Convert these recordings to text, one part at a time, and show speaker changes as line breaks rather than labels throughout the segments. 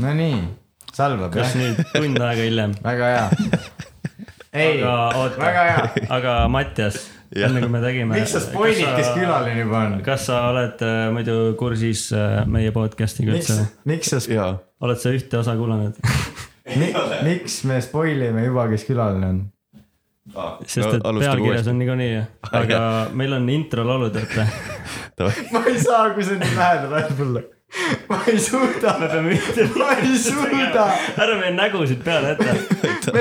Nonii , salvab
kas
jah ,
nüüd tund aega hiljem ?
väga hea . ei ,
aga oota ,
väga hea ,
aga Mattias ,
Jah.
enne kui me tegime .
miks sa spoil'id , kes ? külaline juba on ?
kas sa oled äh, muidu kursis äh, meie podcast'iga
miks
üldse ?,
miks sa ,
jaa ,
oled sa ühte osa kuulanud ?
miks me spoil ime juba , kes külaline on ?
sest et
alustame
pealkirjas
uuesti.
on niikuinii , aga meil on introlaulud , et
ma ei saa , kui sa nii lähedal oled mulle . ma ei suuda ,
me peame ühte .
ma ei suuda .
ära meie nägusid peale jäta .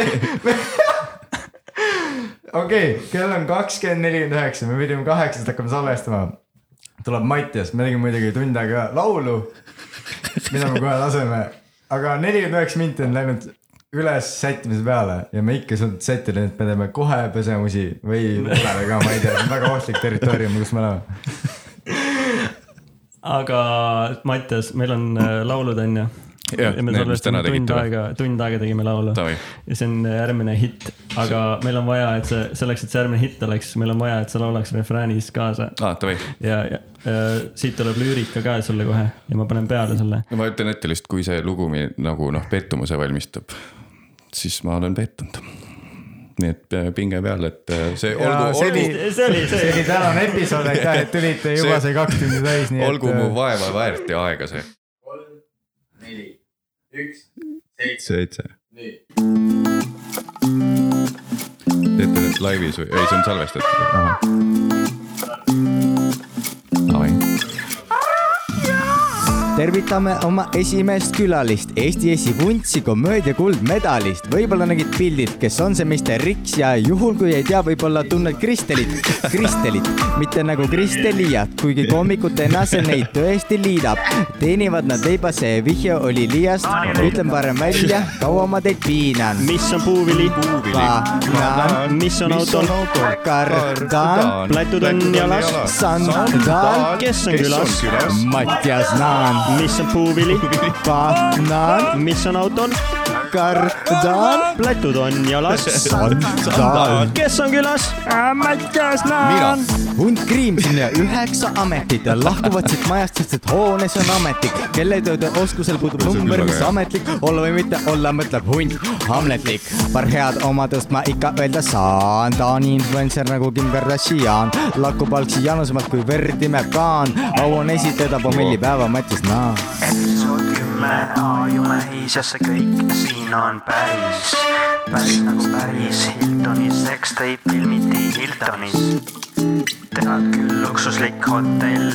okei , kell on kakskümmend nelikümmend üheksa , me pidime kaheksast hakkama salvestama . tuleb Mattias , me tegime muidugi tund aega laulu , mida me kohe laseme , aga nelikümmend üheksa minti on läinud üles sättimise peale ja me ikka ei suutnud sättida , et me teeme kohe pesemusi või tuleme ka , ma ei tea , väga ohtlik territoorium , kus me oleme .
aga Mattias , meil on äh, laulud , on ju .
Jah,
ja me
need, mis
salvestame
täna
tund
tegite või?
aega , tund aega tegime laulu .
Davai.
ja see on äh, järgmine hitt , aga meil on vaja , et see selleks , et see järgmine hitt oleks , meil on vaja , et sa laulaks refräänis kaasa .
aa , davai .
ja , ja äh, siit tuleb lüürika ka sulle kohe ja ma panen peale selle .
no ma ütlen ette lihtsalt , kui see lugu mind nagu noh , pettumuse valmistab , siis ma olen pettunud . nii et äh, pinge peal , et äh, see
Ja
olgu ,
see
olgu ,
oli-
see oli
see
see
oli . tänane episood , aitäh , et tulite , juba
See-
sai kaks tundi täis , nii et . äh,
olgu mu vaeva väärt ja aega see .
neli , üks ,
seitse .
nii .
teete need laivis või , ei , see on salvestatud . davai
tervitame oma esimest külalist , Eesti esivuntsi komöödia kuldmedalist . võib-olla nägid pildilt , kes on see meister Riks ja juhul , kui ei tea , võib-olla tunned Kristelit , Kristelit , mitte nagu Kristeliat , kuigi koomikutena see neid tõesti liidab . teenivad nad leiba , see vihje oli liiast , ütlen parem välja , kaua ma teid piinan .
mis on puuvili ,
panan ,
mis on auto ,
kardan ,
Plätud on jalas,
sandan ,
kes on külas ,
Mattias Naan ,
mis on puuvili ,
panan .
mis on autol ,
kardan ,
plätud on jalas ,
sandan .
kes on külas , Äh, Mattias Naan .
hunt kriimsin ja üheksa ametit ja lahkuvad siit majast , sest et hoones on ametnik , kelle tööde oskusel puudub
See on
number ,
küll
mis
väga hea.
ametlik olla või mitte olla , mõtleb hunt , hamletlik . paar head omadust ma ikka öelda saan , ta on influencer nagu Kim Kardashian , lakub algsi janusemalt kui verd imeb kaan , au on esitleda pommellipäeva Mattis Naa .
episood kümme , ajume hiisesse kõik , siin on päris , päris nagu päris Hiltonis , seks teeb filmiti Hiltonis . tead küll , luksuslik hotell ,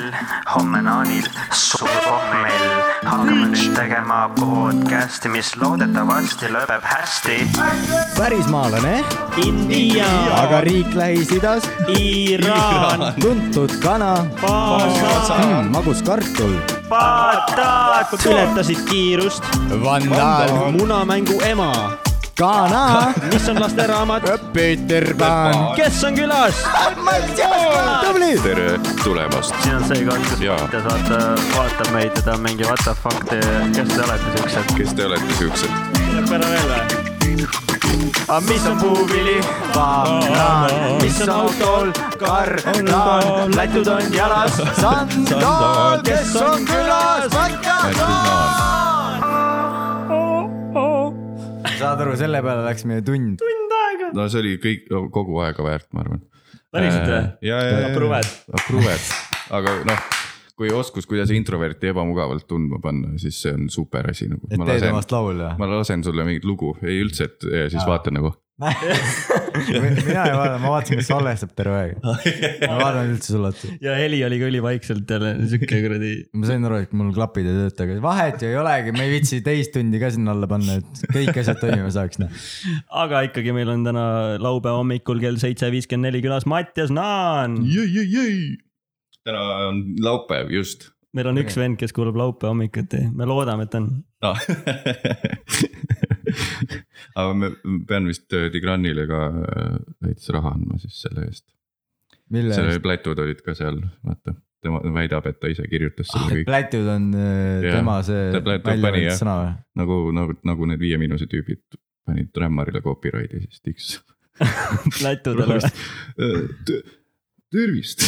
homme naanil suur pohmell , hakkame nüüd tegema podcast'i , mis loodetavasti lõpeb hästi .
pärismaalane ,
India ,
aga riik Lähis-Idas ,
Iraan ,
tuntud kana , magus kartul ,
Patat , ületasid kiirust ,
vandaal
munamängu ema ,
kana ,
mis on lasteraamat ,
Peeter Pan .
kes on külas ,
tubli .
tere tulemast .
siin on see koht , kus
Jaa.
Mattias vaatab , vaatab meid ja ta on mingi what the fuck , kes te olete siuksed .
kes te olete siuksed ?
lõpp ära veel või ?
Ah,
aga mis on puuvili ? banaan . mis on autol ? kardan . lätud on jalas . sandaal , kes on külas ? saad aru , selle peale läks meie tund .
no see oli kõik , kogu aega väärt , ma arvan .
Äh,
päriselt või ?
ja , ja , ja ,
Approved.
approved , aga noh , kui oskus , kuidas introverti ebamugavalt tundma panna , siis see on super asi nagu .
et teed omast laulja ?
ma lasen sulle mingit lugu , ei üldse , et ja siis vaatan nagu .
mina ei vaadanud , ma vaatasin , kas salvestab terve aeg . ma vaatan üldse sulle otsa .
ja heli oli ka ülivaikselt jälle , sihuke kuradi .
ma sain aru , et mul klapid ei tööta , aga vahet ju ei olegi , me ei viitsi teist tundi ka sinna alla panna , et kõik asjad toimima saaks , noh .
aga ikkagi meil on täna laupäeva hommikul kell seitse viiskümmend neli külas Mattias Naan .
täna on laupäev , just .
meil on üks vend , kes kuulab laupäeva hommikuti , me loodame , et on .
aga ma pean vist äh, Tigranile ka äh, veits raha andma siis selle eest .
mille
selle
eest ?
plätud olid ka seal , vaata , tema väidab , et ta ise kirjutas selle kõik
plätud on äh,
Jah,
tema see
ta plätud
välja
pani,
võetud
jah.
sõna või ?
nagu , nagu , nagu need Viie Miinuse tüübid panid Rämmarile copyright'i , siis tiks .
Lätudele või ?
tervist .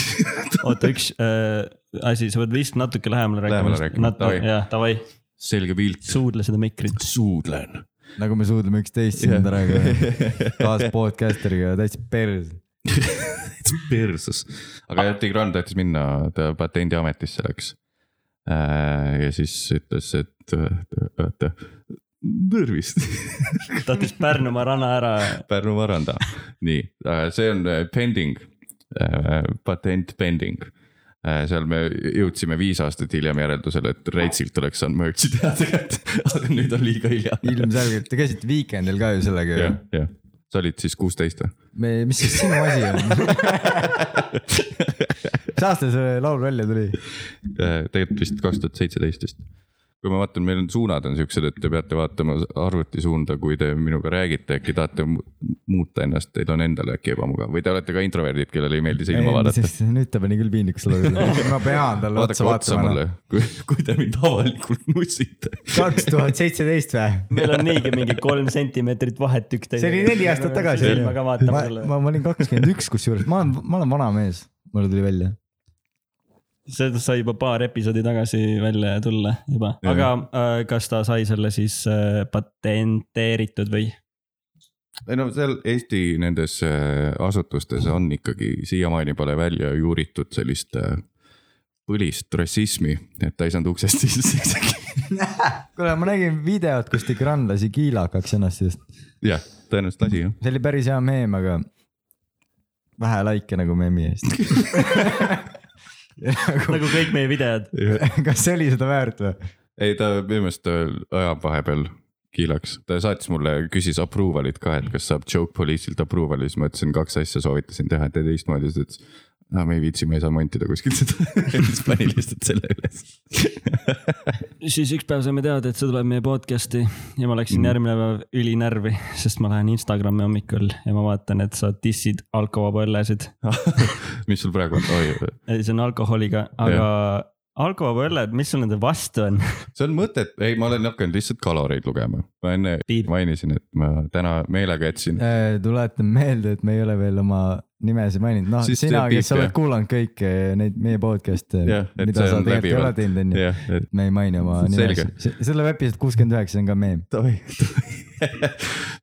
oota , üks äh, asi , sa pead vist natuke lähemale rääkima
Lähemale . rääkima, davai.
jah , davai .
selge pilt ,
suudle seda mikrit .
suudlen .
nagu me suudleme üksteist siin praegu kaas podcasteriga täitsa pers .
perses , aga jah , Tigran tahtis minna , ta patendiametisse läks . ja siis ütles , et äh, oota , tervist
tahtis Pärnumaa rana ära .
Pärnu varanda , nii , see on äh, pending , patent pending . seal me jõudsime viis aastat hiljem järeldusele , et Reitsilt oleks saanud merch'i teha tegelikult , aga nüüd on liiga hilja .
ilmselgelt , te käisite Weekendil ka ju sellega ju
jah ,. jah , sa olid siis kuusteist või ?
me , mis siis sinu asi on ? mis aastal see laul välja tuli ?
Äh, tegelikult vist kaks tuhat seitseteist vist . kui ma vaatan , meil on suunad on siuksed , et te peate vaatama arvutisuunda , kui te minuga räägite , äkki tahate mu- muuta ennast , teil on endal äkki ebamugav või te olete ka introverdid , kellele ei meeldi silma vaadata .
nüüd ta pani küll piinlikuks selle peale , ma pean talle
vaadake
otsa
otsa
vaatama . noh.
mulle , kui , kui te mind avalikult nutsite .
kaks tuhat seitseteist või ?
meil on niigi mingi kolm sentimeetrit vahet üksteisele .
see oli neli aastat tagasi .
ma ka vaatan
ma,
selle .
ma, ma olin kakskümmend üks , kusjuures ma olen , ma olen vana mees , mulle tuli välja .
seda sai juba paar episoodi tagasi välja tulla juba ,
Jah.
aga äh, kas ta sai selle siis äh, patenteeritud või ?
ei no seal Eesti nendes äh, asutustes on ikkagi siiamaani pole välja juuritud sellist äh, põlist rassismi , et ta ei saanud uksest sisse isegi .
kuule , ma nägin videot , kus Tigran lasi kiilakaks ennast just .
jah , tõenäoliselt lasi jah .
see oli päris hea meem , aga vähe likee nagu meemi eest .
nagu kõik meie videod .
kas see oli seda väärt või ?
ei , ta minu meelest ta ajab vahepeal kiilaks , ta saatis mulle , küsis approval'it ka , et kas saab joke police'ilt approval'i , siis ma ütlesin kaks asja soovitasin teha , tee teistmoodi , siis ta ütles . no me ei viitsi , me ei saa montida kuskilt seda , siis pani lihtsalt selle üles .
siis üks päev saime teada , et see tuleb meie podcast'i ja ma läksin mm. järgmine päev ülinärvi , sest ma lähen Instagrami hommikul ja ma vaatan , et sa dissid alkovaba õllesid .
mis sul praegu on , oi ,
ei , Äh, see on alkoholiga , aga alkovaba õlled , mis sul nende vastu on ?
see on mõtet , ei , ma olen hakanud lihtsalt kaloreid lugema , ma enne
Piip.
mainisin , et ma täna meelega jätsin .
Äh, tuletan meelde , et me ei ole veel oma nimesid maininud , noh
Siis
sina ,
teeb
kes
piip,
oled
jah.
kuulanud kõiki neid meie podcast'e
Jah, , et
mida
see
sa
on
tegelikult ei ole
läbivalt.
teinud , onju .
jah , et
me ei maini oma
Selge.
nimesid , see tuleb episood kuuskümmend üheksa , see on ka meem .
Tavi ,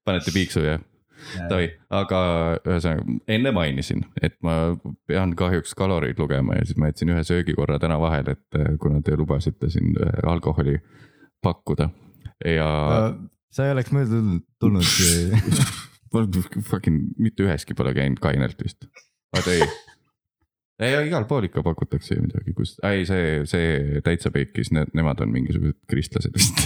panete piiksu jah ? Tavi , aga ühesõnaga enne mainisin , et ma pean kahjuks kaloreid lugema ja siis ma jätsin ühe söögikorra täna vahele , et eh, kuna te lubasite siin eh, alkoholi pakkuda ja
sa ei oleks mööda tul- tulnud .
ma fucking mitte üheski pole käinud kainelt vist , vaata ei ei , igal pool ikka pakutakse ju midagi , kus , ei see , see täitsa peikis , need , nemad on mingisugused kristlased vist .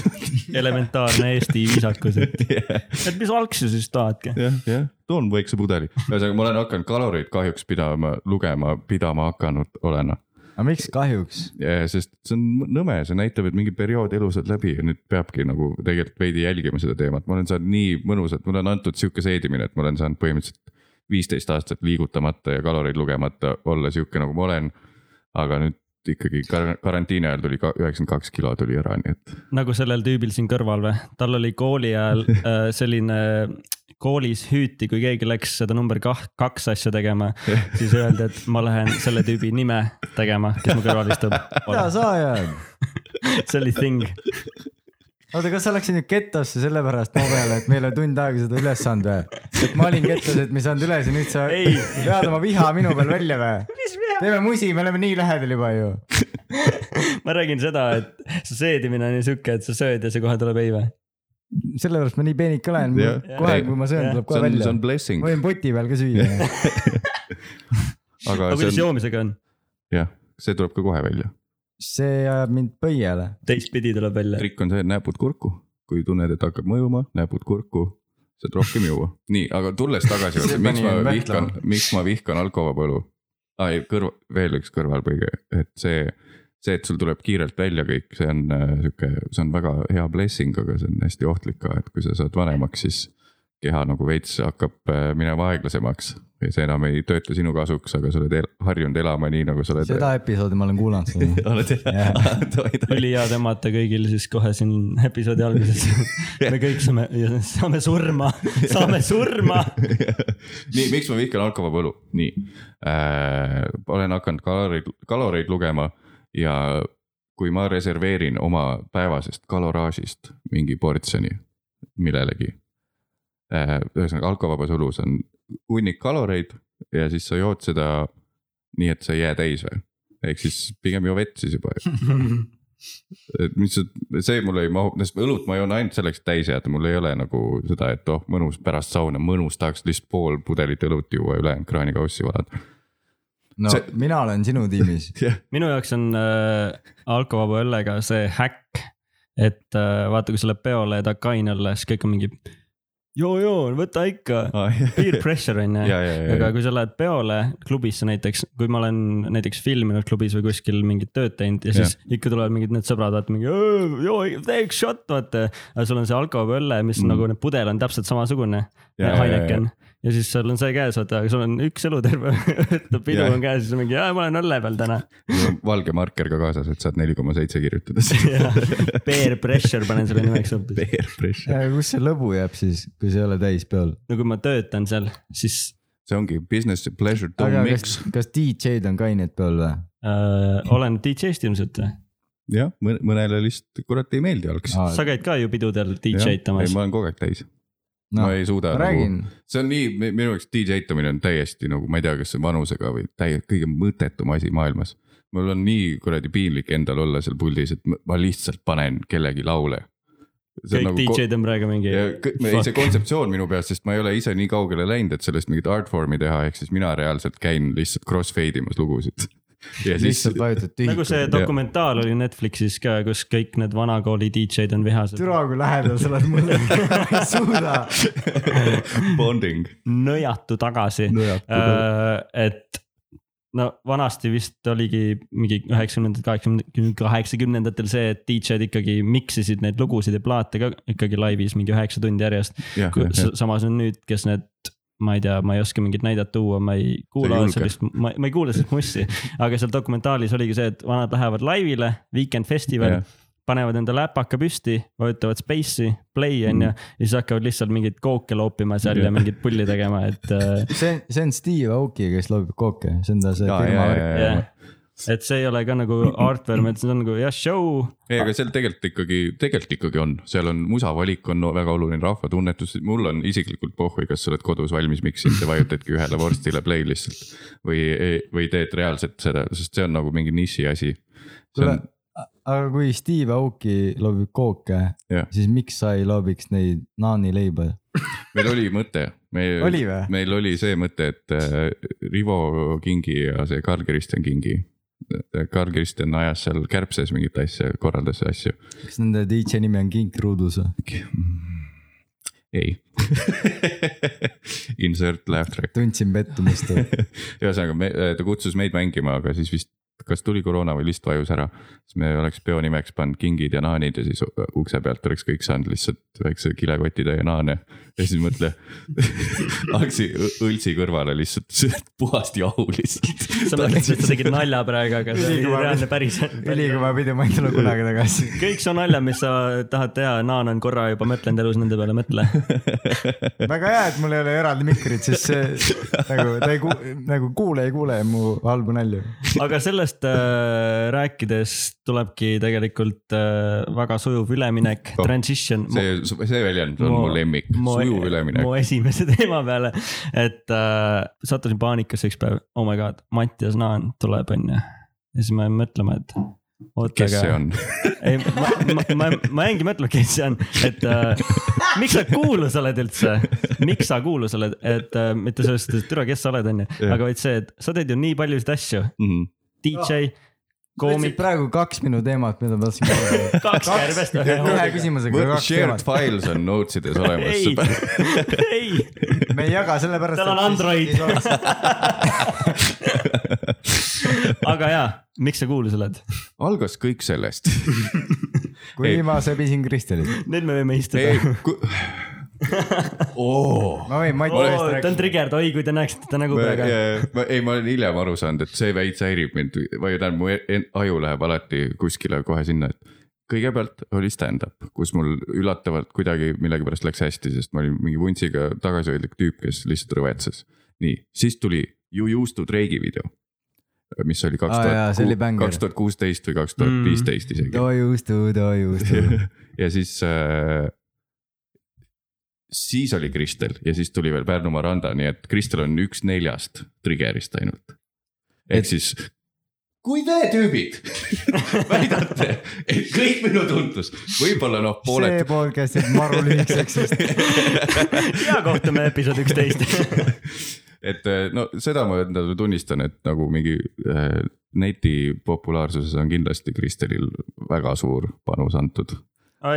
elementaarne Eesti viisakus , et , et mis algsi siis tahadki ?
jah , jah , toon väikse pudeli . ühesõnaga , ma olen hakanud kaloreid kahjuks pidama , lugema , pidama hakanud olen .
aga miks kahjuks ?
sest see on nõme , see näitab , et mingi periood elus on läbi ja nüüd peabki nagu tegelikult veidi jälgima seda teemat . ma olen saanud nii mõnusalt , mulle on antud sihuke seedimine , et ma olen saanud põhimõtteliselt viisteist aastat liigutamata ja kaloreid lugemata olla sihuke , nagu ma olen . aga nüüd ikkagi kar- karantiini ajal tuli üheksakümmend kaks kilo tuli ära , nii et
nagu sellel tüübil siin kõrval või ? tal oli kooli ajal äh, selline , koolis hüüti , kui keegi läks seda number kah- , kaks asja tegema , siis öeldi , et ma lähen selle tüübi nime tegema , kes mu kõrval istub .
mida sa ajad ?
see oli thing .
oota , kas sa läksid nüüd gettosse sellepärast mu peale , et meil on tund aega seda üles andnud või ? et ma olin gettos , et me ei saanud üles ja nüüd sa
Ei.
pead oma viha minu peal välja või ? teeme musi , me oleme nii lähedal juba ju .
ma räägin seda , et see seedimine on ju sihuke , et sa sööd ja see kohe tuleb ei või ?
sellepärast ma nii peenike olen
Jah. ,
kohe
Ei.
kui ma söön ,
Jah.
tuleb
see
kohe
on , see
välja
on . blessing
ma . võin poti peal ka süüa .
aga
aga
see
kuidas
on ,
joomisega on ?
jah , see tuleb ka kohe välja .
see ajab mind põiele .
teistpidi tuleb välja .
trikk on see , et näpud kurku , kui tunned , et hakkab mõjuma , näpud kurku , saad rohkem juua . nii , aga tulles tagasi ,
See
miks
pani
ma
mind
vihkan , miks ma vihkan alkovaba õlu ? aa ei , kõrv , veel üks kõrvalpõige , et see , see , et sul tuleb kiirelt välja kõik , see on äh, sihuke , see on väga hea blessing , aga see on hästi ohtlik ka , et kui sa saad vanemaks , siis keha nagu veits hakkab äh, minema aeglasemaks ja see enam ei tööta sinu kasuks , aga sa oled el harjunud elama nii , nagu sa oled .
seda episoodi ma olen kuulanud seda .
oled
Jah.
jah ?
ülihead emata kõigil siis kohe siin episoodi alguses . me kõik saame , saame surma , saame surma .
nii , miks ma vihkan alkovaba õlu , nii äh, . olen hakanud kaloreid , kaloreid lugema ja kui ma reserveerin oma päevasest kaloraažist mingi portsjoni millelegi . ühesõnaga alkovabas õlus on hunnik kaloreid ja siis sa jood seda nii , et sa ei jää täis või ? ehk siis pigem joo vett siis juba . et mis see , see mulle ei mahu , sest õlut ma joon ainult selleks et täis jääda , mul ei ole nagu seda , et oh mõnus pärast sauna , mõnus tahaks lihtsalt pool pudelit õlut juua , ülejäänud kraanikaussi valada .
no
See-
see... mina olen sinu tiimis .
minu jaoks on äh, alkovaba õllega see häkk , et äh, vaata , kui sa lähed peole ja tahad kaine olla , siis kõik on mingi joo , joo , võta ikka , peer pressure on ju
ja , ja ,
aga
ja ,
kui sa lähed peole klubisse näiteks , kui ma olen näiteks filminud klubis või kuskil mingit tööd teinud ja siis ja. ikka tulevad mingid need sõbrad , vaata mingi joo , tee üks shot , vaata . aga sul on see alkoholipõlle , mis
Mm.
mm. nagu need pudel on täpselt samasugune ,
Ja, ja, ja,
Heineken . ja siis sul on see käes , vaata , aga sul on üks õluterve pidu
Ja.
on käes , siis on mingi , ma olen õlle peal täna .
mul on valge marker ka kaasas , et saad neli koma seitse kirjutada .
Peer pressure panen selle nimeks hoopis .
Peer pressure .
kus see lõbu jääb siis , kui sa ei ole täis peal ?
no kui ma töötan seal , siis
see ongi business ja pleasure to
aga kas
mix .,
kas DJ-d on kained peal või ?
öö, äh, olen DJ-st ilmselt või ?
jah , mõnele lihtsalt kurat ei meeldi algselt .
sa käid ka ju pidudel DJ
ei ,
tamas .
ma olen kogu aeg täis .
no
ma ei suuda nagu-
ma räägin ,
see on nii , minu jaoks DJ itamine on täiesti nagu , ma ei tea , kas see on vanusega või täie- , kõige mõttetum asi maailmas . mul on nii kuradi piinlik endal olla seal puldis , et ma- ma lihtsalt panen kellegi laule .
kõik nagu DJ-d on praegu mingi .
ja kõ- ei , see kontseptsioon minu peas , sest ma ei ole ise nii kaugele läinud , et sellest mingit artform'i teha , ehk siis mina reaalselt käin lihtsalt crossfade imas lugusid . ja siis
lihtsalt vajutad
nagu
tühikut .
see dokumentaal oli Netflixis ka , kus kõik need vanakooli DJ-d on vihased .
türa , kui lähedal sa oled mulle , ma ei suuda .
bonding .
nõjatu tagasi . et no vanasti vist oligi mingi üheksakümnendad , kaheksakümnendad , kaheksakümnendatel see , et DJ-d ikkagi mix isid neid lugusid ja plaate ka ikkagi laivis mingi üheksa tundi järjest .
jah , jah ,
samas on nüüd , kes need , ma ei tea , ma ei oska mingit näidet tuua , ma ei
Sa ei
kuula
julge.
sellist , ma, ma ei kuula sellist mussi , aga seal dokumentaalis oligi see , et vanad lähevad laivile , Weekend Festival
jah .
panevad enda läpaka püsti , vajutavad space'i , play on ju , ja siis hakkavad lihtsalt mingeid kooke loopima seal ja
Mhm. Jah.
mingeid pulli tegema , et äh,
see on , see on Steve Aoki , kes loobib kooke , see on ta see
Jaa,
firma
jaa,
värk
jaa, .
jah . et see ei ole ka nagu artworm , et see on nagu jah , show .
ei , aga seal tegelikult ikkagi , tegelikult ikkagi on , seal on musavalik on väga oluline , rahvatunnetus , mul on isiklikult pohhui , kas sa oled kodus valmis miksinud ja vajutadki ühele vorstile play lihtsalt . või , või teed reaalselt seda , sest see on nagu mingi niši asi . see
kuule
on ,
aga kui Steve Aoki loobib kooke
Jah. ,
siis miks sa ei loobiks neid naani leiba ?
meil oli mõte , me ,
oli või ?
meil oli see mõte , et äh, Rivo Kingi ja see Karl Kristjan Kingi . Karl Kristjan ajas seal Kärbses mingit asja , korraldas asju .
kas nende DJ nimi on Kink Ruudus või ?
ei Insert laugh track .
tundsin pettumust .
ühesõnaga me , ta kutsus meid mängima , aga siis vist , kas tuli koroona või list vajus ära . siis me oleks peo nimeks pannud kingid ja naanid ja siis äh, ukse pealt oleks kõik saanud lihtsalt väikse kilekotitäie naane . ja siis mõtle , hakkasin õltsi kõrvale lihtsalt , puhast jahu lihtsalt .
sa mõtlesid , et sa tegid nalja praegu , aga see oli
Ülikõva-
reaalne päris .
ülikõva pidu , ma ei tule kunagi tagasi .
kõik see nalja , mis sa tahad teha , Naan on korra juba mõtlenud elus nende peale , mõtle .
väga hea , et mul ei ole eraldi mikrit , sest see nagu ta ei ku- , nagu kuulaja ei kuule mu halbu nalju .
aga sellest äh, rääkides tulebki tegelikult äh, väga sujuv üleminek
Oh,
oh, , transition .
see , see väljend on mu lemmik , sujuv üleminek
mu . esimese teema peale , et äh, sattusin paanikasse üks päev , oh my god , Mattias Naan tuleb , onju . ja siis ma jäin mõtlema , et oota ,
kes see
aga .
on ?
ei , ma , ma , ma , ma jäingi mõtlema , kes see on , et äh, miks sa kuulus oled üldse , miks sa kuulus oled , et äh, mitte sellest , et türa , kes sa oled , onju ,
Jah.
aga vaid see , et sa teed ju nii paljusid asju ,
Mhm.
DJ , koomik ,
praegu kaks minu teemat , mida ma tahtsin kuulda .
kaks kärbest ühe
ühe
hoobiga .
küsimusega kaks
Shared
teemat .
files on notes ides
ei
olemas ,,
ei
me ei jaga sellepärast .
Tal on Android. aga jaa , miks sa kuulus oled ?
algas kõik sellest .
kuni ma sebisin Kristelit .
nüüd me võime istuda .
ei , ku- . oo
ma võin Mati
oo ,
eest
ta on
rääkida .
trigerd , oi kui te näeksite ta nägu
ma,
praegu .
ja- ma, ei , ma olen hiljem aru saanud , et see veits häirib mind või tähendab , mu e- en- aju läheb alati kuskile kohe sinna , et . kõigepealt oli stand-up , kus mul üllatavalt kuidagi millegipärast läks hästi , sest ma olin mingi vuntsiga tagasihoidlik tüüp , kes lihtsalt rõvetses . nii , siis tuli You used to Drake'i video . mis oli kaks
Aa, jaa, see oli Mm.
tuhat ,
bängar.
kaks tuhat kuusteist või kaks tuhat viisteist isegi .
toiustu , toiustu .
ja siis äh, , siis oli Kristel ja siis tuli veel Pärnumaa randa , nii et Kristel on üks neljast trigger'ist ainult . ehk
Et-
siis , kui te tüübid väidate , et kõik minu tuntlus , võib-olla noh ,
see
pooled .
podcast jääb maru lühikeseks , sest
ja kohtume episood üksteist .
et äh, no seda ma endale tunnistan , et nagu mingi äh, neti populaarsuses on kindlasti Kristelil väga suur panus antud .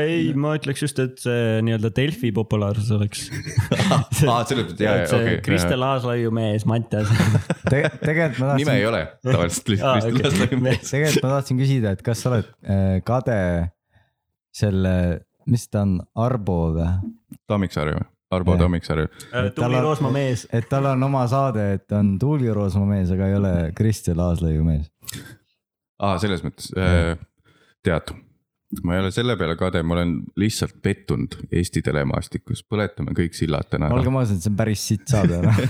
ei , ma ütleks just , et see nii-öelda Delfi populaarsus oleks .
aa , selles mõttes , jaa , jaa , okei .
Kristel Aaslaiu mees Mattias .
Te, tegelikult ma
nime
tahtsin ,
ei ole tavaliselt
Aa,
lihtsalt
okei.
Kristel Aaslaiu .
tegelikult ma tahtsin küsida , et kas sa oled äh, kade selle , mis ta on , Arbo või ?
Tammiksaare või ? Arvo
Jah.
Tammiksaare ,
tubli Äh, Roosma mees .
et tal on oma saade , et on Tuuli Roosma mees , aga ei ole Kristel Aaslaiu mees .
aa selles mõttes äh, , tead , ma ei ole selle peale kade , ma olen lihtsalt pettunud Eesti telemaastikus , põletame kõik sillad täna ära .
olgem ausad , see on päris sitt saade . noh.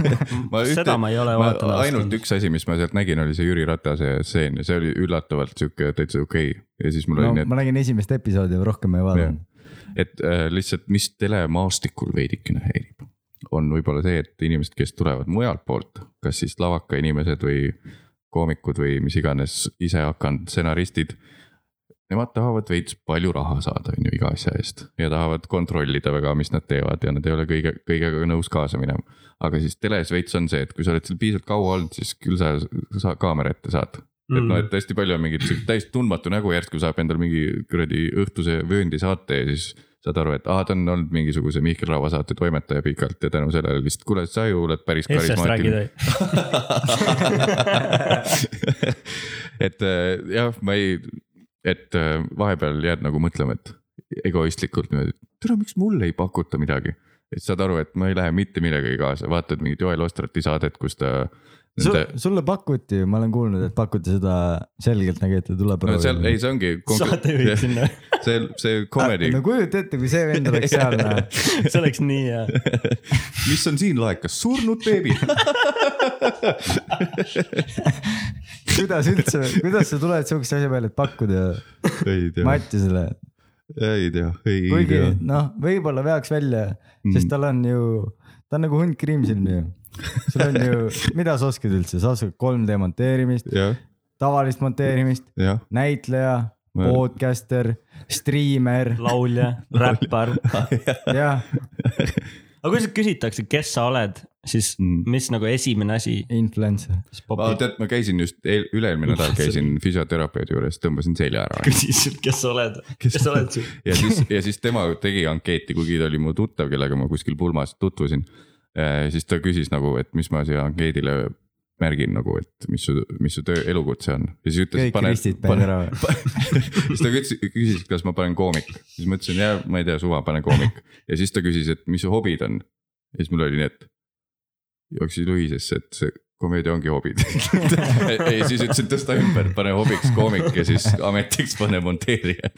Ma ühte-
seda ma ei ole
ma
vaadanud .
ainult . üks asi , mis ma sealt nägin , oli see Jüri Ratase stseen ja see oli üllatavalt sihuke täitsa okei okay. ja siis mul
no
oli need ,
ma nägin esimest episoodi , rohkem ei vaadanud .
et äh, lihtsalt , mis telemaastikul veidikene häirib , on võib-olla see , et inimesed , kes tulevad mujalt poolt , kas siis lavaka inimesed või koomikud või mis iganes ise hakanud stsenaristid . Nemad tahavad veits palju raha saada , on ju , iga asja eest ja tahavad kontrollida väga , mis nad teevad ja nad ei ole kõige , kõigega nõus kaasa minema . aga siis teles veits on see , et kui sa oled seal piisavalt kaua olnud , siis küll sa, sa kaamera ette saad et noh , et hästi palju on mingit siukest täiesti tundmatu nägu järsku saab endale mingi kuradi õhtuse vööndi saate ja siis saad aru , et aa , ta on olnud mingisuguse Mihkel Raua saate toimetaja pikalt ja tänu sellele lihtsalt , kuule , sa ju oled päris
Essest
karismaatiline .
räägida .
et äh, jah , ma ei , et äh, vahepeal jääd nagu mõtlema , et egoistlikult niimoodi , et tere , miks mulle ei pakuta midagi . et saad aru , et ma ei lähe mitte millegagi kaasa , vaatad mingit Joel Ostrati saadet , kus ta .
Sul, sulle pakuti , ma olen kuulnud , et pakuti seda nagu, selgeltnägijate
no
tuleproovi .
seal , ei , see ongi .
saatejuhid sinna ,
see , see comedy
no kujuta ette , kui see vend oleks seal , noh .
see oleks nii hea .
mis on siin laekas , surnud beebi .
kuidas üldse , kuidas sa tuled sihukese asja peale , et pakkuda
ei tea ,
Mattiasele ,
ei tea , ei
kuigi
tea .
noh , võib-olla veaks välja , sest tal on ju , ta on nagu hunt kriimsilmi ju . sul on ju , mida sa oskad üldse , sa oskad 3D monteerimist ,
jah ,
tavalist monteerimist ,
jah ,
näitleja ,
Ma-
podcaster , striimer ,
laulja , räppar .
jah ,
aga kui sind küsitakse , kes sa oled , siis
Mm.
mis nagu esimene asi ,
influencer .
mis
ma
popib ?
tead , ma käisin just eel- üle-eelmine nädal käisin füsioterapeudi juures , tõmbasin selja ära
küsis sult , kes sa oled , kes sa oled siis ?
ja siis , ja siis tema tegi ankeeti , kuigi ta oli mu tuttav , kellega ma kuskil pulmas tutvusin . siis ta küsis nagu , et mis ma siia ankeedile märgin nagu , et mis su , mis su töö , elukutse on ja siis ütles .
kõik kristid peavad ära .
siis ta küsis , küsis , kas ma panen koomik , siis ma ütlesin , jaa , ma ei tea , suva , pane koomik ja siis ta küsis , et mis su hobid on . ja siis mul oli nii , et jooksis luhisesse , et see komöödia ongi hobid . ja siis ütlesin , tõsta ümber , pane hobiks koomik ja siis ametiks pane monteerija .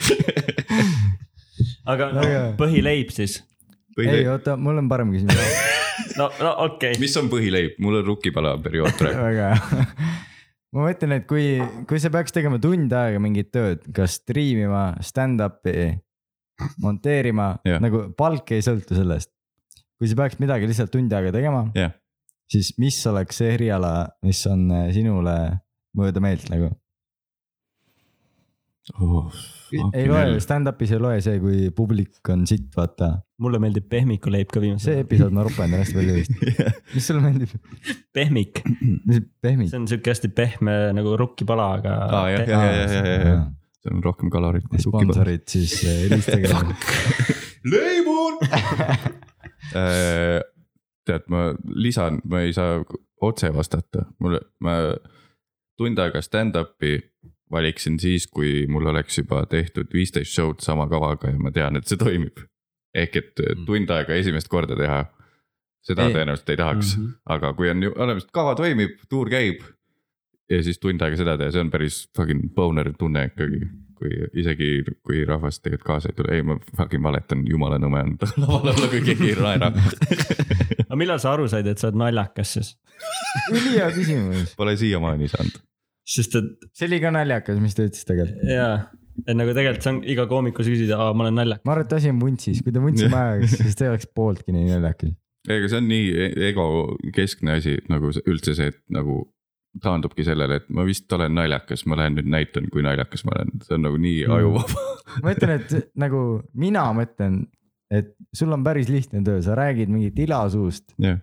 aga no,
No jaa.
põhileib siis ?
ei , oota , mul on parem küsimus ,
no , no okei okay. .
mis on põhileib , mul on rukipala periood praegu .
väga hea ma mõtlen , et kui , kui sa peaks tegema tund aega mingit tööd , kas striimima , stand-up'i , monteerima
Jah.
nagu palk ei sõltu sellest . kui sa peaks midagi lihtsalt tund aega tegema
Jah.
siis mis oleks see eriala , mis on äh, sinule mööda meelt nagu ei loe , stand-up'is ei loe see , kui publik on sitt , vaata .
mulle meeldib pehmikuleib ka viimasel ajal .
see episood ma rupan ennast välja vist . mis sulle meeldib ?
pehmik ,
mis pehmik
see ? on siuke hästi pehme nagu rukkipala , aga
aa Ah, jah ,
pe-
jah , jah , jah , jah ,
Ah,
jah , see on rohkem kaloreid kui rukipala .
sponsorid siis äh, helistage .
leibun . Äh, tead , ma lisan , ma ei saa otse vastata , mul , ma tund aega stand-up'i valiksin siis , kui mul oleks juba tehtud viisteist show'd sama kavaga ja ma tean , et see toimib . ehk et tund aega esimest korda teha , seda
Ei.
ei. tõenäoliselt ei tahaks mm ,
Mhm.
-hmm. aga kui on ju olemas , kava toimib , tuur käib ja siis tund aega seda teha , see on päris fucking boner tunne ikkagi . kui isegi , kui rahvas tegelikult kaasa ei tule , ei ma fucking valetan , jumala nõme on ta laval olla , kui keegi ei naera .
aga millal sa aru said , et sa oled naljakas siis ?
ülihea küsimus .
Pole siiamaani saanud .
sest et
see oli ka naljakas , mis ta ütles tegelikult .
jaa , et nagu tegelikult see on iga koomiku sa küsid , aa , ma olen naljakas .
ma arvan , et asi on vuntsis , kui ta vuntsi maha jääks , siis ta ei oleks pooltki nii naljakas .
ega see on nii e- egokeskne asi , nagu see- üldse see , et nagu taandubki sellele , et ma vist olen naljakas , ma lähen nüüd näitan , kui naljakas ma olen , see on nagu nii
Mm.
ajuvaba .
ma ütlen , et nagu mina mõtlen , et sul on päris lihtne töö , sa räägid mingit ila suust
jah ,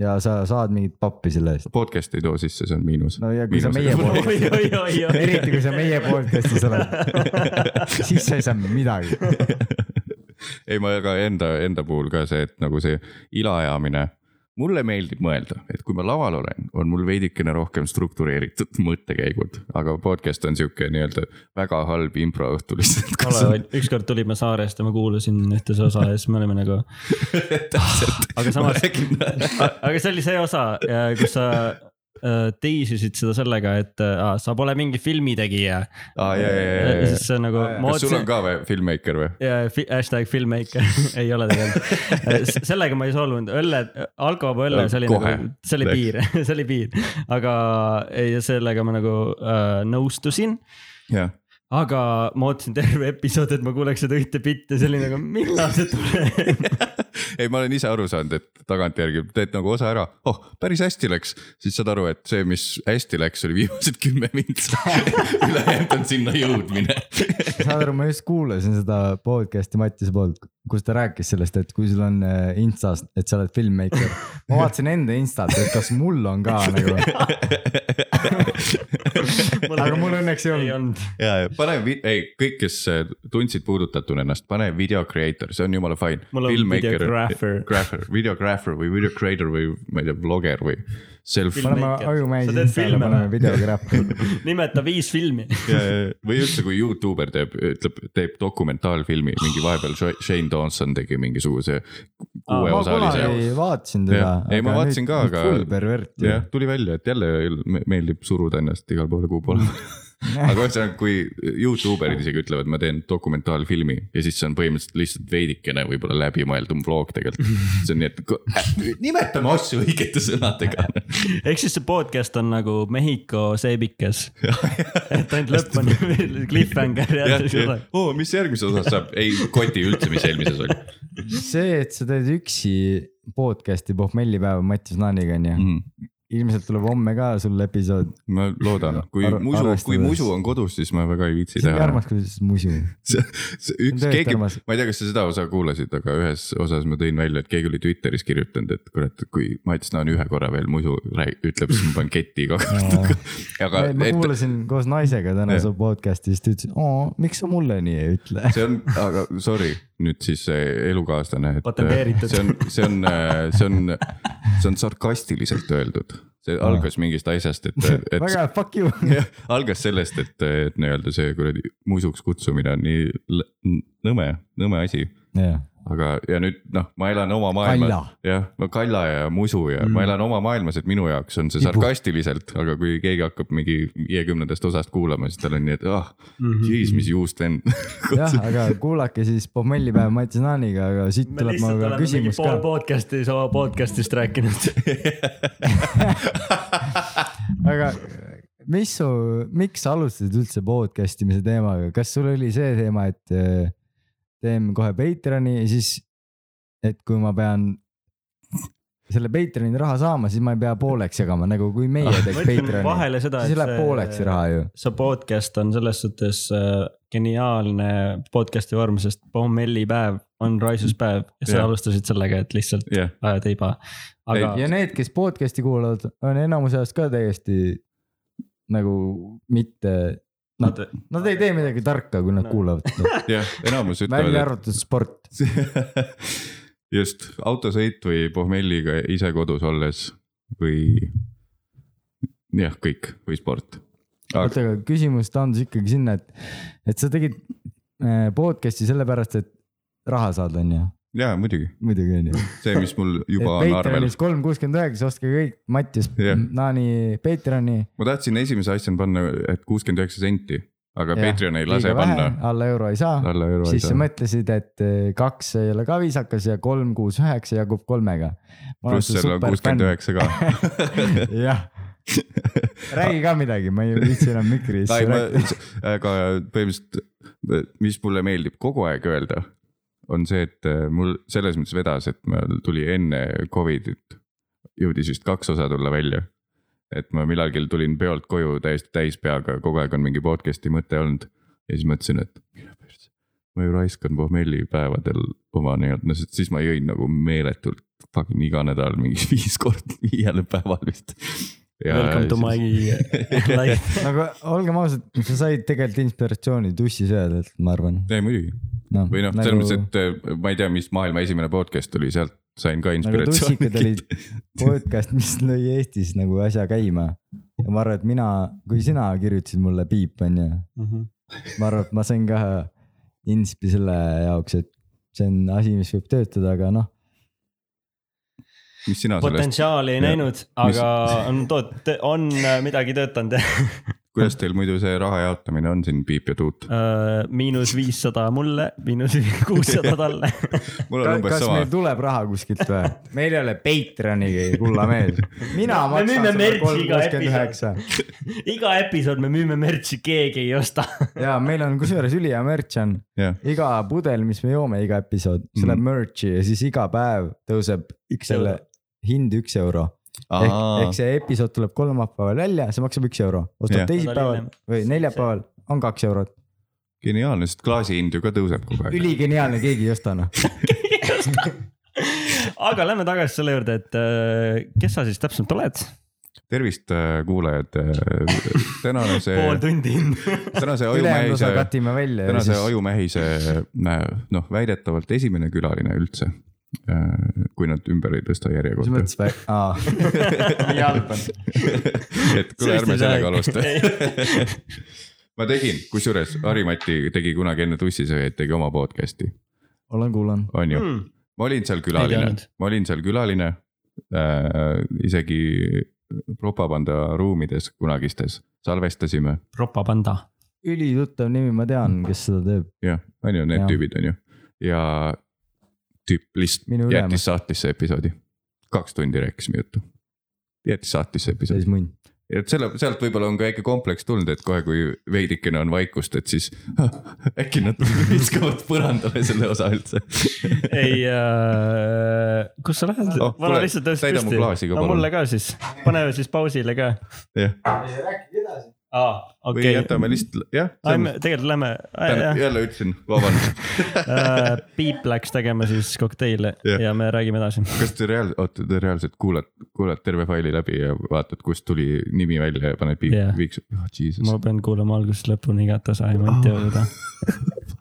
ja sa saad mingit pappi selle eest .
podcast ei too sisse , see on miinus .
no ja kui sa meie
Miinusega.
poolt ,
oi-oi-oi-oi .
eriti kui sa meie podcast'is oled , siis sa ei saa midagi .
ei , ma ka enda , enda puhul ka see , et nagu see ilaajamine , mulle meeldib mõelda , et kui ma laval olen , on mul veidikene rohkem struktureeritud mõttekäigud , aga podcast on sihuke nii-öelda väga halb impro õhtu lihtsalt .
Kalev , ükskord tulime saarest ja ma kuulasin ühte see osa ja siis me olime nagu , aga samas , aga see oli see osa , kus sa äh, teisisid seda sellega , et äh, aa, sa pole mingi filmitegija .
aa , ja , ja , ja , ja ,
siis
ja ,
see nagu , ma
kas sul on
otsin ,
ka või filmmeiker või ?
ja fi- hashtag filmmeiker ei ole tegelikult . sellega ma ei solvunud , õlle , alkovaba õlle , see oli
Kohe.
nagu , see oli
Läks.
piir , see oli piir , aga ja sellega ma nagu äh, nõustusin
jah
aga ma ootasin terve episood , et ma kuuleks seda ühte bitti , see oli nagu millal see tuleb .
ei , ma olen ise aru saanud , et tagantjärgi teed nagu osa ära , oh päris hästi läks , siis saad aru , et see , mis hästi läks , oli viimased kümme mintsa . ülejäänud on sinna jõudmine .
saad aru , ma just kuulasin seda podcast'i Mattise poolt , kus ta rääkis sellest , et kui sul on äh, Instas , et sa oled filmmeiker . ma vaatasin enda Instat , et kas mul on ka nagu , aga mul õnneks ei
ei
olnud .
olnud .
ja , ja pane , ei kõik , kes äh, tundsid puudutatuna ennast , pane video creator , see on jumala fine .
Mul on videographer.
Grapher , videographer või video creator või ma ei tea , blogger või self .
paneme
Filmmeiker. Sa
Ajumäis
teed
Instale ,
filme
paneme
või?
videograafi .
nimeta viis filmi .
või üldse , kui Youtuber teeb , ütleb , teeb dokumentaalfilmi , mingi vahepeal Sh- Shane Dawson tegi mingisuguse
Aa,
ma
kuueosalise
kunagi vaatasin teda
Jah. . Ei, ma vaatasin ka, aga-
full pervert .
jah , tuli välja , et jälle me- meeldib suruda ennast igale poole , kuhu poole . aga ühesõnaga , kui Youtuberid isegi ütlevad , ma teen dokumentaalfilmi ja siis see on põhimõtteliselt lihtsalt veidikene võib-olla läbimõeldum vlog tegelikult . see on nii , et ku- äh, nimetame asju õigete sõnadega .
ehk siis see podcast on nagu Mehhiko seebikas . et ainult lõpp on cliffhanger ja siis ei ole .
oo , mis järgmises osas saab , ei koti üldse , mis eelmises oli
see , et sa teed üksi podcast'i pohmellipäeva Mattis Naaniga onju ,
mm. .
ilmselt tuleb homme ka sul episood .
ma loodan , kui
Ar-
musu , kui
arvestades-
musu on kodus , siis ma väga ei viitsi
see on nii
teha .
armas , kuidas musu .
see , see üks
See on
keegi ,
tõesti
ma
armas.
ei tea , kas sa seda osa kuulasid , aga ühes osas ma tõin välja , et keegi oli Twitteris kirjutanud , et kurat , kui Mats Naan ühe korra veel muidu rääg- ütleb , siis ma panen keti iga kord . aga
ma
et,
kuulasin koos naisega täna
Jah.
su podcast'i , siis ta ütles , oo , miks sa mulle nii ei ütle .
see on , aga sorry , nüüd siis see elukaaslane , et äh,
Patenteeritud.
see on , see on , see on , see on sarkastiliselt öeldud . see algas mingist asjast , et , et
väga hea , fuck you .
jah , algas sellest , et , et nii-öelda see kuradi musuks kutsumine on nii l- nõme , nõme asi . aga , ja nüüd noh , ma elan oma
Kalla.
maailmas , jah , ma Kalla ja Musu ja mm. ma elan oma maailmas , et minu jaoks on see
Tibu.
sarkastiliselt , aga kui keegi hakkab mingi viiekümnendast osast kuulama , siis tal on nii , et ah ,
Mhm.
jeez , mis juust vend .
jah , aga kuulake siis pohmellipäeva Mattis Naaniga , aga siit
me
tuleb
lihtsalt
mul ka
oleme mingi
küsimus
pool
ka .
podcast'i sama podcast'ist rääkinud .
aga mis su , miks sa alustasid üldse podcast imise teemaga , kas sul oli see teema , et äh, teen kohe Patreon'i ja siis , et kui ma pean selle Patreon'i raha saama , siis ma ei pea pooleks jagama , nagu kui meie teeks
ma ütlen
Patreon'i ,
vahele seda ,
siis läheb pooleks raha ju .
see podcast on selles suhtes äh, geniaalne podcast'i vorm , sest pommellipäev on raisuspäev ja sa
Jah.
alustasid sellega , et lihtsalt
jah ,
ajad heiba . aga
ja need , kes podcast'i kuulavad , on enamuse jaoks ka täiesti nagu mitte ,
nad ,
nad ei tee midagi tarka , kui nad
No.
kuulavad seda ,
jah , enamus
välja
ütlevad ,
arvatud sport .
et just autosõit või pohmelliga ise kodus olles või jah , kõik või sport .
oota , aga küsimus taandus ikkagi sinna , et , et sa tegid äh, podcast'i sellepärast , et raha saada , onju ,
ja muidugi ,
muidugi onju .
see , mis mul juba on arvel
Patreonis kolm kuuskümmend üheksa , ostke kõik Mattias
Jah.
Naani Patreoni .
ma tahtsin esimese asjana panna , et kuuskümmend üheksa senti , aga Patreon ei lase panna .
alla euro ei saa ,
alla euro ei
siis sa
saa .
mõtlesid , et äh, kaks ei ole ka viisakas ja kolm , kuus , üheksa jagub kolmega .
pluss seal on kuuskümmend . üheksa ka .
jah , räägi ka midagi , ma ei viitsi enam mikris
ei , ma
rääkida .,
aga põhimõtteliselt , mis mulle meeldib kogu aeg öelda , on see , et äh, mul selles mõttes vedas , et mul tuli enne Covidit , jõudis vist kaks osa tulla välja . et ma millalgi tulin peolt koju täiesti täis peaga , kogu aeg on mingi podcast'i mõte olnud ja siis mõtlesin , et mine persse . ma ju raiskan pohmelli päevadel oma nii-öelda , no sest siis ma jõin nagu meeletult fucking iga nädal mingi viis korda viiele päeval vist .
Welcome to my life .
nagu olgem ausad , sa said tegelikult inspiratsiooni tussi söödalt , ma arvan . nagu
ei muidugi või noh , selles mõttes , et eh, ma ei tea , mis maailma esimene podcast oli , sealt sain ka
nagu
inspiratsiooni
tussikud . olid podcast , mis lõi Eestis nagu asja käima . ja ma arvan , et mina , kui sina kirjutasid mulle piip , onju ,
Mhm.
ma arvan , et ma sain ka inspi selle jaoks , et see on asi , mis võib töötada , aga noh ,
mis sina sellest ,
potentsiaali ei
Jah.
näinud , aga on toot- , on äh, midagi töötanud .
kuidas teil muidu see raha jaotamine on siin , Piip ja Tuut ?
Äh, miinus viissada mulle , miinus kuussada talle .
mul on umbes
kas
sama
meil , tuleb raha kuskilt või ? meil ei ole Patreonigi , kulla mees . mina
Me
maksan
müüme
sulle kolm
merch'i iga
kuuskümmend üheksa
iga episood me müüme mürtsi , keegi ei osta .
ja meil on kusjuures ülihea merch on ,
jah .
iga pudel , mis me joome iga episood , see läheb merch'i ja siis iga päev Mm. tõuseb
üks
selle
euro .
hind üks euro . ehk , ehk see episood tuleb kolmapäeval välja , see maksab üks euro ,
Jah.
ostad
Nädal
teisipäeval
hiljem.
või neljapäeval , on kaks eurot .
geniaalne , sest klaasi hind ju ka tõuseb kogu aeg .
üligeniaalne , keegi ei osta noh .
aga lähme tagasi selle juurde , et äh, kes sa siis täpsemalt oled ?
tervist , kuulajad . tänane see ,
pool tundi in .
tänase
ülejäänud osa
ajumähise ,
katime välja ja
tänase
siis
ajumähise nä- noh , väidetavalt esimene külaline üldse . kui nad ümber ei tõsta
mis
järjekorda .
mõttes vä- , aa ,
jalg on .
et kuule , ärme sellega alusta . ma tegin , kusjuures Harimati tegi kunagi enne tussisööjaid , tegi oma podcast'i ,
olen kuulanud .
on ju . ma olin seal külaline
Hmm. teadnud. ,
ma olin seal külaline äh, . isegi propaganda ruumides kunagistes salvestasime ,
propaganda .
ülituttav nimi , ma tean , kes seda teeb .
jah , on ju need
Jaa.
ja. tüübid , on ju . ja tüüp
Minu
lihtsalt
ülemus.
jättis sahtlisse episoodi . kaks tundi rääkisime juttu . jättis sahtlisse episoodi
siis . mõnd .
et selle , sealt võib-olla on ka väike kompleks tulnud , et kohe , kui veidikene on vaikust , et siis äkki nad viskavad põrandale selle osa üldse .
ei äh, , kus sa lähed
Oh,
oh, ? vana
kuule,
lihtsalt tõusis
täida mu
püsti .
klaasi ka
no
palun.
mulle ka siis , paneme siis pausile ka .
jah ,
aa ,
või okay.
okei .
jätame lihtsalt , jah .
tegelikult lähme , jah ,
jälle ütlesin , vabandust ,
Piip läks tegema siis kokteile
Jah.
ja me räägime edasi .
kas te reaal- , oota , te reaalselt kuulad , kuulad terve faili läbi ja vaatad , kust tuli nimi välja ja paned piip
Jah.
yeah. , viiks oh, , jesus Ah.
ma
ma... .
pean kuulama algusest lõpuni igat osa ja ma ei tea seda .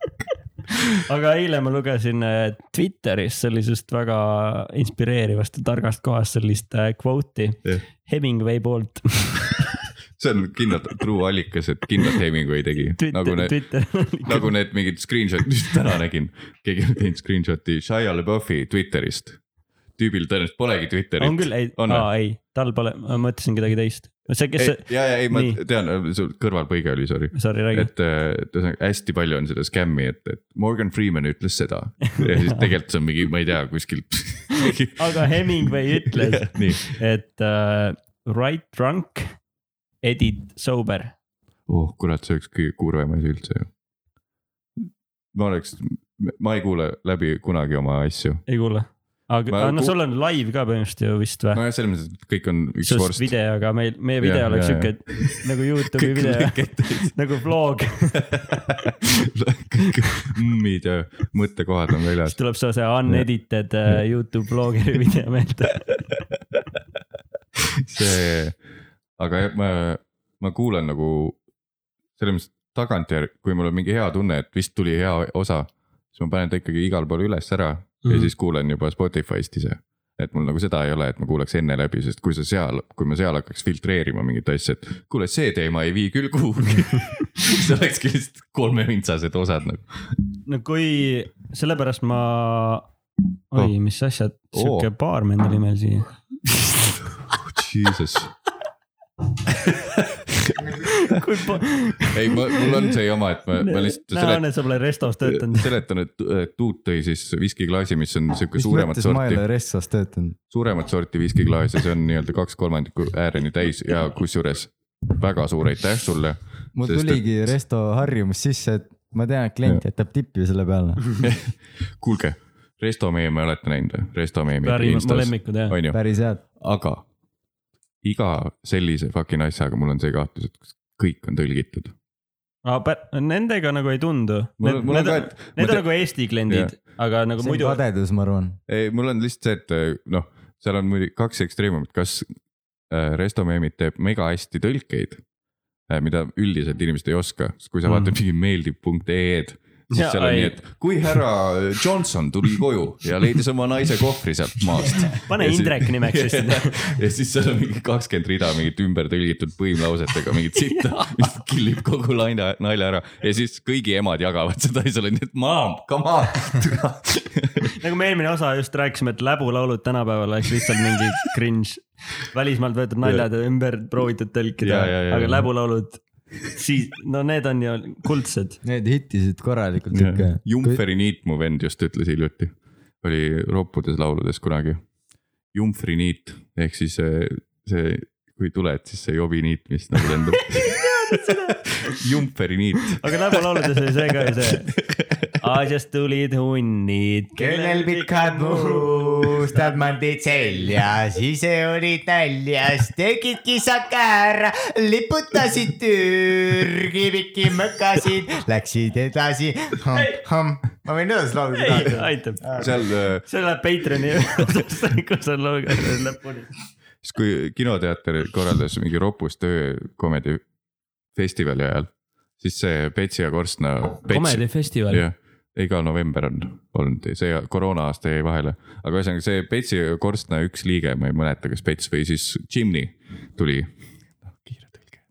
aga eile ma lugesin äh, Twitteris sellisest väga inspireerivast ja targast kohast sellist äh, kvooti
Jah.
Hemingway poolt
see on kindlalt true allikas , et kindlalt Hemingway tegi , nagu
Twitter ,
need ,
Twitter .
nagu need mingid screenshot'id , mis täna nägin . keegi on teinud screenshot'i Shia LaBeoufi Twitterist . tüübil tõenäoliselt polegi Twitterit .
on küll , ei ,
On
aa ei , tal pole , ma mõtlesin kedagi teist . see , kes
ei ,
see ,
ja , ja ei , ma
nii.
tean , sul kõrvalpõige oli , sorry .
sorry , räägi .
et äh, et ühesõnaga hästi palju on seda skämmi , et , et Morgan Freeman ütles seda ja siis tegelikult see on mingi , ma ei tea , kuskilt .
aga Hemingway ütles ,
nii ,
et uh, write drunk , edit sober .
oh kurat , see oleks kõige kurvem asi üldse ju . ma oleks , ma ei kuule läbi kunagi oma asju ,
ei kuule , aga
Ma
ma, no
ku-
sul on live ka põhimõtteliselt ju vist või ?
nojah , selles mõttes , et kõik on üks
sest
vorst .
videoga meil , meie
Jah,
video oleks
jah,
siuke nagu Youtube'i video , nagu vlog ,
kõik mmid ja mm-, mõttekohad on väljas
siis . tuleb see see unedited uh, Youtube vlogeri video meelde .
see , aga jah, ma , ma kuulan nagu selles mõttes tagantjärg , kui mul on mingi hea tunne , et vist tuli hea osa , siis ma panen ta ikkagi igal pool üles ära mm. ja
Mhm.
siis kuulan juba Spotify'st ise . et mul nagu seda ei ole , et ma kuulaks enne läbi , sest kui sa seal , kui ma seal hakkaks filtreerima mingit asja , et kuule , see teema ei vii küll kuhugi . see olekski lihtsalt kolmevintsased osad nagu .
no kui , sellepärast ma , oi ,
Oh.
mis asjad ,
Oo.
siuke baarmen tuli meil siia .
Jesus ,
kui po- ,
ei , ma , mul on see jama , et ma , ma lihtsalt
näe
seletan
Anne , sa pole restos töötanud . Ah,
seletan , et et Tuut tõi siis viskiklaasi , mis on sihuke
mis
suuremat
mõttes ma ei
sorti
ole , Ressas töötanud ?
suuremat sorti viskiklaas ja see on nii-öelda kaks kolmandikku ääreni täis ja kusjuures väga suur aitäh sulle .
mul tuligi et... resto harjumus sisse , et ma tean , et klient jätab tippi selle peale .
kuulge , Resto meeme olete näinud või ? Resto meemid
parimad mu
Instas ,
lemmikud jah .
on ju ,
päris head .
aga iga sellise fucking asjaga mul on see kahtlus , et kas kõik on tõlgitud .
Nendega nagu ei tundu .
Mul-
Need,
mul on
need,
ka,
on-
et- ma
need on
te-
nagu Eesti kliendid , aga nagu
see on
muidu .
kadedus , ma arvan .
ei , mul on lihtsalt see , et eh, noh , seal on muidugi kaks ekstreemumit , kas äh, Resto meemid teeb mega hästi tõlkeid , mida üldiselt inimesed ei oska , sest kui sa
Mm.
mm. vaatad mingi meeldib.ee-d , E siis
Jaa,
seal on
ei.
nii , et kui härra Johnson tuli koju ja leidis oma naise kohvri sealt maast .
pane
Ja siis-
Indrek nimeks siis .
ja siis seal on mingi kakskümmend rida mingit ümbertõlgitud põimlausetega mingit sitta , mis killib kogu laine , nalja ära ja siis kõigi emad jagavad seda ja seal on nii , et maam , come on .
nagu me eelmine osa just rääkisime , et läbulaulud tänapäeval oleks lihtsalt mingi cringe . välismaalt võetud naljad ja ümber proovitud tõlkida
Ja, ja, , ja,
aga
ja.
läbulaulud , siis , no need on ju kuldsed .
Need hittisid korralikult ikka .
Jumferi niit mu vend just ütles hiljuti , oli roppudes lauludes kunagi . Jumfri niit ehk siis see, see , kui tuled , siis see jobi niit , mis nagu lendab Jumferi niit .
aga läbulauludes oli see ka ju see . Aasiast tulid hunnid .
kellel pikad mustamandid seljas , ise olid näljas , tegid kisaka ära , liputasid Türgi pikki mõkasid , läksid edasi . ma võin edasi laulda
ei
kui , tahad .
aitab .
seal , äh,
see läheb Patreon'i osasse , kus on looga lõpuni .
siis kui kinoteater korraldas mingi ropust öö komedifestivali ajal , siis see Petsi ja Korstna .
komedifestival .
jah , iga november on olnud , see koroona aasta jäi vahele , aga ühesõnaga see Petsi ja Korstna üks liige , ma ei mäleta , kas Pets või siis Jimny tuli . kiire tõlge .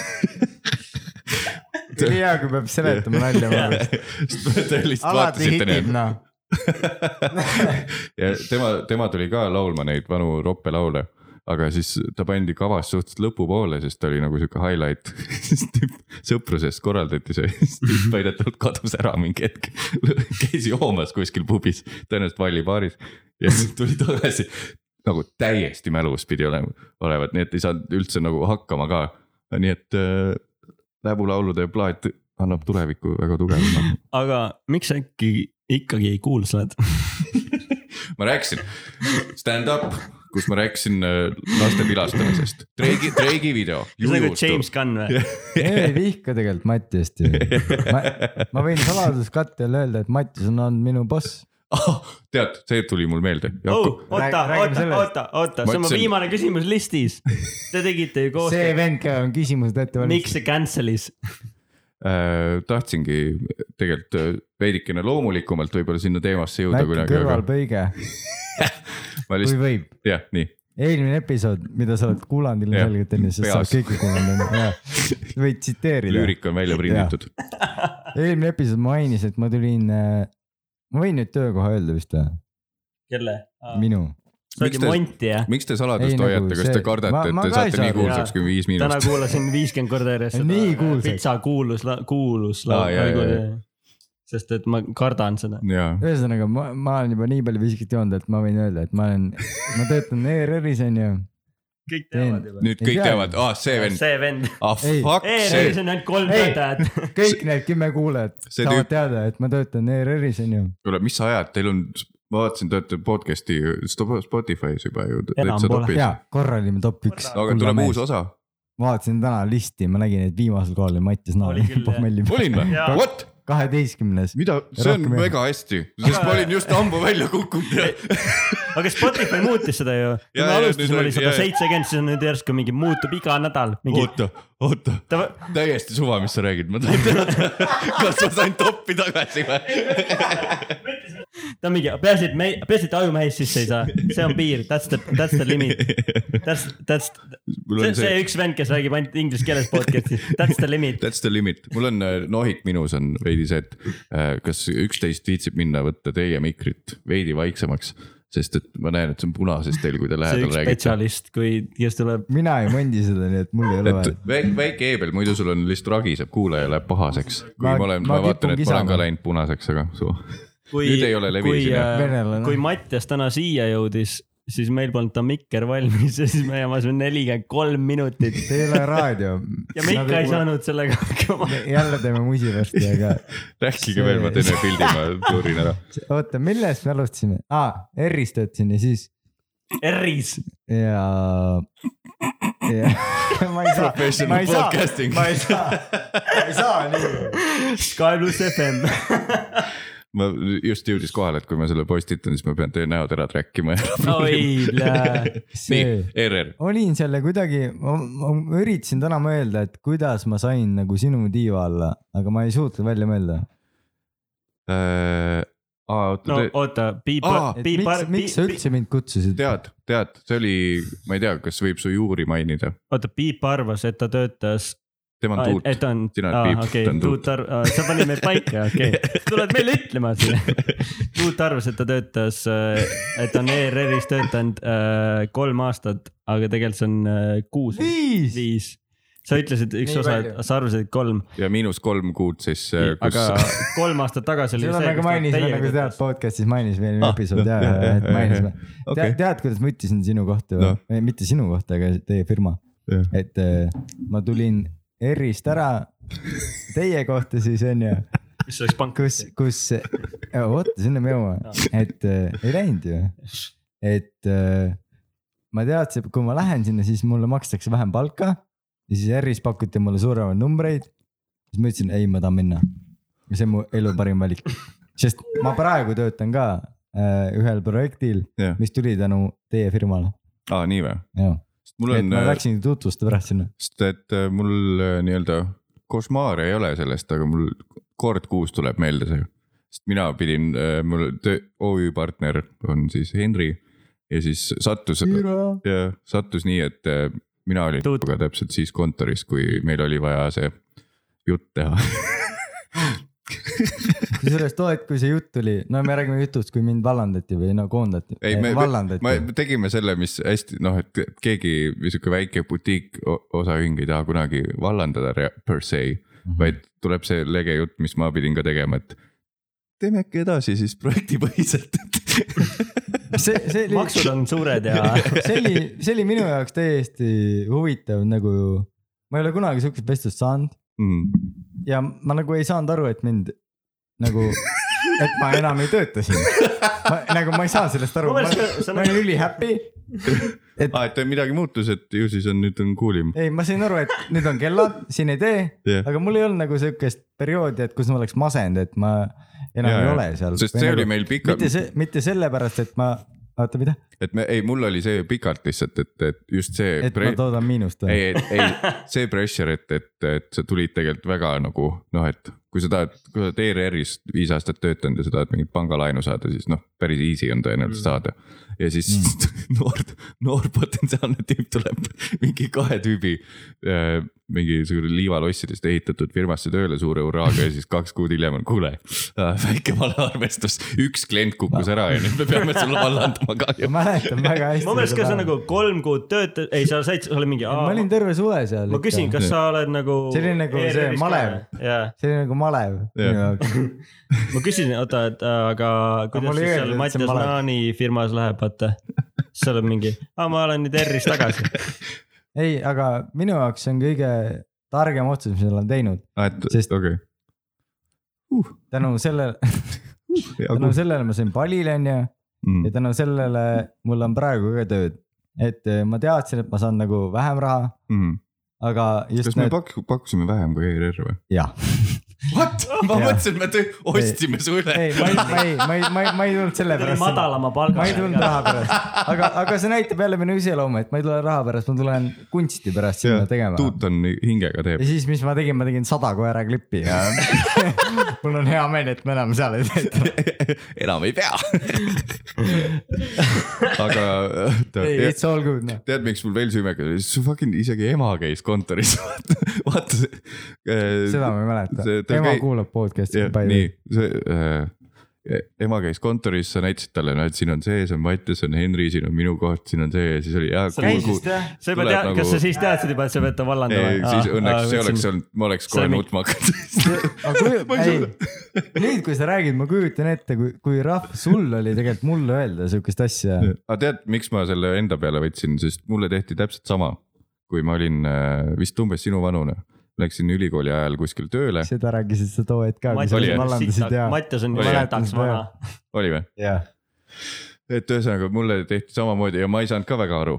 nii hea , kui peab seletama nalja oma meelest .
Te lihtsalt
alati
vaatasite
hitib
neid .
noh .
ja tema , tema tuli ka laulma neid vanu roppe laule , aga siis ta pandi kavas suhteliselt lõpupoole , sest ta oli nagu sihuke highlight . siis tüüp- sõprusest korraldati see , siis tüüp väidetavalt kadus ära mingi hetk . käis joomas kuskil pubis , tõenäoliselt Valli baaris ja siis tuli tagasi nagu täiesti mälus pidi olema , olevat , nii et ei saanud üldse nagu hakkama ka . nii et äh, läbulaulude plaat annab tulevikku väga tugevana .
aga miks sa äkki ikkagi ei kuulsa oled ?
ma rääkisin stand-up , kus ma rääkisin äh, laste pilastamisest , Drake'i , Drake'i video .
see on nagu James Gunn või ?
me ei vihka tegelikult Mattiast ju . ma , ma võin saladuskatte all öelda , et Mattis on olnud minu boss .
Oh, tead , see tuli mul meelde .
oh , oota ,
Räägime
oota ,
sellest.
oota , oota , see on mu
Mõtlesin-
viimane küsimus listis . Te tegite ju koos ,
see vend , kellel on küsimused ette
miks
valmistatud .
see cancel'is ?
Äh, tahtsingi tegelikult äh, veidikene loomulikumalt võib-olla sinna teemasse jõuda
väike
kunagi , aga
kõrvalpõige ,
ma
kui
lihtsalt ,
võib .
jah , nii .
eelmine episood , mida sa oled kuulanud ilmselgelt enne , sest sa oled
peas.
kõike kuulanud onju , võid tsiteerida .
lüürika on välja prinditud .
eelmine episood mainis , et ma tulin , ma võin nüüd töökoha öelda vist või ,
kelle ?
minu .
sa oled
Miks
ju
te-
Monti jah ?
miks te
Ei,
saladust
nagu
hoiate , kas
see-
te kardate
ma- , ma
et te
ka ei
saate nii
saa-
kuulsaks kui viis
täna
miinust ?
kuulasin viiskümmend korda järjest äh,
Nii kuulsaks.
pitsa kuulus , kuulus
Aa, jaa, jaa, jaa.
laul . sest et ma kardan seda .
jaa ,
ühesõnaga , ma , ma olen juba nii palju viskit joonud , et ma võin öelda , et ma olen , ma töötan ERR-is onju .
kõik teavad juba .
nüüd
Ei
kõik
tea.
teavad , aa , see vend ,
see vend .
ah
Ei.
fuck see
ERR-is , on ainult kolm
Ei.
töötajat .
kõik need kümme kuulajat
see
saavad
tüüp-
teada , et ma töötan ERR-is onju .
kuule , mis ajad teil on , ma vaatasin , te olete podcast'i Sp- Spotify's juba ju
Enam
täitsa
pole.
topis .
jaa , korraline top üks .
aga tuleb uus . osa ,
vaatasin täna listi , ma nägin , et viimasel kohal oli Mattis Naal
Oli küll, . jah.
olin või
Jaa. ?
What ?
kaheteistkümnes .
mida , see on
Rohkem ei-
väga hästi , sest ma olin just ammu välja kukkunud ja
aga Spotify muutis seda ju . kui
Jaa,
me
jaa, nüüd
alustasime ,
oli-
oli sada
jaa, jaa.
seitsekümmend , siis on nüüd järsku mingi muutub iga nädal mingi .
oota , oota ,
ta
täiesti suva , mis sa räägid , ma tahan teada , kas ma sain toppi tagasi või ?
ta on mingi , peaasi , et me , peaasi , et ajumehest sisse ei saa , see on piir , that's the , that's the limit . That's , that's ,
mul
see
on
on see
see ,
üks vend , kes räägib ainult inglise keeles podcast'is , that's the limit .
that's the limit , mul on äh, nohik minus on veidi see , et äh, kas üksteist viitsib minna võtta teie mikrit veidi vaiksemaks , sest et ma näen , et see on punases teil , kui te
see
lähedal
üks
räägite
spetsialist , kui , kes tuleb ,
mina ei mondi seda , nii et mul ei ole vaja
et . väike , väike heebel , muidu sul on lihtsalt ragiseb , kuulaja läheb pahaseks . kui
Ma-
ma, ma olen ,
ma
ma vaatan , et
kipun
ma olen
kisama.
ka läinud punaseks , aga su .
kui ,
Nüüd ei ole levi
kui
siin, jah. ,
Venelane.
kui Mattias täna siia jõudis , siis meil polnud ta mikker valmis ja siis me jamasime nelikümmend kolm minutit
see ei ole raadio .
ja me ikka ei . saanud sellega hakkama .
jälle teeme musiversti , aga
rääkige veel , ma teen ühe pildi , ma tuurin ära .
oota , millest me alustasime ah, ? R-ist võtsin ja siis
R-is ,
ja , ja ma ei saa , ma
Professional
ei saa ,
podcasting.
ma ei saa , ma ei saa nii .
Sky pluss FM .
ma just jõudis kohale , et kui ma selle postitan , siis ma pean teie näod ära track ima .
oi ,
nii
see ,,
ERR ,
olin selle kuidagi , ma üritasin täna mõelda , et kuidas ma sain nagu sinu tiiva alla , aga ma ei suutnud välja mõelda .
Äh, aa ,
no
oota ,
oota , piip
Aa, ,
piip ,
miks , miks sa üldse mind kutsusid ?
tead , tead , see oli , ma ei tea , kas võib su juuri mainida ,
oota , Piip arvas , et ta töötas ,
tema on
Ah, et
tuut .
ta on ,
Sina oled
aa ,
Piip,
okei
ta on , Tuut.
Tuut arv- , sa panid meid paika , okei okay. , tuled meile ütlema siin . Tuut arvas , et ta töötas , et ta on E ERR-is töötanud äh, kolm aastat , aga tegelikult see on äh, kuus ,
viis .
viis . sa ütlesid üks
Nii
osa
palju. ,
sa arvasid et kolm ,
ja miinus kolm kuud siis , kus
aga kolm aastat tagasi oli
seda me ka mainisime , nagu sa tead , podcast'is mainisime eelmine
Ah,
episood
noh,
ja
jah, , jah,
et
jah,
mainisime .
Okei.
tead , tead , kuidas ma ütlesin sinu kohta või Eh,
Noh. ?
mitte sinu kohta , aga teie firma .
Jah.
et eh, ma tulin R-ist ära teie kohta siis onju ,
mis oleks pank ,
kus , kus , oota , sinna me jõuame , et eh, ei läinud ju , et eh, ma teadsin , et kui ma lähen sinna , siis mulle makstakse vähem palka ja siis R-is pakuti mulle suuremaid numbreid . siis ma ütlesin , ei , ma tahan minna . ja see on mu elu parim valik , sest ma praegu töötan ka äh, ühel projektil
Jah. ,
mis tuli tänu teie firmale .
aa , nii või ?
et
mul on äh,
ma , läksin tutvusta pärast sinna .
sest et äh, mul äh, nii-öelda košmaare ei ole sellest , aga mul kord kuus tuleb meelde see . sest mina pidin , mul töö , OÜ partner on siis Henri ja siis sattus , sattus nii , et äh, mina olin
Tuut.
temaga täpselt siis kontoris , kui meil oli vaja see jutt teha .
kusjuures too hetk , kui see jutt tuli , no me räägime jutust , kui mind vallandati või no koondati .
ei , me , me
Äh, vallandati .
tegime selle , mis hästi noh , et keegi või sihuke väike butiik o- osaühing ei taha kunagi vallandada rea- per se
Mhm.
vaid tuleb see lege jutt , mis ma pidin ka tegema , et teeme äkki edasi siis projektipõhiselt .
see , see oli ,
maksud on suured ja
see oli , see oli minu jaoks täiesti huvitav nagu , ma ei ole kunagi siukest vestlust saanud
Mm.
ja ma nagu ei saanud aru , et mind nagu , et ma enam ei tööta siin . nagu ma ei saa sellest aru ,
Mu
ma,
meelest ka- see on-
ma olin üli happy . et
aa , Ah, et midagi muutus , et ju siis on nüüd on cool im .
ei , ma sain aru , et nüüd on kellad , siin ei tee
Jah.
aga mul ei olnud nagu siukest perioodi , et kus ma oleks masend , et ma enam
Jaa,
ei
jaa.
ole seal .
sest see oli meil pikalt
mitte , see , mitte sellepärast , et ma , oota , mida ,
et me , ei , mul oli see pikalt lihtsalt , et , et just see .
et ma toodan miinust või ?
ei , ei , see pressure , et , et , et sa tulid tegelikult väga nagu noh , et kui sa tahad , kui sa oled ERR-is viis aastat töötanud ja sa tahad mingit pangalaenu saada , siis noh , päris easy on tõenäoliselt saada . ja siis mm. noor , noor potentsiaalne tüüp tuleb mingi kahe tüübi äh, mingisugune liivalossidest ehitatud firmasse tööle suure hurraaga ja siis kaks kuud hiljem on , kuule äh, , väike valearvestus , üks klient kukkus ära ja nüüd me peame sulle vallandama
ma
ka .
mäletan väga hästi .
mu meelest ka see on . nagu kolm kuud töötad , ei sa said , sa oled mingi .
ma olin terve suve seal .
ma küsin , kas sa oled nagu .
See oli nagu see malev.
jaa ,
see oli nagu malev
Jah.
minu jaoks .
ma küsin , oota , et äh, aga
mulle
kuidas
ei
siis
öeldud, et
seal
see
Mattias
on malev.
Naani firmas läheb , vaata . siis sa oled mingi , aa , ma olen nüüd ERR-is tagasi .
ei , aga minu jaoks see on kõige targem otsus , mis ma olen teinud
Ah, et
Sest-
okei ,
tänu sellele ,
hea
tänu
kuulda .
sellele ma sain palile , onju .
Mm.
ja tänu sellele mul on praegu ka tööd . et eh, ma teadsin , et ma saan nagu vähem raha ,
Mm.
aga just
kas me
need ,
pak- , pakkusime vähem kui ERR või ?
jah .
What ? ma
Jah.
mõtlesin , me töö- ostsime su üle .
ei , ma ei , ma ei , ma ei , ma ei , ma ei tulnud selle pärast .
madalama
ma ei tulnud
palgaga .
raha pärast , aga , aga see näitab jälle minu iseloomu , et ma ei tule raha pärast , ma tulen kunsti pärast sinna tegema .
tuut on hingega teeb
ja . siis , mis ma tegin , ma tegin sada koera klippi ja mul on hea meel , et me enam seal ei tööta .
enam ei pea . aga
ei ,
oota, tead ,
it's all good noh .
tead , miks mul veel süümega , su fucking isegi ema käis kontoris , vaata , vaata see .
seda ma ei mäleta
see- . ta
ema
käi-
kuulab podcast'i
jah , nii , see äh, ema käis kontoris , sa näitasid talle , näed , siin on see , see on Mati , see on Henri , siin on minu koht , siin on see ja siis oli jaa .
sa käisid jah ? sa juba
tuleb
tead , kas
nagu-
sa siis teadsid juba , et sa pead ta vallandama ?
ei , siis õnneks see oleks olnud , ma oleks
see on
kohe
ah, mingi-
nutma hakanud .
aga kuju- , ei , nüüd , kui sa räägid , ma kujutan ette , kui , kui rahv , sul oli tegelikult mulle öelda sihukest asja .
aga Ah, tead , miks ma selle enda peale võtsin , sest mulle tehti täpselt sama , kui ma olin äh, vist umbes sinu vanune . Läksin ülikooli ajal kuskil tööle ,
seda rääkisid sa too hetk ka , kui sa
Oli,
mind
jah?
vallandasid ja ,
Mattias on
Oli, jah?
sitaks vana .
oli või ?
ja .
et ühesõnaga mulle tehti samamoodi ja ma ei saanud ka väga aru .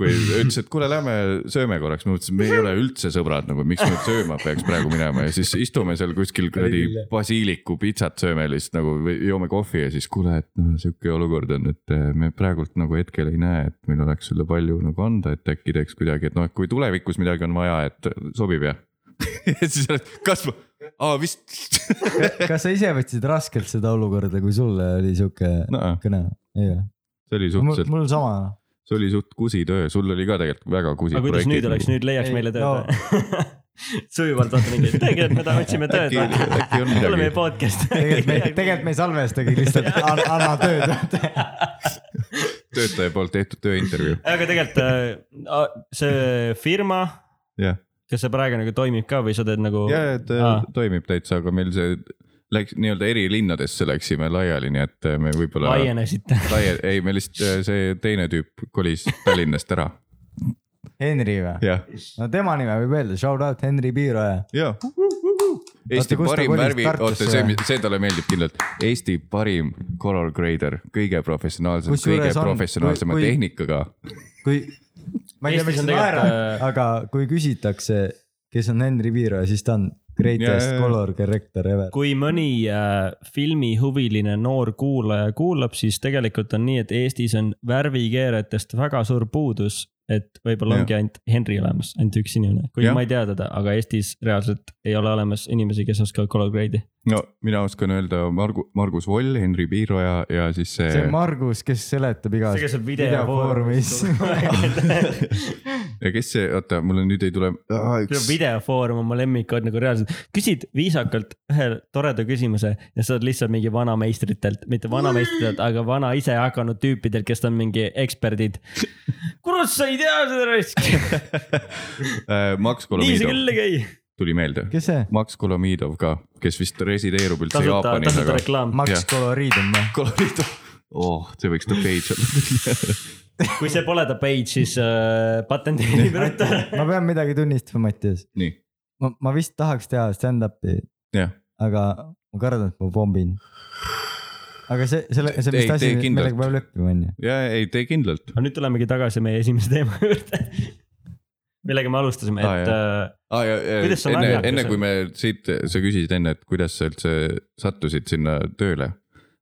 kui ütles , et kuule , lähme sööme korraks , ma mõtlesin , me ei ole üldse sõbrad nagu , miks me nüüd sööma peaks praegu minema ja siis istume seal kuskil kuradi basiiliku pitsat sööme lihtsalt nagu või joome kohvi ja siis kuule , et noh , sihuke olukord on , et eh, me praegult nagu hetkel ei näe , et meil oleks sulle palju nagu anda , et äkki teeks kuidagi , et noh , et kui tulevikus midagi on vaja , et sobib jah . ja siis oled , kas ma , aa vist ,
kas sa ise võtsid raskelt seda olukorda , kui sulle oli sihuke
noh ,
kõne ? jah ,
see oli
mul
suhteliselt ,
mul sama .
see oli suht kusitöö , sul oli ka tegelikult väga kusi .
aga kuidas nüüd oleks , nüüd leiaks
Ei,
meile
no.
tööd või ? sujuvalt vaata mingi , et tegelikult me ta- otsime tööd
äkki ,
või ?
äkki on
tule meie
midagi .
podcast'i .
tegelikult me , tegelikult me ei salvestagi lihtsalt an, , anna tööd .
töötaja poolt tehtud tööintervjuu .
aga tegelikult äh, a- see firma ,
jah ,
kas see praegu nagu toimib ka või sa teed nagu ?
ja , et äh,
Aa.
toimib täitsa , aga meil see läks nii-öelda eri linnadesse läksime laiali , nii et äh, me võib-olla .
laienesite .
laie- , ei , me lihtsalt äh, see teine tüüp kolis Tallinnast ära .
Henri või ?
jah ,
no tema nime võib öelda , shout out Henri Piiroja .
ja . Eesti
Oota, kus ta
parim
kolis?
värvi , oota
Tartusse
see
või? ,
see talle meeldib kindlalt . Eesti parim color grader , kõige professionaalsem ,
Kusjuures
kõige
on-
professionaalsema
kui- kui-
tehnikaga .
kui , ma ei tea ,
Eestis
miks
on
sa naerad
tegelikult, ,
aga kui küsitakse , kes on Henri Piiroja , siis ta on greatest
Jaa,
yeah,
jaa, jaa.
color director ever .
kui mõni äh, filmihuviline noor kuulaja kuulab , siis tegelikult on nii , et Eestis on värvikeeretest väga suur puudus , et võib-olla
Jah.
ongi ainult Henri olemas , ainult üks inimene , kuigi
Jah.
ma ei tea teda , aga Eestis reaalselt ei ole olemas inimesi , kes oskavad color grade'i .
no mina oskan öelda Margu- , Margus Voll , Henri Piiroja ja siis see,
see on Margus , kes seletab igas
see , kes on
videofoorumis
videofoorumis .
ja kes see , oota , mul on nüüd ei tule .
see videofoorum on mu lemmik , on nagu reaalselt , küsid viisakalt ühe toreda küsimuse ja saad lihtsalt mingi vanameistritelt , mitte vanameistritelt , aga vana ise hakanud tüüpidelt , kes on mingi eksperdid . kurat , sa ei tea seda riski ,
Äh, Max
nii see
Kolomidov
küll ei käi .
tuli meelde ,
kes see ?
Max Kolomidov ka , kes vist resideerub üldse
tasuta ,
Jaapanis ,
tasuta
aga .
reklaam ,
Max noh.
Jah.
Coloriidum või ?
Kolomidov , oh , see võiks ta page olla .
kui see pole ta page , siis äh, patenteerib ruttu .
ma pean midagi tunnistama , Mattias .
nii ,
ma , ma vist tahaks teha stand-up'i ,
jah ,
aga ma kardan , et ma pombin . aga see , selle , see on
Ei,
vist asi
tee , kindlalt.
millega peab leppima , onju .
ja ei tee kindlalt .
aga nüüd tulemegi tagasi meie esimese teema juurde , millega me alustasime ,
Aa,
et äh,
Ah, ja, ja,
Kuidas sa
enne ,
naljakas
enne
oled?
kui me siit , sa küsisid enne , et kuidas sa üldse sattusid sinna tööle .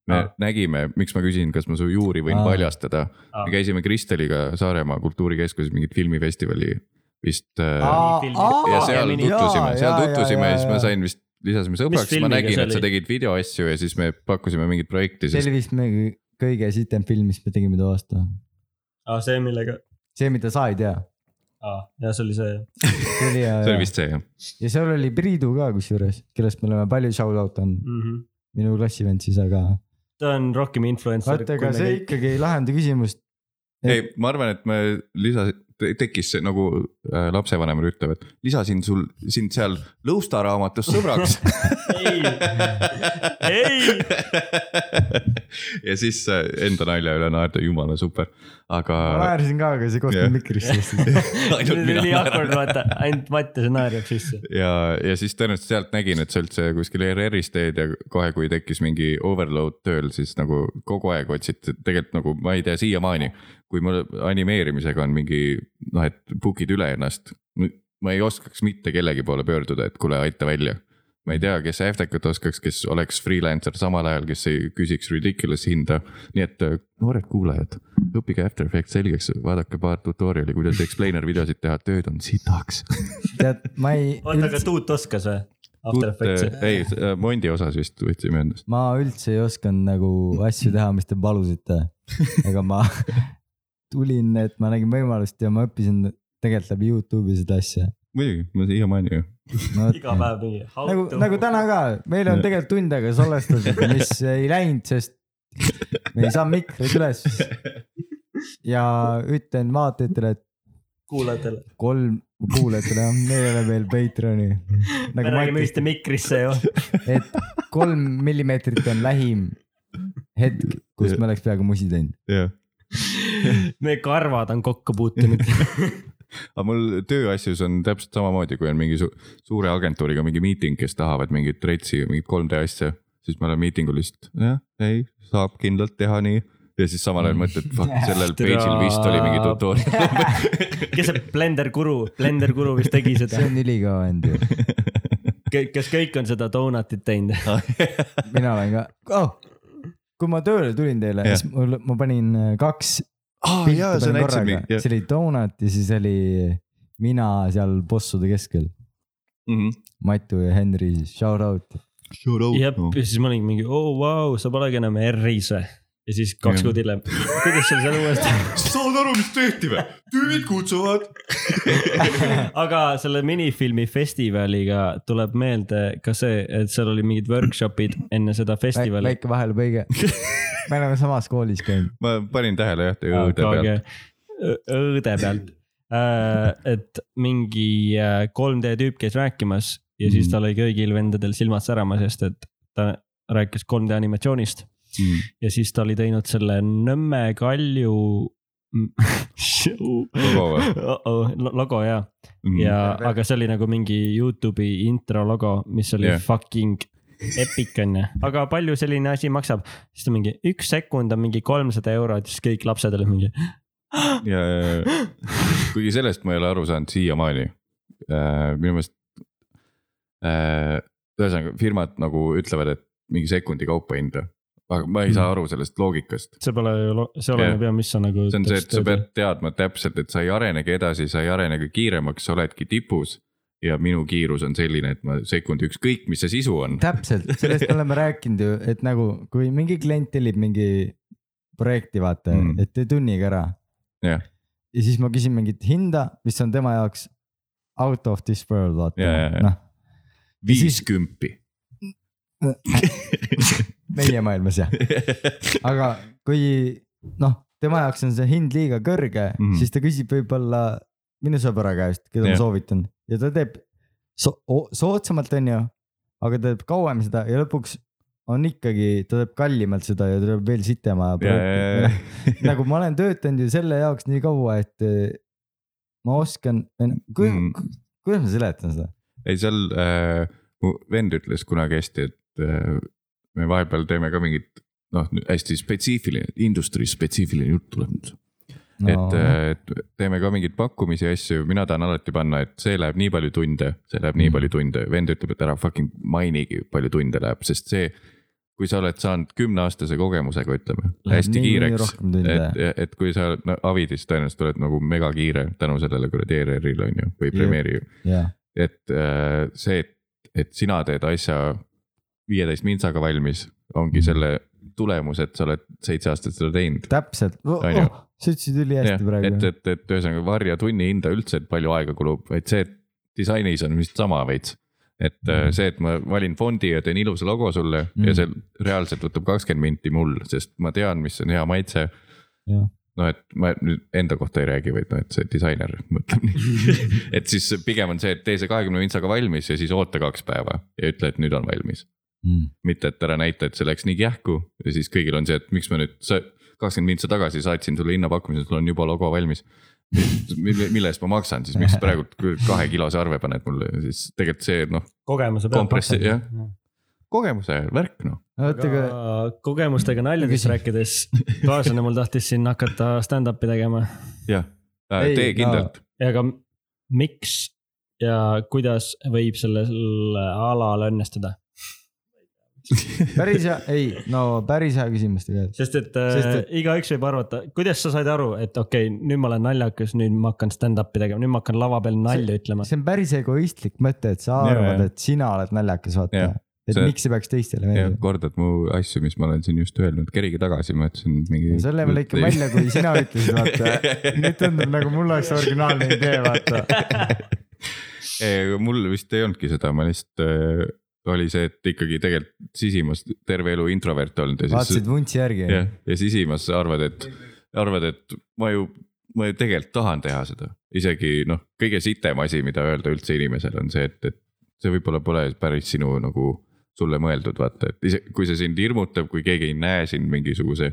me
Aa.
nägime , miks ma küsin , kas ma su juuri võin
Aa.
paljastada .
Aa.
me käisime Kristeliga Saaremaa kultuurikeskuses mingit filmifestivali vist . äh, ja seal
mini-
tutvusime , seal tutvusime ja siis ma . sain vist , lisasime sõbraks , ma
filmiga
nägin ,
see
et sa
oli?
tegid videoasju ja siis me pakkusime mingit projekti ,
see
sest
oli vist meie kõige sitem film , mis me tegime too aasta .
aa, see millega ,
see , mida sa ei tea .
ja see oli see
see oli
see oli
hea ,
vist see jah .
ja seal oli Priidu ka kusjuures , kellest me oleme palju shout out andnud ,
mm . -hmm.
minu klassivend siis , aga
ta on rohkem influencer .
vaata , ega see ikkagi ei lahenda küsimust .
ei , ma arvan , et me lisa- , tekkis see nagu äh, lapsevanemad ütlevad , lisasin sul sind seal lõustaraamatus sõbraks .
ei , ei ,
ja siis äh, enda nalja üle naerda , jumala super , aga
ma naersin ka , aga see
jah.
kohtus mikrisse .
see
ainult
oli
mina
nii
naeran
awkward , vaata , ainult Mattias naerab sisse .
ja , ja siis tõenäoliselt sealt nägin , et sa üldse kuskil ERR-is teed ja kohe , kui tekkis mingi overload tööl , siis nagu kogu aeg otsid , tegelikult nagu ma ei tea siiamaani . kui mul animeerimisega on mingi noh , et book'id üle ennast , ma ei oskaks mitte kellegi poole pöörduda , et kuule , aita välja . ma ei tea , kes Aftekat oskaks , kes oleks freelancer samal ajal , kes ei küsiks ridiculous hinda . nii et äh, noored kuulajad , õppige After Effects selgeks , vaadake paar tutorial'i , kuidas explainer videosid teha , tööd on sitaks
tead , ma ei ,
oota , aga Tuut oskas või ? After
Tut-
Effects'i .
äh, ei , Mondi osas vist võtsime endast .
ma üldse ei osanud nagu asju teha , mis te palusite . aga ma tulin , et ma nägin võimalust ja ma õppisin tegelikult läbi Youtube'i seda asja .
muidugi , ma siiamaani ju .
no,
äh.
iga päev nii .
nagu , nagu täna ka , meil on tegelikult tund aega salvestatud , mis ei läinud , sest me ei saa mikrit üles . ja ütlen vaatajatele , et
kuulajatele .
kolm kuulajatele , meil ei ole veel Patreoni .
me
nagu Mait
räägime
ütles ,
ühte mikrisse ju .
et kolm millimeetrit on lähim hetk , kus me oleks peaaegu musi teinud .
jah .
meie karvad on kokku puutunud .
aga mul tööasjus on täpselt samamoodi , kui on mingi su suure agentuuriga mingi miiting , kes tahavad mingit retsi , mingit 3D asja , siis ma olen miitingul lihtsalt , jah , ei , saab kindlalt teha nii ja siis samal ajal mõtled , fuck , sellel page'il vist oli mingi tutorial .
kes see Blender guru , Blender guru vist tegi seda
see , on ülikõva end ju ,
kes kõik on seda donutit teinud .
mina olen ka oh, . kui ma tööle tulin teile ,
Jah.
siis mul , ma panin äh, kaks
aa Ah,
pilti
jaa , sa
panin
näitasid
korraga ,
mind ,
Ah, see
jah .
oli donut ja siis oli mina seal bossude keskel ,
Mhm.
Matu ja Henri , shout out .
jep ,
noh.
ja siis ma olin mingi , oo vau , sa polegi enam R-is või ? ja siis kaks
Jah.
kuud hiljem , kuidas sul seal uuesti ,
saad aru , mis tehti või ? tüübid kutsuvad .
aga selle minifilmi festivaliga tuleb meelde ka see , et seal oli mingid workshop'id enne seda festivali .
väike vahelepõige . me oleme samas koolis käinud .
ma panin tähele jah ,
Ah,
teie õude pealt .
õõde pealt , et mingi äh, 3D tüüp käis rääkimas ja siis tal oli kõigil vendadel silmad säramas , sest et ta rääkis 3D animatsioonist .
Mm.
ja siis ta oli teinud selle Nõmme Kalju show
Logo või?
Uh-oh, lo- logo ja ,
Mm.
ja aga see oli nagu mingi Youtube'i intro logo , mis oli
Jah.
yeah. fucking epic onju , aga palju selline asi maksab , siis ta mingi üks sekund on mingi kolmsada eurot , siis kõik lapsed olid mingi .
ja , ja , ja kuigi sellest ma ei ole aru saanud siiamaani äh, . minu meelest äh, , ühesõnaga firmad nagu ütlevad , et mingi sekundi kaupa hinda , aga ma
Mm.
ei saa aru sellest loogikast .
see pole ju , see
Jah.
oleneb yeah. ja mis sa nagu .
see on see , et sa pead teadma täpselt , et sa ei arenegi edasi , sa ei arenegi kiiremaks , sa oledki tipus ja minu kiirus on selline , et ma sekundi ükskõik , mis see sisu on .
täpselt , sellest me oleme rääkinud ju , et nagu kui mingi klient tellib mingi projekti , vaata
Mm.
mm. , et tee tunniga ära .
Jah.
ja siis ma küsin mingit hinda , mis on tema jaoks out of this
Ja,
world ,
ja,
vaata
ja. ,
noh ,
viis kümpi .
meie maailmas jah . aga kui noh , tema jaoks on see hind liiga kõrge
Mhm.
mm. , siis ta küsib võib-olla minu sõbra käest , keda
Jah.
ma soovitan ja ta teeb so o- soodsamalt , onju , aga ta teeb kauem seda ja lõpuks on ikkagi , ta teeb kallimalt seda ja ta teeb veel sitema projekti . nagu ma olen töötanud ju selle jaoks nii kaua , et eh, ma oskan ,
Mhm.
kuidas ma seletan seda ?
ei , seal äh, mu vend ütles kunagi hästi , et äh, me vahepeal teeme ka mingit noh , hästi spetsiifiline , industry spetsiifiline jutt tuleb nüüd .
No,
et , et teeme ka mingeid pakkumisi ja asju , mina tahan alati panna , et see läheb nii palju tunde , see läheb nii
Mhm.
palju tunde , vend ütleb , et ära fucking mainigi , palju tunde läheb , sest see . kui sa oled saanud kümneaastase kogemusega , ütleme ,
Läheb
hästi
nii- nii
kiireks ,
rohkem tunde.
et , et kui sa oled no, Avidis tõenäoliselt oled nagu megakiire tänu sellele kuradi ERR-ile on ju , või
Jep.
Premiere'i
jah ,
et äh, see , et , et sina teed asja viieteist mintsaga valmis , ongi selle tulemus , et sa oled seitse aastat seda teinud .
täpselt oh,
Onju. ,
oh, sa ütlesid ülihästi
et ,
praegu .
et , et ühesõnaga varja tunni hinda üldse , et palju aega kulub , vaid see , et disainis on vist sama veits . et äh,
Mhm.
see , et ma valin fondi ja teen ilusa logo sulle mm. ja
Mm.
see reaalselt võtab kakskümmend minti mul , sest ma tean , mis on hea maitse .
Jah.
no et ma nüüd enda kohta ei räägi , vaid noh , et see disainer mõtleb nii . et siis pigem on see , et tee see kahekümne vintsaga valmis ja siis oota kaks päeva ja ütle , et nüüd on valmis
Mm.
mitte , et ära näita , et see läks nii kähku ja siis kõigil on see , et miks ma nüüd , sa kakskümmend mintsa tagasi saatsin sulle hinnapakkumise , sul on juba logo valmis . mille eest ma maksan siis , miks sa praegu kahe kilose arve paned mulle ja siis tegelikult see noh ,
kogemuse
Kompressi- jah. . kogemuse värk noh .
oota , aga
aga kogemustega naljadest
Küsin.
rääkides , kaaslane mul tahtis siin hakata stand-up'i tegema
jah ,
Ei,
tee
no.
kindlalt ,
ja ka m- miks ja kuidas võib sellel alal õnnestuda ,
päris hea , ei no päris hea küsimus tegelikult .
sest et, Sest
Sest
et... igaüks võib arvata , kuidas sa said aru , et okei okay, , nüüd ma olen naljakas , nüüd ma hakkan stand-up'i tegema , nüüd ma hakkan lava peal nalja ütlema .
see on päris egoistlik mõte , et sa
Jaa,
arvad
jaa. ,
et sina oled naljakas , vaata
Jah, .
et
see-
miks see peaks teistele meeldima .
kordad mu asju , mis ma olen siin just öelnud , kerige tagasi , ma ütlesin mingi .
selle ma lõikan välja , kui sina ütlesid , vaata . nüüd tundub nagu mul oleks originaalne idee , vaata .
mul vist ei olnudki seda , ma lihtsalt eh, oli see , et ikkagi tegelikult sisimas terve elu introvert olnud ja siis
vaatasid vuntsi järgi .
jah , ja sisimas sa arvad , et , arvad , et ma ju , ma ju tegelikult tahan teha seda . isegi noh , kõige sitem asi , mida öelda üldse inimesele on see , et , et see võib-olla pole päris sinu nagu , sulle mõeldud , vaata , et ise , kui see sind hirmutab , kui keegi ei näe sind mingisuguse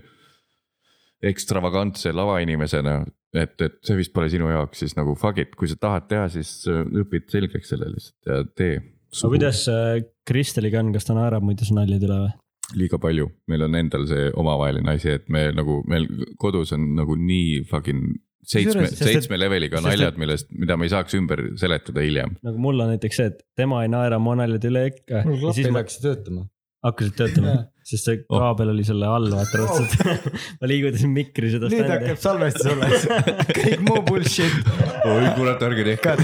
ekstravagantse lavainimesena , et , et see vist pole sinu jaoks siis nagu fuck it , kui sa tahad teha , siis äh, õpid selgeks selle lihtsalt ja tee .
aga kuidas äh, Kristeliga on , kas ta naerab muide su naljade üle või ?
liiga palju , meil on endal see omavaheline asi , et me nagu meil kodus on nagu nii fucking seitsme ,
Kusjuures- sest et-
seitsme leveliga
sest et-
naljad , millest , mida me ei saaks ümber seletada hiljem .
nagu mul on näiteks see , et tema ei naera mu naljade üle ikka .
mul
ja siis
klapid
ma
hakkasid töötama .
hakkasid töötama
Jah. ,
sest see kaabel oli selle all , vaata raudselt . ma liigutasin mikri seda
Oh. nüüd
standi
hakkab . salvestus alles , kõik muu bullshit .
oi kurat , ärge tehke .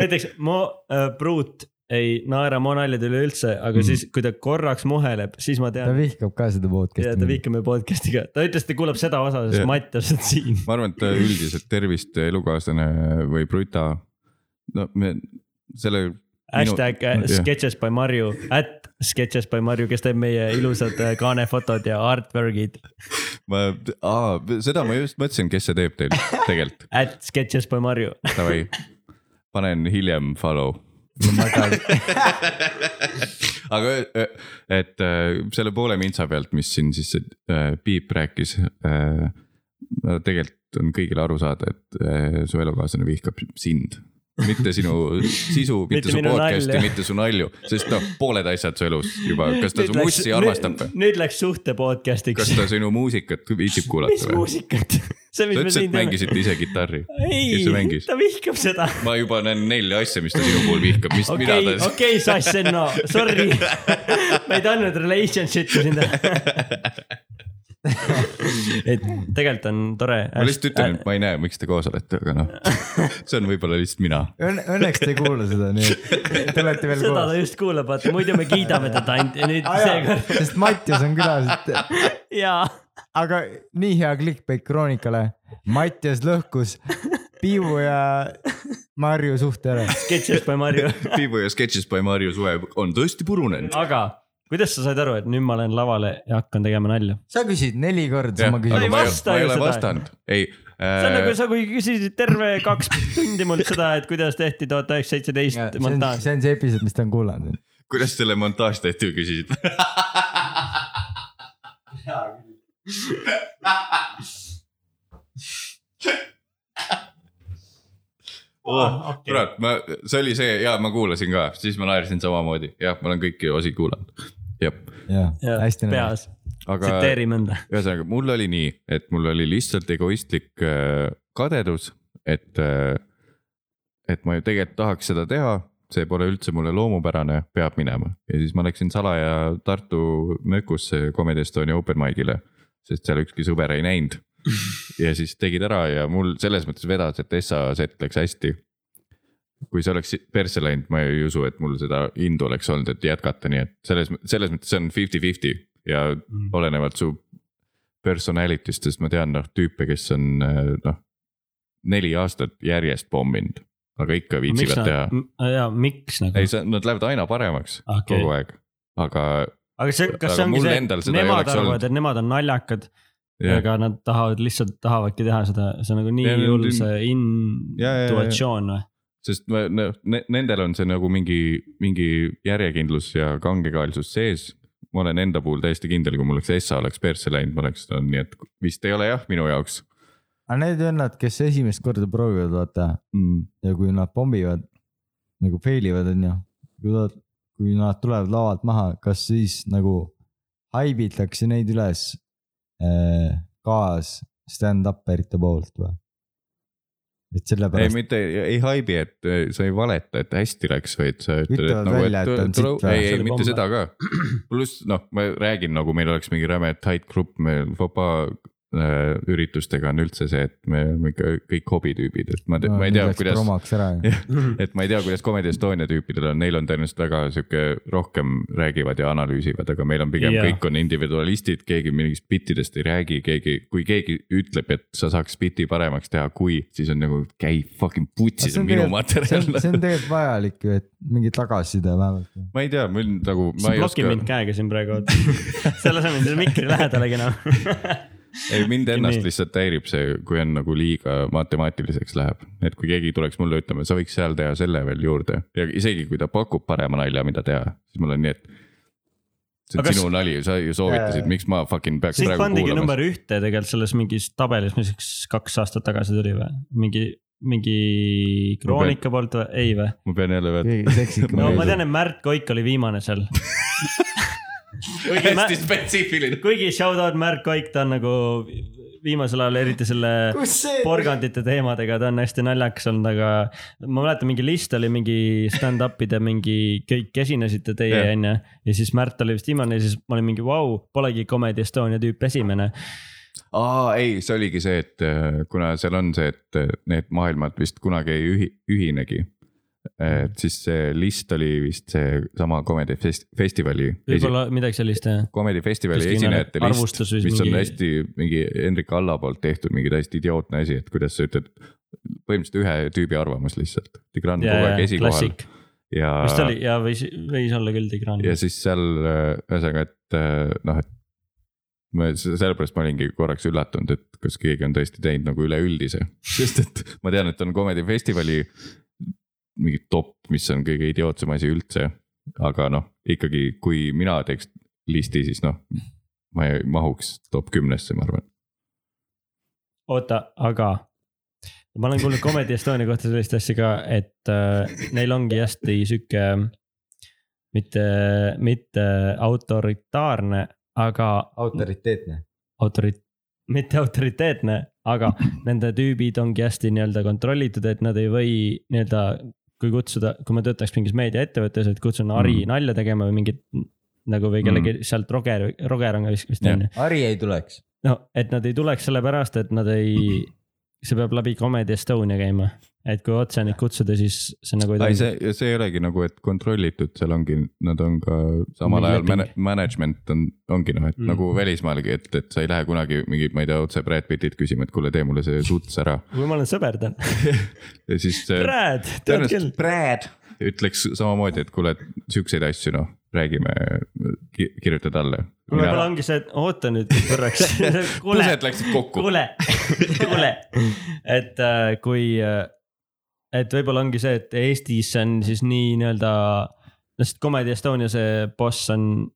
näiteks mu äh, pruut ei naera mu naljade üle üldse , aga mm. siis , kui ta korraks muheleb , siis ma
ta
tean ,
vihkab ka seda
et ta
podcast'i .
vihkab meie podcast'iga . ta ütles , et ta kuulab seda osa , sest
Jah.
yeah. Mati on siin .
ma arvan , et äh, üldiselt tervist , elukaaslane või pruta . no me selle ,
Hashtag
Minu-
äh,
jah.
sketches by Marju , at sketches by Marju , kes teeb meie ilusad äh, kaanefotod ja artwork'id .
ma , seda ma just mõtlesin , kes see teeb teil tegelikult ,
at sketches by Marju .
davai . panen hiljem follow aga ö- et äh, selle poole mintsa pealt , mis siin siis see äh, Piip rääkis äh, . tegelikult on kõigile aru saada , et äh, su elukaaslane vihkab sind , mitte sinu sisu , mitte
Mitte
su
minu
podcast'i ,
nalja.
mitte su nalju , sest noh , pooled asjad su elus juba , kas ta su mussi armastab või ?
nüüd läks suhte podcast'iks
kas . ta sinu muusikat viitsib
mis
kuulata või ?
muusikat ? see , mis
ta
me
ütles ,
siin
et
teeme .
mängisite ise kitarri . kes see
ei ,
mängis ?
ta vihkab seda
ma juba näen nelja asja , mis ta sinu puhul vihkab , mis , mida
okei ,
ta .
okei , Sass Enno , sorry . ma ei tahtnud relationship'i sind . et tegelikult on tore .
ma lihtsalt ütlen , et ma ei näe , miks te koos olete , aga noh , see on võib-olla lihtsalt mina
Õnne , õnneks te ei kuula seda , nii et te olete veel
seda ta .
koos
just kuulab , vaata muidu me kiidame teda ainult ja nüüd
Ah, jaa,
seekord
sest Mattias on külas , et
jaa .
aga nii hea clickbait kroonikale . Mattias lõhkus Piivu ja Marju suhte ära .
Sketches by Marju ,
Piibu ja Sketches by Marju suhe on tõesti purunenud .
aga kuidas sa said aru , et nüüd ma lähen lavale ja hakkan tegema nalja ?
sa küsid neli korda sama
Aga
ma
ei
ei
küsimuse .
vasta
ma ei
ju
ole
seda.
vastanud , ei
see on nagu
äh, .
sa , kui küsisid terve kaks tundi mult seda , et kuidas tehti tuhat üheksasada seitseteist
see on ,
montaaž .
see on see episood , mis ta on kuulanud .
kuidas selle montaaž tehti , küsisid . Oh, kurat , ma , see oli see ja ma kuulasin ka , siis ma naersin samamoodi , jah , ma olen kõiki osi kuulanud . jah ,
jah , hästi näha .
peas ,
aga
tsiteerime enda .
ühesõnaga , mul oli nii , et mul oli lihtsalt egoistlik äh, kadedus , et , et ma ju tegelikult tahaks seda teha , see pole üldse mulle loomupärane , peab minema . ja siis ma läksin salaja Tartu mökusse Comedy Estonia open mic'ile , sest seal ükski sõber ei näinud . ja siis tegid ära ja mul selles mõttes vedas , et Essa set läks hästi kui see oleks persse läinud , ma ei usu , et mul seda indu oleks olnud , et jätkata , nii et selles , selles mõttes see on fifty-fifty ja
Mm.
olenevalt su personality'st , sest ma tean noh tüüpe , kes on äh, noh , neli aastat järjest pomminud , aga ikka viitsivad teha .
jaa , miks nagu ?
ei , see , nad lähevad aina paremaks okay.
Mm. Ah, Okei.
kogu aeg , aga
aga see , kas
Aga
see ongi
mul
see ,
endal
et
seda ei
nemad
oleks olnud.
arvavad , et nemad on naljakad ,
jah
aga nad tahavad , lihtsalt tahavadki teha seda , see on nagu nii
Ja nad-
hull see
Ja, ja, ja, ja.
intuatsioon või ?
sest ma- ne- ne- nendel on see nagu mingi , mingi järjekindlus ja kangekaelsus sees . ma olen enda puhul täiesti kindel , kui mul oleks Essa oleks persse läinud , ma oleks , nii et vist ei ole jah minu jaoks
aga need vennad , kes esimest korda proovivad , vaata
mm. .
ja kui nad pommivad nagu fail ivad , onju . kui nad , kui nad tulevad lavalt maha , kas siis nagu haibitakse neid üles äh, kaas stand-up erite poolt või ? et
ei ,
sellepärast ,
mitte ei haibi , et eh, sa ei valeta , et hästi läks , vaid sa ütled , et
Ütlevad
nagu ,
välja,
et
et on
tule-
sitt või?
ei ,
See
ei
oli
mitte
bombe.
seda ka . pluss noh , ma räägin nagu meil oleks mingi räme tight grupp , meil Fopa äh, üritustega on üldse see , et me oleme ikka kõik hobitüübid , et ma, no, ma ei tea , kuidas ,
promoks ära .
et ma ei tea , kuidas Comedy Estonia tüüpidel on , neil on tõenäoliselt väga sihuke rohkem räägivad ja analüüsivad , aga meil on pigem
Jaa.
yeah. kõik on individualistid , keegi mingist bittidest ei räägi , keegi , kui keegi ütleb , et sa saaks biti paremaks teha , kui , siis on nagu käi fucking putsi , see on minu
see on , see
materjal .
on tegelikult vajalik ju , et mingi tagasiside vähemalt .
ma ei tea , mul nagu , ma
sa
ei
blokid mind
oska ,
käega siin praegu , selle asemel siis mikri lähedalegi noh. enam .
ei mind ennast
nii.
lihtsalt häirib see , kui on nagu liiga matemaatiliseks läheb . et kui keegi tuleks mulle ütlema , sa võiks seal teha selle veel juurde ja isegi kui ta pakub parema nalja , mida teha , siis mul on nii , et see on
Aga kas-
sinu nali , sa ju soovitasid , miks ma fucking peaks
siin
praegu
pandigi
kuulama
number ühte tegelikult selles mingis tabelis , mis üks kaks aastat tagasi tuli või , mingi , mingi Kroonika poolt või , ei või ?
ma pean jälle veel .
keegi seksikam
no ma tean , et Märt Koik oli viimane seal . kuigi Mä-
hästi , spetsiifiline .
kuigi shout out Märt Koik , ta on nagu viimasel ajal eriti selle porgandite teemadega , ta on hästi naljakas olnud , aga ma mäletan , mingi list oli mingi stand-up'ide mingi , kõik esinesite teie
Jah.
onju . ja siis Märt oli vist viimane ja siis ma olin mingi vau , polegi Comedy Estonia tüüp esimene .
aa , ei , see oligi see , et äh, kuna seal on see , et äh, need maailmad vist kunagi ei ühi- , ühinegi . et siis see list oli vist seesama Comedy Fest- , festivali .
võib-olla midagi sellist jah .
Comedy festivali
Kuskil
esinejate
nagu
list ,
arvustus või
mis mingi... on
mingi-
hästi mingi Hendrik Alla poolt tehtud mingi täiesti idiootne asi , et kuidas sa ütled . põhimõtteliselt ühe tüübi arvamus lihtsalt , Tigran
ja ,
kogu aeg
ja ,
esikohal
klassik .
ja ,
vist oli ja võis , võis olla küll Tigran .
ja siis seal äh, ühesõnaga , et äh, noh , et . ma se- sellepärast ma olingi korraks üllatunud , et kas keegi on tõesti teinud nagu üleüldise , sest et ma tean , et on Comedy Festivali mingi top , mis on kõige idiootsem asi üldse . aga noh , ikkagi , kui mina teeks listi , siis noh , ma ei mahuks top kümnesse , ma arvan .
oota , aga ma olen kuulnud Comedy Estonia kohta sellist asja ka , et äh, neil ongi hästi sihuke mitte , mitte autoritaarne , aga
autoriteetne .
autorit- , mitte autoriteetne , aga nende tüübid ongi hästi nii-öelda kontrollitud , et nad ei või nii-öelda , kui kutsuda , kui ma töötaks mingis meediaettevõttes , et kutsun Ari
Mm.
mm. nalja tegema või mingit nagu või kellegi mm. sealt Roger , Roger on ka vist vist
Jah.
on ju .
Ari ei tuleks .
no et nad ei tuleks sellepärast , et nad ei , see peab läbi Comedy Estonia käima , et kui otse neid kutsuda , siis see nagu ei
ei ,
toimi .
see , see ei olegi nagu , et kontrollitud , seal ongi , nad on ka samal
Mingi
ajal man
leping.
management on , ongi noh , et mm.
Mm.
nagu välismaalgi , et , et sa ei lähe kunagi mingi , ma ei tea , otse Brad Pittit küsima , et kuule , tee mulle see suts ära .
kui ma olen sõber tal ,
ja siis äh,
Brad , tead küll
tõenäoliselt . Brad ütleks samamoodi , et kuule , siukseid asju , noh , räägime , kirjuta talle .
võib-olla ongi see , et oota nüüd korraks .
pused läksid kokku .
kuule , kuule , et äh, kui , et võib-olla ongi see , et Eestis on siis nii nii-öelda , no sest Comedy Estonia see boss on ,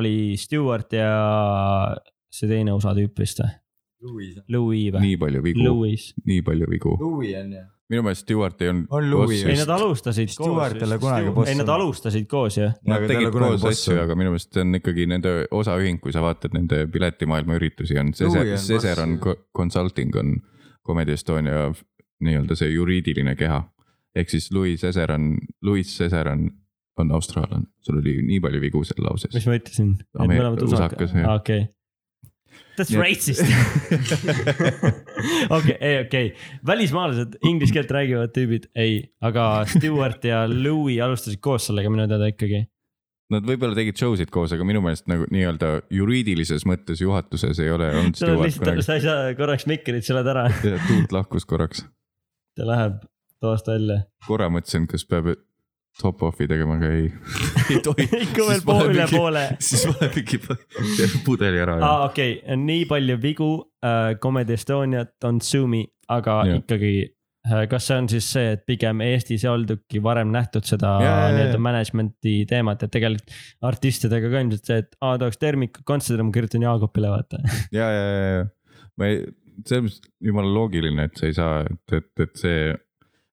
oli Stewart ja see teine USA tüüp vist või ,
Louis .
Louis või ?
nii nagu- palju vigu ,
Louis ,
nii palju vigu .
Louis on ju .
minu meelest Stewart ei olnud .
On Louis,
ei
Just.
nad alustasid
Stewart ei ole kunagi
Stu-
boss
ei nad
olnud.
alustasid koos ju ,
Nad tegid koos asju , aga minu meelest see on ikkagi nende osaühing , kui sa vaatad nende piletimaailma üritusi on Cesar
Louis , on
Cesar on
vassi.
co- consulting on Comedy Estonia f- nii-öelda see juriidiline keha . ehk siis Louis Cesar on , Louis Cesar on , on austraallane , sul oli nii palju vigu seal lauses .
mis ma ütlesin , et me
Ameer-
oleme
usakas,
usakas ,
jah.
okei . That's
Nii et-
racist . okei , ei okei , välismaalased inglise keelt räägivad tüübid , ei , aga Stewart ja Louis alustasid koos sellega minu teada ikkagi .
Nad võib-olla tegid show sid koos , aga minu meelest nagu nii-öelda juriidilises mõttes juhatuses ei ole olnud
sul on
Stewart
lihtsalt ,
kunagi .
sa ei saa korraks mikrit seletad ära ,
Tuut lahkus korraks ,
ta läheb toast välja .
korra mõtlesin , kas peab top-off'i tegema , aga ei . ei tohi
ikka
Siis
veel
paneb
pool üle
mingi-
poole .
siis ma mingi pudeli ära ja
aa , okei , nii palju vigu äh, Comedy Estoniat on Zoomi , aga
Jah.
ja. ikkagi äh, kas see on siis see , et pigem Eestis ei oldudki varem nähtud seda
Ja, ja, ja.
nii-öelda management'i teemat , et tegelikult artistidega ka ilmselt see , et aa , tahaks Termiku kontserdi , ma kirjutan Jaagupile , vaata .
ja , ja , ja , ja ma ei , selles mõttes jumala loogiline , et sa ei saa , et , et , et see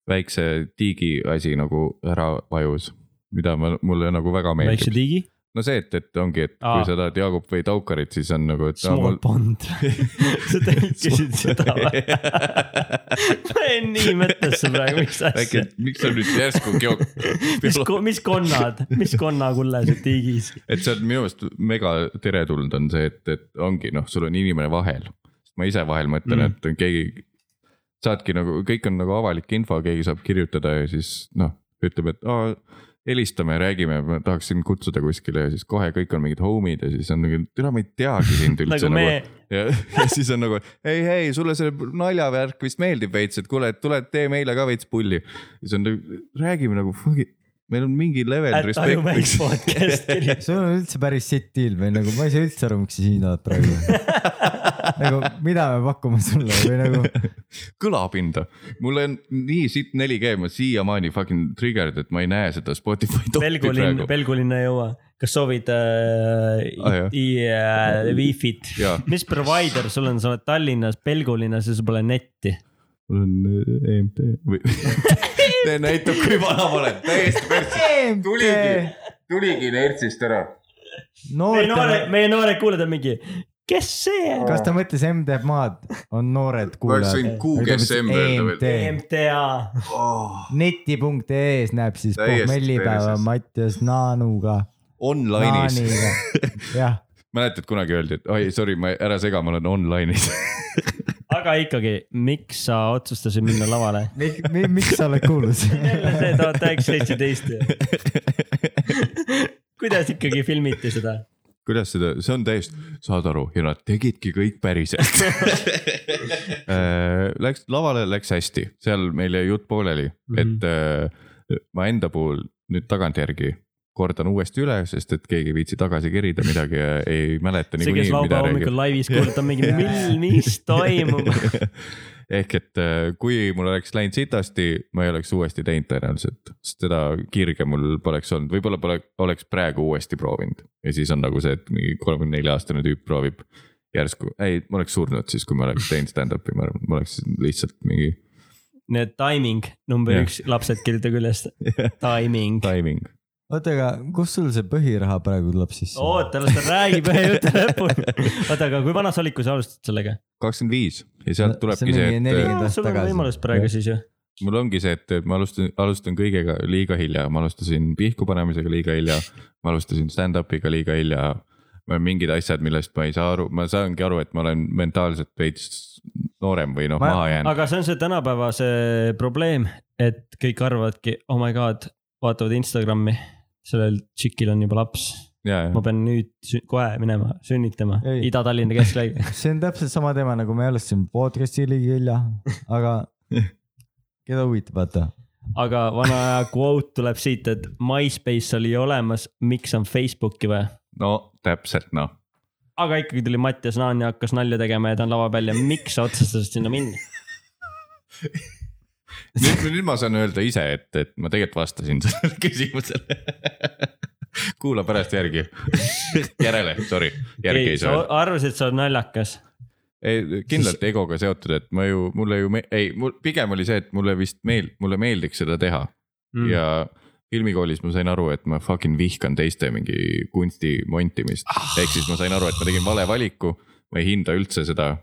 väikse tiigi asi nagu ära vajus , mida ma , mulle nagu väga
väikse
meeldib .
tiigi ,
no see , et , et ongi , et Aa.
Aa.
kui sa tahad Jaagup või Taukarit , siis on nagu , et .
small pond . sa tõlkisid seda või ? ma jäin nii mõttesse praegu , mis
äkki
asja ,.
miks sa nüüd järsku geog- ,
mis , mis konnad , mis konnakullased tiigis
et see on minu meelest mega teretulnud on see , et , et ongi noh , sul on inimene vahel . ma ise vahel mõtlen
Mhm.
mm. , et keegi , saadki nagu , kõik on nagu avalik info , keegi saab kirjutada ja siis noh , ütleb , et aa , helistame , räägime , ma tahaksin kutsuda kuskile ja siis kohe kõik on mingid homid ja siis on nagu , türa ma ei teagi sind üldse
nagu me
nagu . ja, ja siis on nagu ei , ei sulle see naljavärk vist meeldib veits , et kuule , tule tee meile ka veits pulli . siis on , räägime nagu , meil on mingi level
At Aju Mäis
respect .
podcast kirjutas .
sul on üldse päris sitt deal või nagu ma ei saa üldse aru , miks sa siin oled praegu . nagu mida me pakume sulle või nagu
kõlapinda , mul on nii sitt 4G , ma siiamaani fucking triggered , et ma ei näe seda Spotify topi
Pelgulinn ,
praegu .
Pelgulinn ei jõua . kas soovid
Ah,
äh,
jah.
ah, Wi-Fi-t ?
jaa ,
mis provider sul on , sa oled Tallinnas , Pelgulinnas ja sul pole netti .
mul on äh, EMT või see näitab , kui vana ma olen , täiesti persse , tuligi , tuligi inertsist ära .
meie
noortele
noored ,, meie noored kuulajad on mingi , kes see on ?
kas ta mõtles MDMA-d , on noored
oleks võinud
kuulajad .
QGSM öelda veel .
MTA . Oh.
neti.ee-s E näeb siis
Täiesti
pohmellipäeva
perses.
Mattias Naanuga .
Online'is .
Naaniga , jah ,
mäletad , kunagi öeldi , et oi , sorry , ma ära sega , ma olen online'is .
aga ikkagi , miks sa otsustasid minna lavale ?
miks sa oled kuulus ?
jälle see tuhat üheksasada seitseteist ju . kuidas ikkagi filmiti seda ?
kuidas seda , see on täiesti , saad aru ja nad tegidki kõik päriselt . Läks lavale , läks hästi , seal meil jäi jutt pooleli ,
Mhm.
et äh, ma enda puhul nüüd tagantjärgi kordan uuesti üle , sest et keegi ei viitsi tagasi kerida midagi ja ei mäleta
see , kes
niikuinii , mida
laupäeva
räägib
hommikul . laivis kuulutab mingi , mil , mis toimub .
ehk et äh, kui mul oleks läinud sitasti , ma ei oleks uuesti teinud tõenäoliselt , sest seda kirge mul poleks olnud , võib-olla pole , oleks praegu uuesti proovinud ja siis on nagu see , et mingi kolmekümne nelja aastane tüüp proovib järsku , ei , ma oleks surnud siis , kui ma oleks teinud stand-up'i , ma arvan , ma oleks lihtsalt mingi
nii et timing number
Jah.
üks , lapsed kirjuta küljest . Timing .
timing .
oota , aga kust sul see põhiraha praegu tuleb sisse ?
oota , las ta räägib ühe jutu lõpuni . oota , aga kui vana sa olid , kui sa alustasid sellega ?
kakskümmend viis ja sealt
No, see on
tulebki see ,
mingi
et äh,
40
No,
aastat
sul on
tagasi.
võimalus praegu
Jah.
siis ju .
mul ongi see , et ma alustan , alustan kõigega liiga hilja , ma alustasin pihku panemisega liiga hilja . ma alustasin stand-up'iga liiga hilja . mingid asjad , millest ma ei saa aru , ma saangi aru , et ma olen mentaalselt veits noorem või noh ,
Ma-
maha jäänud .
aga see on see tänapäeva see probleem , et kõik arvavadki , oh my god , vaatavad Instagrami , sellel tšikil on juba laps ,
ja ,
ma
ja ,
pean nüüd sü- kohe minema sünnitama
Ei.
Ida-Tallinna kesklaige .
see on täpselt sama teema , nagu me alustasime podcast'i liiga hilja , aga keda huvitab , vaata .
aga vana aja quote tuleb siit , et MySpace oli olemas , miks on Facebooki vaja ?
no täpselt noh .
aga ikkagi tuli Mattias Naan ja hakkas nalja tegema ja ta on lava peal ja miks sa otsustasid sinna minna ?
nüüd , nüüd ma saan öelda ise , et , et ma tegelikult vastasin sellele küsimusele . kuula pärast järgi , järele , sorry , järgi ei saa öelda .
arvasid , et sa oled naljakas
ei , kindlalt siis... egoga seotud , et ma ju , mulle ju me... , ei , mul pigem oli see , et mulle vist meel- , mulle meeldiks seda teha mm. ja filmikoolis ma sain aru , et ma fucking vihkan teiste mingi kunsti montimist ah. . ehk siis ma sain aru , et ma tegin vale valiku , ma ei hinda üldse seda .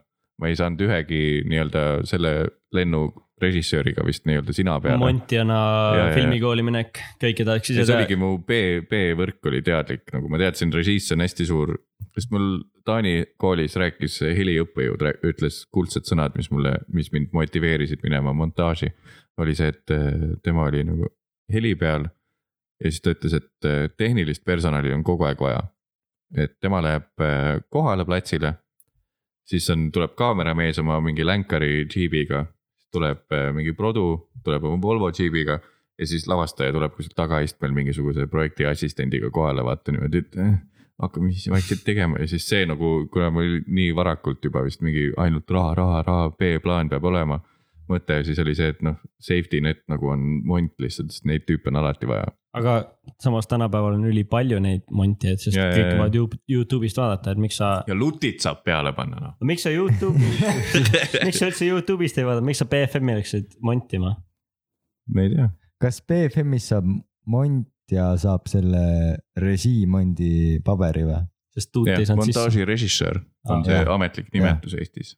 ma ei saanud ühegi nii-öelda selle lennu režissööriga vist nii-öelda sina peale .
Montjana
Ja, ja, ja.
filmikooli minek , kõike tahaks
ja
ise
see
teha
oligi . mu B , B-võrk oli teadlik , nagu ma teadsin , režiiss on hästi suur , sest mul Taani koolis rääkis heliõppejõud , ütles kuldsed sõnad , mis mulle , mis mind motiveerisid minema montaaži . oli see , et eh, tema oli nagu heli peal ja siis ta ütles , et eh, tehnilist personali on kogu aeg vaja . et tema läheb eh, kohale platsile , siis on , tuleb kaameramees oma mingi länkari džiibiga , tuleb eh, mingi produ , tuleb oma Volvo džiibiga ja siis lavastaja tuleb kuskilt tagaistmel mingisuguse projekti assistendiga kohale , vaata niimoodi , et eh, hakkame siis vaikselt tegema ja siis see nagu , kuna mul oli nii varakult juba vist mingi ainult raha , raha , raha , B-plaan peab olema . mõte siis oli see , et noh , safety net nagu on mont lihtsalt , sest neid tüüpe on alati vaja .
aga samas tänapäeval on ülipalju neid montijaid , sest
Ja,
ja,
ja,
kõik
ja.
võivad Youtube- Youtube'ist vaadata , et miks sa ,
ja lutid saab peale panna noh .
miks sa Youtube'i , miks sa üldse Youtube'ist ei vaadanud , miks sa BFM-i läksid montima ?
ma ei tea .
kas BFM-is saab mont ja saab selle režiimondi paberi või ?
sest tuut ei saanud sisse .
montaažirežissöör
Ah,
on see
jah.
ametlik nimetus Eestis .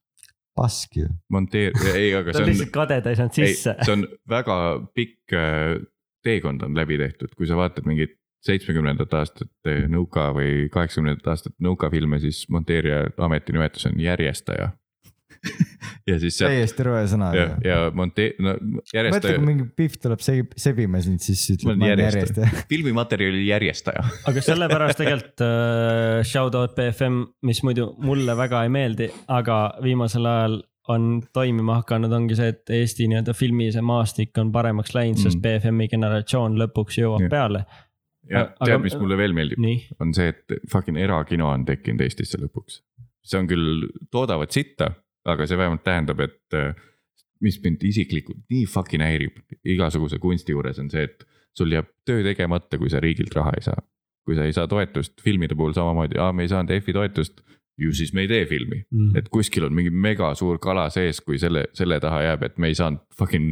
pask ju .
monteer- , ei , aga
ta on
see on
lihtsalt kade , ta ei saanud sisse .
ei , see on väga pikk äh, teekond on läbi tehtud , kui sa vaatad mingit seitsmekümnendat aastat äh, nõuka või kaheksakümnendat aastat nõuka filme , siis monteerija ametinimetus on järjestaja . ja siis sealt
täiesti rõve sõna .
ja, ja monte- , no järjest
mõtle , kui mingi Pihv tuleb segi- sebima sind , siis
Ma olen
ütled ma olen järjest
järjestaja.
jah .
filmimaterjali järjestaja .
aga sellepärast tegelikult äh, shout out BFM , mis muidu mulle väga ei meeldi , aga viimasel ajal on toimima hakanud , ongi see , et Eesti nii-öelda filmi see maastik on paremaks läinud mm. , sest
Mm.
BFM-i generatsioon lõpuks jõuab
Jah.
yeah. peale .
ja
Aga-
tead , mis mulle veel meeldib ,
nii ,
on see , et fucking erakino on tekkinud Eestisse lõpuks . see on küll , toodavad sitta , aga see vähemalt tähendab , et äh, mis mind isiklikult nii fucking häirib igasuguse kunsti juures on see , et sul jääb töö tegemata , kui sa riigilt raha ei saa . kui sa ei saa toetust , filmide puhul samamoodi , aa , me ei saanud EF-i toetust , ju siis me ei tee filmi .
mm.
et kuskil on mingi mega suur kala sees , kui selle , selle taha jääb , et me ei saanud fucking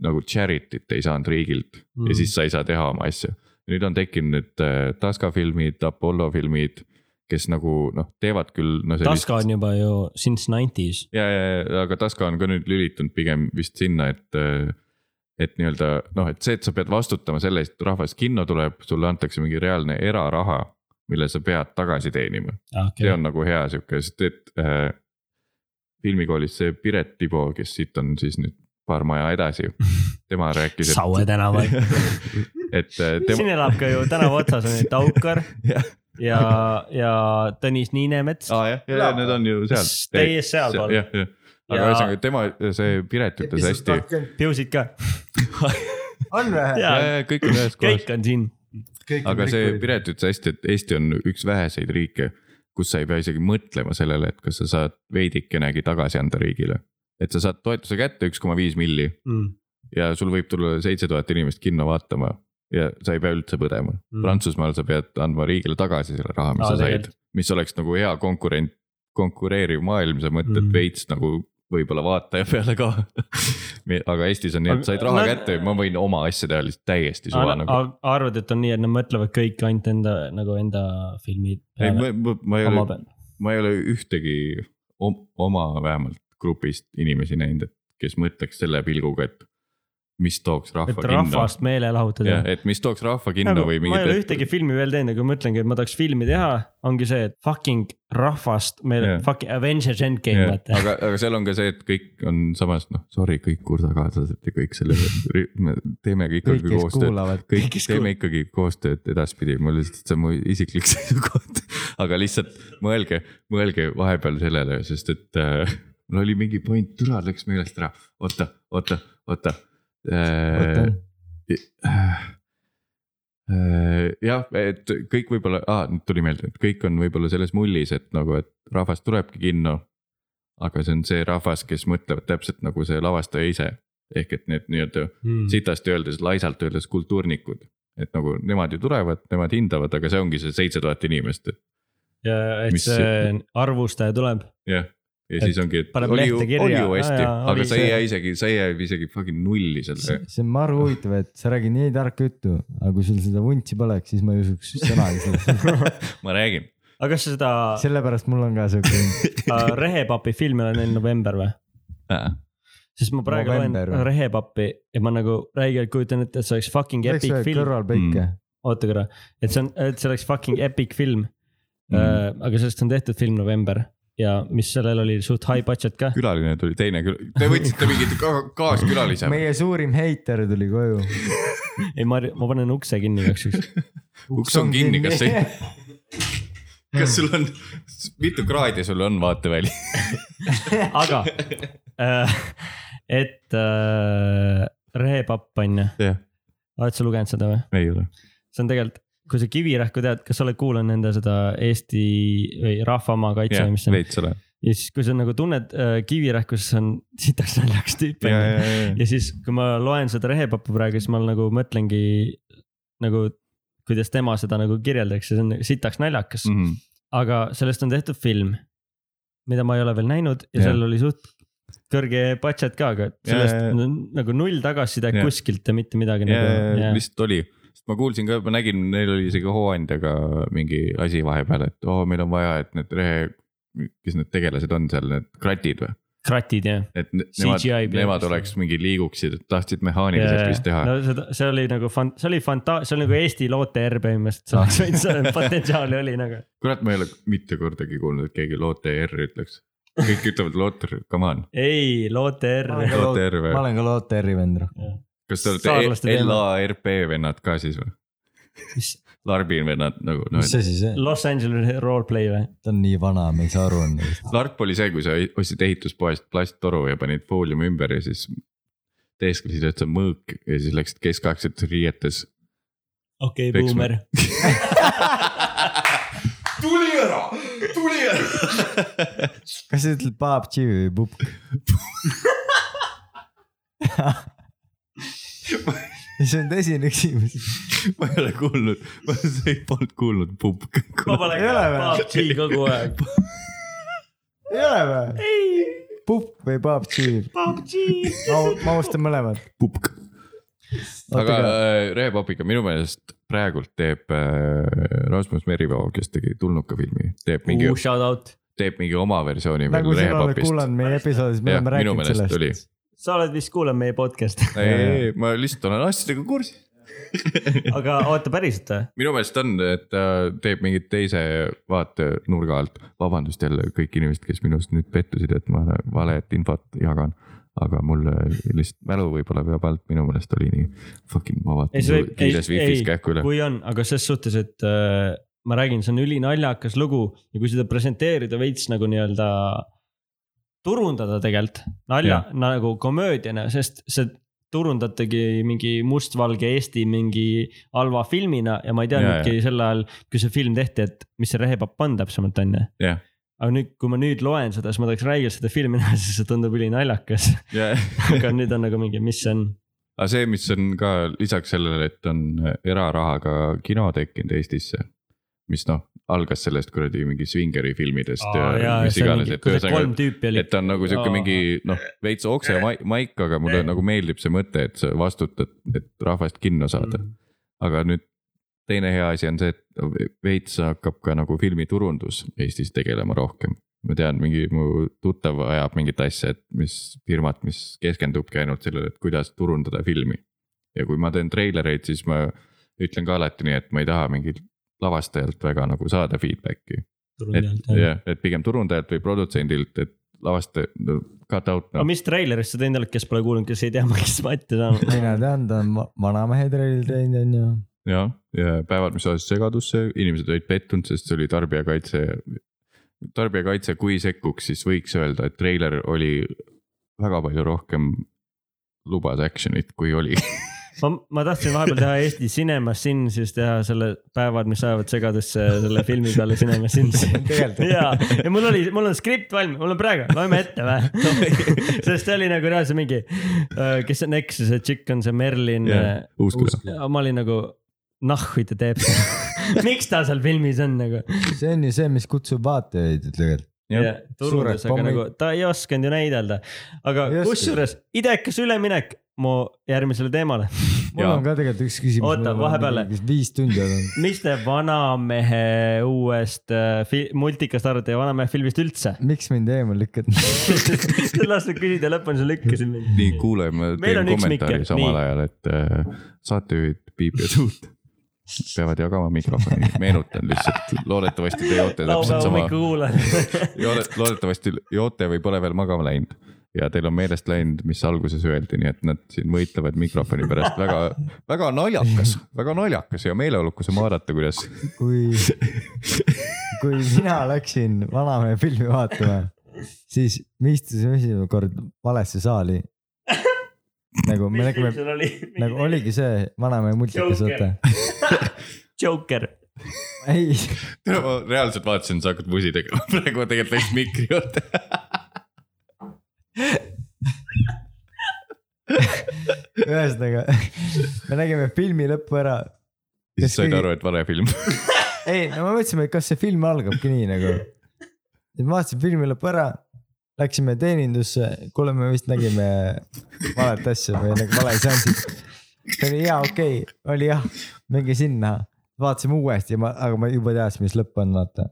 nagu charity't ei saanud riigilt mm.
Mm.
ja siis sa ei saa teha oma asja . nüüd on tekkinud need äh, Taska filmid , Apollo filmid , kes nagu noh , teevad küll no, .
Taska on juba ju since nineties .
ja , ja , ja , aga Taska on ka nüüd lülitunud pigem vist sinna , et , et nii-öelda noh , et see , et sa pead vastutama selle eest , et rahvas kinno tuleb , sulle antakse mingi reaalne eraraha , mille sa pead tagasi teenima .
Ah,
see on nagu hea sihuke , sest et äh, filmikoolis see Piret Tibo , kes siit on siis nüüd paar maja edasi , tema rääkis ,
Saue tänaval .
et , et äh,
siin
tema ,
elab ka ju tänava otsas on ju Taukar
Jah.
ja , ja Tõnis Niinemets .
aa jah , ja need on ju seal .
Teie sealpool.
jah , jah , aga
Ja-
ühesõnaga tema , see Piret ütles hästi ,
piusid ka ,
on või ?
Jaa.
kõik on ühes kohas
kõik . on siin .
aga see . Piret ütles hästi , et Eesti on üks väheseid riike , kus sa ei pea isegi mõtlema sellele , et kas sa saad veidikenegi tagasi anda riigile . et sa saad toetuse kätte üks koma viis milli
Mm.
ja sul võib tulla seitse tuhat inimest kinno vaatama ja sa ei pea üldse põdema mm. . Prantsusmaal sa pead andma riigile tagasi selle raha , mis
Aa,
no, sa said
tegelikult. ,
mis oleks nagu hea konkurent , konkureeriv maailm , sa mõtled
Mm.
mm. veits nagu võib-olla vaataja peale ka . aga Eestis on nii ,
Aga-
et said raha
no-
kätte , ma võin oma asja teha lihtsalt täiesti suva nagu .
arvad , et on nii , et nad mõtlevad kõik ainult enda nagu enda filmi
ei ,
peale ,
ma , ma , ma ei
oma
ole ,
peal .
ma ei ole ühtegi om- oma vähemalt grupist inimesi näinud , et kes mõtleks selle pilguga , et mis tooks rahva
et
kinno .
rahvast meele lahutada
jah ,. et mis tooks rahva kinno
Nagu,
nagu, või
ma ei ole
mingit ,
ühtegi filmi veel teinud , aga ma ütlengi , et ma tahaks filmi teha , ongi see , et fucking rahvast meile
Jah.
fucking Avengers Endgame yeah. ,
et .
vaata .
aga , aga seal on ka see , et kõik on samas , noh , sorry , kõik kursakaaslased ja kõik selle , me teeme ka
kõik ,
ikkagi
kes
koostööd .
kuulavad .
kõik , teeme ikkagi koostööd edaspidi , mul lihtsalt , see on mu isiklik seisukoht . aga lihtsalt mõelge , mõelge vahepeal sellele , sest et äh, mul oli mingi point , türa läks meelest ära . oota , oota , oota äh, . Äh, jah , et kõik võib-olla ah, , nüüd tuli meelde , et kõik on võib-olla selles mullis , et nagu , et rahvas tulebki kinno . aga see on see rahvas , kes mõtlevad täpselt nagu see lavastaja ise ehk et need nii-öelda
Hmm. Mm.
sitasti öeldes , laisalt öeldes kultuurnikud . et nagu nemad ju tulevad , nemad hindavad , aga see ongi see seitse tuhat inimest , et
ja et
mis-
see arvustaja tuleb .
jah . ja
Et
siis ongi , et
paneb
oli
lehte
ju ,
kirja.
oli ju
Aa, ,
hästi
jaa, oli
aga sa
see.
ei jää isegi , sa ei jää isegi fucking nulli selle .
see on maru huvitav , et sa räägid nii tarka juttu , aga kui sul seda vuntsi poleks , siis ma ei usuks sõnagi sellest .
ma räägin ,
aga kas sa seda
sellepärast mul on ka siuke ,
äh, Rehepapi filmi oled näinud november või ? sest ma praegu loen
November või?
Rehepappi ja ma nagu räigelt kujutan ette , et see oleks fucking
võiks
epic
öelda
film .
kõrvalpõike .
oota korra , et see on , et see oleks fucking epic film mm. .
Mm.
aga sellest on tehtud film November ja mis sellel oli suht high budget ka .
külaline tuli teine küla- , te võtsite mingit ka- kaaskülalise .
meie suurim heiter tuli koju .
ei , ma , ma panen ukse kinni igaks juhuks .
uks on kinni , kas see , kas sul on , mitu kraadi sul on vaateväli ?
aga äh, , et äh, Rehepapp on ju ,
jah ,
oled sa lugenud seda või ?
ei ole .
see on tegelikult , kui sa Kivirähku tead , kas sa oled kuulanud nende seda Eesti või Rahvamaa kaitse
jah
või , mis see on ?
veits olen .
ja siis , kui sa nagu tunned äh, Kivirähku , siis on sitaks naljakas tüüp on ju . ja siis , kui ma loen seda rehepappu praegu , siis ma nagu mõtlengi nagu , kuidas tema seda nagu kirjeldaks ja see on sitaks naljakas
Mhm.
mm. , aga sellest on tehtud film , mida ma ei ole veel näinud ja
Jah.
seal oli suht kõrge budget ka , aga sellest
ja, ja.
yeah, nagu null tagasisidet
Jah.
yeah. kuskilt ja mitte midagi
ja ,
nagu
ja
yeah. .
lihtsalt oli , sest ma kuulsin ka , ma nägin , neil oli isegi Hooandjaga mingi asi vahepeal , et oo , meil on vaja , et need rehe , kes need tegelased on seal , need kratid või ,
kratid ja .
et ne-
CGI
nemad ,
peab
nemad
vist
oleks mingi liiguksid , et tahtsid mehaaniliselt vist teha .
no seda , see oli nagu fan- , see oli fanta- , see oli nagu Eesti loote RBM-ist ,
Ah.
selleks võiks potentsiaali oli nagu .
kurat , ma ei ole mitte kordagi kuulnud , et keegi loote R ütleks . kõik ütlevad Lotter , come on ,
ei , Loter .
Ah. OTR või?
ma olen ka Loteri vend .
kas te
Saarlaste teema.
olete LARP vennad ka siis või ? Larbin vennad nagu , noh
mis , asi see ,
Los Angeles roleplay või ?
ta on nii vana , me ei saa aru endast .
Larp oli see , kui sa ostsid ehituspoest plasttoru ja panid fooliumi ümber ja siis teesklesid , et see on mõõk ja siis läksid keskaegset riietes .
okei okay, ,
Peksma.
buumer .
tuli ära , tuli ära .
kas sa ütled Paap Tšivi või Pupk ? see on tõsine küsimus .
ma ei ole kuulnud , ma ei polnud kuulnud pupka .
ma panen
Ei
ka
ole või?
Paap G kogu aeg .
ei ole või ? Pupk või Paap Tšivi ?
Paap G .
ma , ma austan mõlemat .
pupk . aga äh, Reepapiga minu meelest praegult teeb äh, Rasmus Merivoo , kes tegi Tulnuka filmi , teeb mingi ,
Shout out .
teeb mingi oma versiooni
nagu
veel
sina oled
Reepapist .
kuulanud meie episoodis , me
Jah,
oleme
minu
rääkinud
meelest oli.
sellest .
sa oled vist kuulanud meie podcast'i ,
ei , ei , ma lihtsalt olen asjadega kursis .
aga oota päriselt äh? või ?
minu meelest on , et ta teeb mingit teise vaatenurga alt . vabandust jälle kõik inimesed , kes minust nüüd pettusid , et ma valet infot jagan . aga mul lihtsalt mälu võib-olla peab alt , minu meelest oli nii . Fucking ma
Ei, see
vaatan
võib-
kiires
ei,
wifi's
ei,
kähku üle .
kui on , aga ses suhtes , et äh, ma räägin , see on ülinaljakas lugu ja kui seda presenteerida veits nagu nii-öelda turundada tegelikult nalja nagu komöödiana , sest see turundatagi mingi mustvalge Eesti mingi halva filmina ja ma ei
Ja,
teadnudki sel ajal , kui see film tehti , et mis see rehepapp on täpsemalt , on ju .
jah ,
aga nüüd , kui ma nüüd loen seda , siis ma tahaks räigelt seda filmi näha , sest see tundub ülinaljakas . aga nüüd on nagu mingi , mis see on ,
aga see , mis on ka lisaks sellele , et on erarahaga kino tekkinud Eestisse . mis noh , algas sellest kuradi mingi Swingeri filmidest
Aa,
ja
jaa,
mis
see on
iganes ,
mingi-
et
kui see
ühesõnaga
kolm tüüpi oli.
et ta on nagu sihuke
Jaa.
mingi noh , veits okse ja mai- maik , aga mulle nagu meeldib see mõte , et sa vastutad , et rahvast kinno saada .
Mm,
aga nüüd teine hea asi on see , et veits hakkab ka nagu filmiturundus Eestis tegelema rohkem . ma tean , mingi mu tuttav ajab mingit asja , et mis firmat , mis keskendubki ainult sellele , et kuidas turundada filmi . ja kui ma teen treilereid , siis ma ütlen ka alati nii , et ma ei taha mingilt lavastajalt väga nagu saada feedback'i . et
turundajalt .
jah , et pigem turundajalt või produtsendilt , et lavastaja , no cut out noh,
aga
no. .
mis treilerist sa teinud oled , kes pole kuulnud , kes ei tea , ma kes Matti saan .
mina tean , ta on va- vanamehe trellil teinud , onju .
ja , ja päevad , mis ajasid segadusse , inimesed olid pettunud , sest see oli tarbijakaitse . tarbijakaitse , kui sekkuks , siis võiks öelda , et treiler oli väga palju rohkem lubas action'it , kui oli .
ma , ma tahtsin vahepeal teha Eesti Cinema Sin , siis teha selle päevad , mis ajavad segadesse selle filmi peale Cinema Sin .
Tegelikult.
ja , ja mul oli , mul on skript valmis , mul on praegu , loeme ette või ? sest see oli nagu reaalselt mingi , kes see Nex , see tšikk on see Merlin . äh,
Uusküla ,
ma olin nagu , nahhu ta teeb seda , miks ta seal filmis on nagu .
see on ju see , mis kutsub vaatajaid ju tegelikult .
jah ,
turundus ,
Suured
aga
pommid.
nagu ta ei osanud ju näidelda . aga
Ei osanud.
kusjuures idekas üleminek mu järgmisele teemale
mul
Jaa.
on ka tegelikult üks küsimus .
Oota, vahepeale.
viis tundi on olnud .
mis te vanamehe uuest äh, fi- multikast arvate ja vanamehe filmist üldse ?
miks mind eemal lükkad ?
las nüüd küsida lõpuni , sa lükkasid mind .
nii kuuleme ,
Meil on
teeme
üks
kommentaari
mikker,
samal
nii.
ajal , et äh, saatejuhid Piip ja Tuut peavad jagama mikrofoni , meenutan lihtsalt , loodetavasti te joote
laupäeva
täpselt sama
hommikul kuulan .
Joole- loodetavasti joote või pole veel magama läinud ja teil on meelest läinud , mis alguses öeldi , nii et nad siin võitlevad mikrofoni pärast väga , väga naljakas , väga naljakas ja meeleolukas on vaadata , kuidas .
kui , kui mina läksin Vanamehe filmi vaatama , siis me istusime esimene kord valesse saali . nagu me nägime ,
sul oli ?
nagu . oligi see Vanamehe multikas ,
Joker.
vaata .
Joker .
ei ,
tere , ma reaalselt vaatasin , sa hakkad vusi tegema , praegu ma tegelikult läksin mikri juurde .
ühesõnaga me nägime filmi lõppu ära .
siis
Kes
said
kõige-
aru , et vale film .
ei , no me mõtlesime , et kas see film algabki nii nagu . siis me vaatasime filmi lõppu ära , läksime teenindusse , kuule , me vist nägime valet asja või nagu vale seanssi . see oli jaa , okei okay, , oli jah , minge sinna , vaatasime uuesti ja ma , aga ma juba teadsin , mis lõpp on , vaata .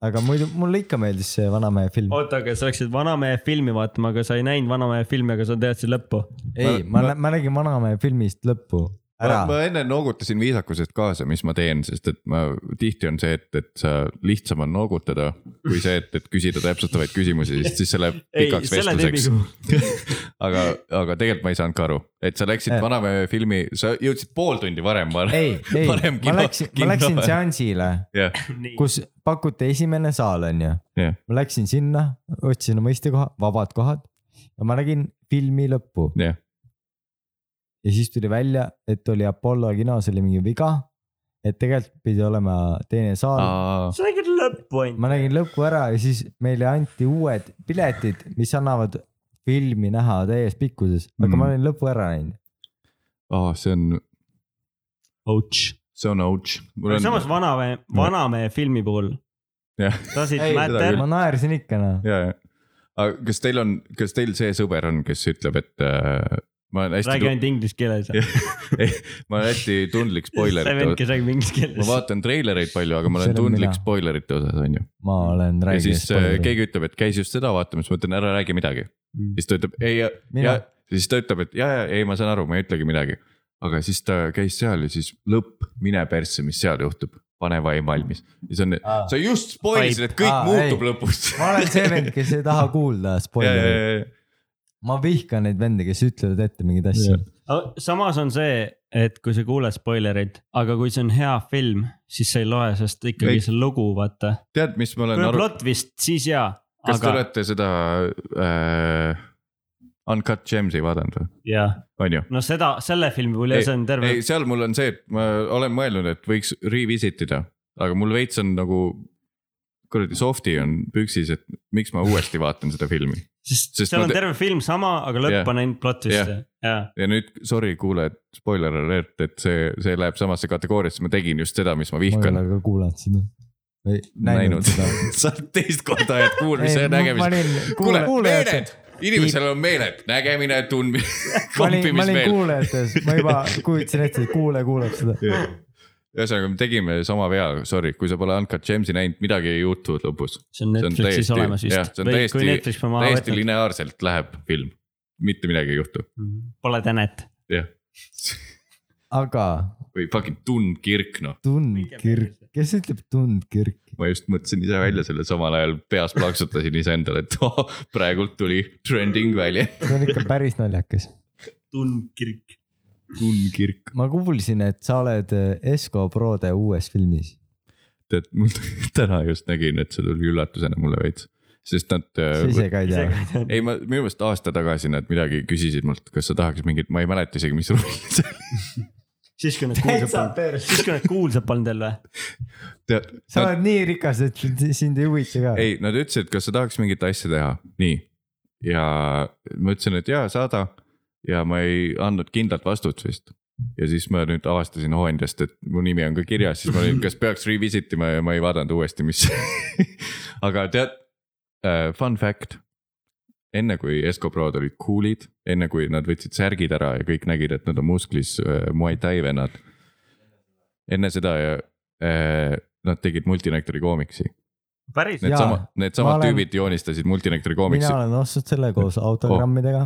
aga muidu mulle ikka meeldis see Vanamehe film .
oota , aga sa läksid vanamehe filmi vaatama , aga sa ei näinud vanamehe filmi , aga sa teadsid lõppu .
ei , ma, ma , ma nägin Vanamehe filmist lõppu ära
ma, ma enne noogutasin viisakusest kaasa , mis ma teen , sest et ma tihti on see , et , et sa lihtsam on noogutada kui see , et , et küsida täpsustavaid küsimusi , sest siis see läheb
ei ,
pikaks
selle teemi
vestluseks . aga , aga tegelikult ma ei saanud ka aru , et sa läksid
Eh.
Vanamäe filmi , sa jõudsid pool tundi varem .
ei , ei ,
varem
ma
kino-
läksin ,
kinno
ma läksin
või?
seansile ,
jah ,
kus pakuti esimene saal , onju .
jah ,
ma läksin sinna , otsisin oma istekoha , vabad kohad ja ma nägin filmi lõppu
jah ,
ja siis tuli välja , et oli Apollo kinos oli mingi viga . et tegelikult pidi olema teine saal Aa.
sa nägid lõppu ainult .
ma nägin lõpu ära ja siis meile anti uued piletid , mis annavad filmi näha täies pikkuses , aga mm.
Mm.
ma olin lõpu ära näinud .
see on ,
Ouch .
see on ouch . mul
aga
on ,
samas Vanamäe , Vanamäe filmi puhul
jah ,
lasid
Ei,
seda
Mätel
ma naersin ikka noh ,
ja , ja . aga kas teil on , kas teil see sõber on , kes ütleb , et äh, ma olen hästi
räägi , ainult inglise keeles .
Jah, ma olen hästi tundlik
see vend ,
spoilerite
kes räägib inglise
ma
keeles .
vaatan treilereid palju , aga ma olen
See olen mina.
tundlik spoilerite osas , onju .
ma olen
ja siis äh,
rääkinud .
keegi ütleb , et käis just seda vaatamas , ma ütlen , ära räägi midagi .
Mm.
siis ta ütleb ei ja ,
Mina.
ja siis ta ütleb , et ja , ja ei , ma saan aru , ma ei ütlegi midagi . aga siis ta käis seal ja siis lõpp , mine persse , mis seal juhtub , pane vaim valmis . ja see on ,
Aa.
sa just spoilisid , et kõik
Aa,
muutub
ei.
lõpus .
ma olen see vend , kes ei taha kuulda spoilereid ,
jah ,
ma vihkan neid vende , kes ütlevad ette mingeid asju .
samas on see , et kui sa kuuled spoilerit , aga kui see on hea film , siis sa ei loe , sest ikkagi
Ei.
see lugu , vaata .
tead , mis ma
kui
olen
on
aru ,
plot vist , siis jaa .
kas te
aga
olete seda äh, Uncut Gems'i vaadanud või ,
jaa ,
onju ?
no seda , selle filmi puhul jah , see on terve
ei , seal mul on see , et ma olen mõelnud , et võiks revisit ida , aga mul veits on nagu kuradi soft'i on püksis , et miks ma uuesti vaatan seda filmi
sest,
sest
sest seal
ma
on
te-
terve film sama , aga lõpp
Jah.
on ainult plot twist
Jah.
ja
ja nüüd sorry , kuulajad , spoiler alert , et see , see läheb samasse kategooriasse , ma tegin just seda , mis ma
ma ei
vihkan
ole . ka kuulanud seda või näinud
näinud
seda .
sa teist korda ajad kuulmise
Ei,
ja
ma
nägemist .
panin
kuule ,
kuulajate
meeled , inimesel on meeled , nägemine , tundmine ,
ma olin , ma olin
kompimismeel .
kuulajates , ma juba kujutasin ette , et kuulaja kuulab seda .
ühesõnaga , me tegime sama vea , sorry , kui sa pole Uncut Gems'i näinud , midagi ei juhtu lõpus .
see on
see on
Netflixis
täiesti-
olemas
jah,
vist
see on
või
täiesti-
kui Netflix on maha
täiesti
võtnud ,
lineaarselt läheb film , mitte midagi ei juhtu ,
pole Tänet .
jah .
aga
või fucking tund kirk , noh ,
tundkirk , kes ütleb tundkirk ?
ma just mõtlesin ise välja selle samal ajal peas plaksutasin iseendale , et oh, praegult tuli trending välja .
see on ikka päris naljakas .
tundkirik .
tund kirk ,
ma kuulsin , et sa oled eh, Esko Prode uues filmis .
tead , ma täna just nägin , et see tuli üllatusena mulle veits , sest nad .
sa ise ka ei tea ?
Äh, ei , ma minu meelest aasta tagasi nad midagi küsisid mult , kas sa tahaks mingit , ma ei mäleta isegi , mis roll see oli .
siis kui nad kuulsad
Täitsa
polnud , siis kui nad kuulsad polnud veel või ?
tead ,
sa oled nii rikas , et sind ei huvita ka .
ei , nad ütlesid , kas sa tahaks mingit asja teha , nii . ja ma ütlesin , et jaa , saada ja ma ei andnud kindlat vastut vist . ja siis ma nüüd avastasin Hoendest , et mu nimi on ka kirjas , siis ma olin , kas peaks revisit ima ja ma ei vaadanud uuesti , mis . aga tead uh, , fun fact . enne kui Escobrod olid cool'id , enne kui nad võtsid särgid ära ja kõik nägid , et nad on musklis uh, Muay Thai vennad . enne seda uh, nad tegid multinektori koomiksi .
päris
Need
Jaa,
sama , need samad
olen-
olen... tüübid joonistasid Multinektori koomiksi
mina . olen ostnud selle koos
Oh.
autogrammidega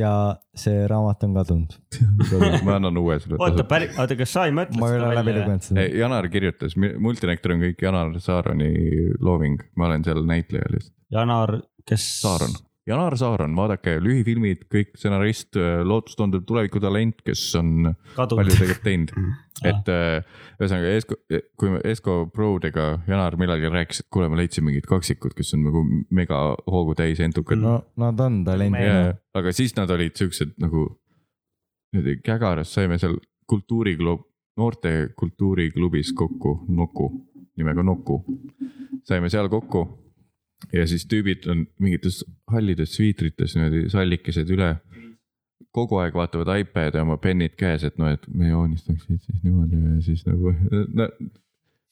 ja see raamat on kadunud .
ma annan uue sulle .
oota , päris , oota , kas sa ei mõtle
ma ei ole
seda
läbi
välja ?
lugenud seda .
Janar kirjutas , Multinektor on kõik Janar Saaroni looming , ma olen seal näitleja lihtsalt .
Janar , kes ?
Saaron , Janar Saaron , vaadake lühifilmid , kõik stsenarist , lootustundev tulevikutalent , kes on palju
kadunud .
tegelikult teinud .
Mm.
et äh, ühesõnaga Esko , kui me Esko Prodega Janar millalgi rääkis , et kuule , ma leidsin mingid kaksikud , kes on nagu mega hoogu täis entukad .
no nad on talendid .
ja , aga siis nad olid siuksed nagu , niimoodi Kägaras saime seal kultuuriklub , noorte kultuuriklubis kokku , Nuku , nimega Nuku . saime seal kokku ja siis tüübid on mingites hallides sviitrites niimoodi sallikesed üle . kogu aeg vaatavad iPad'i ja oma pennid käes , et noh , et me joonistaksid siis niimoodi ja siis nagu no, .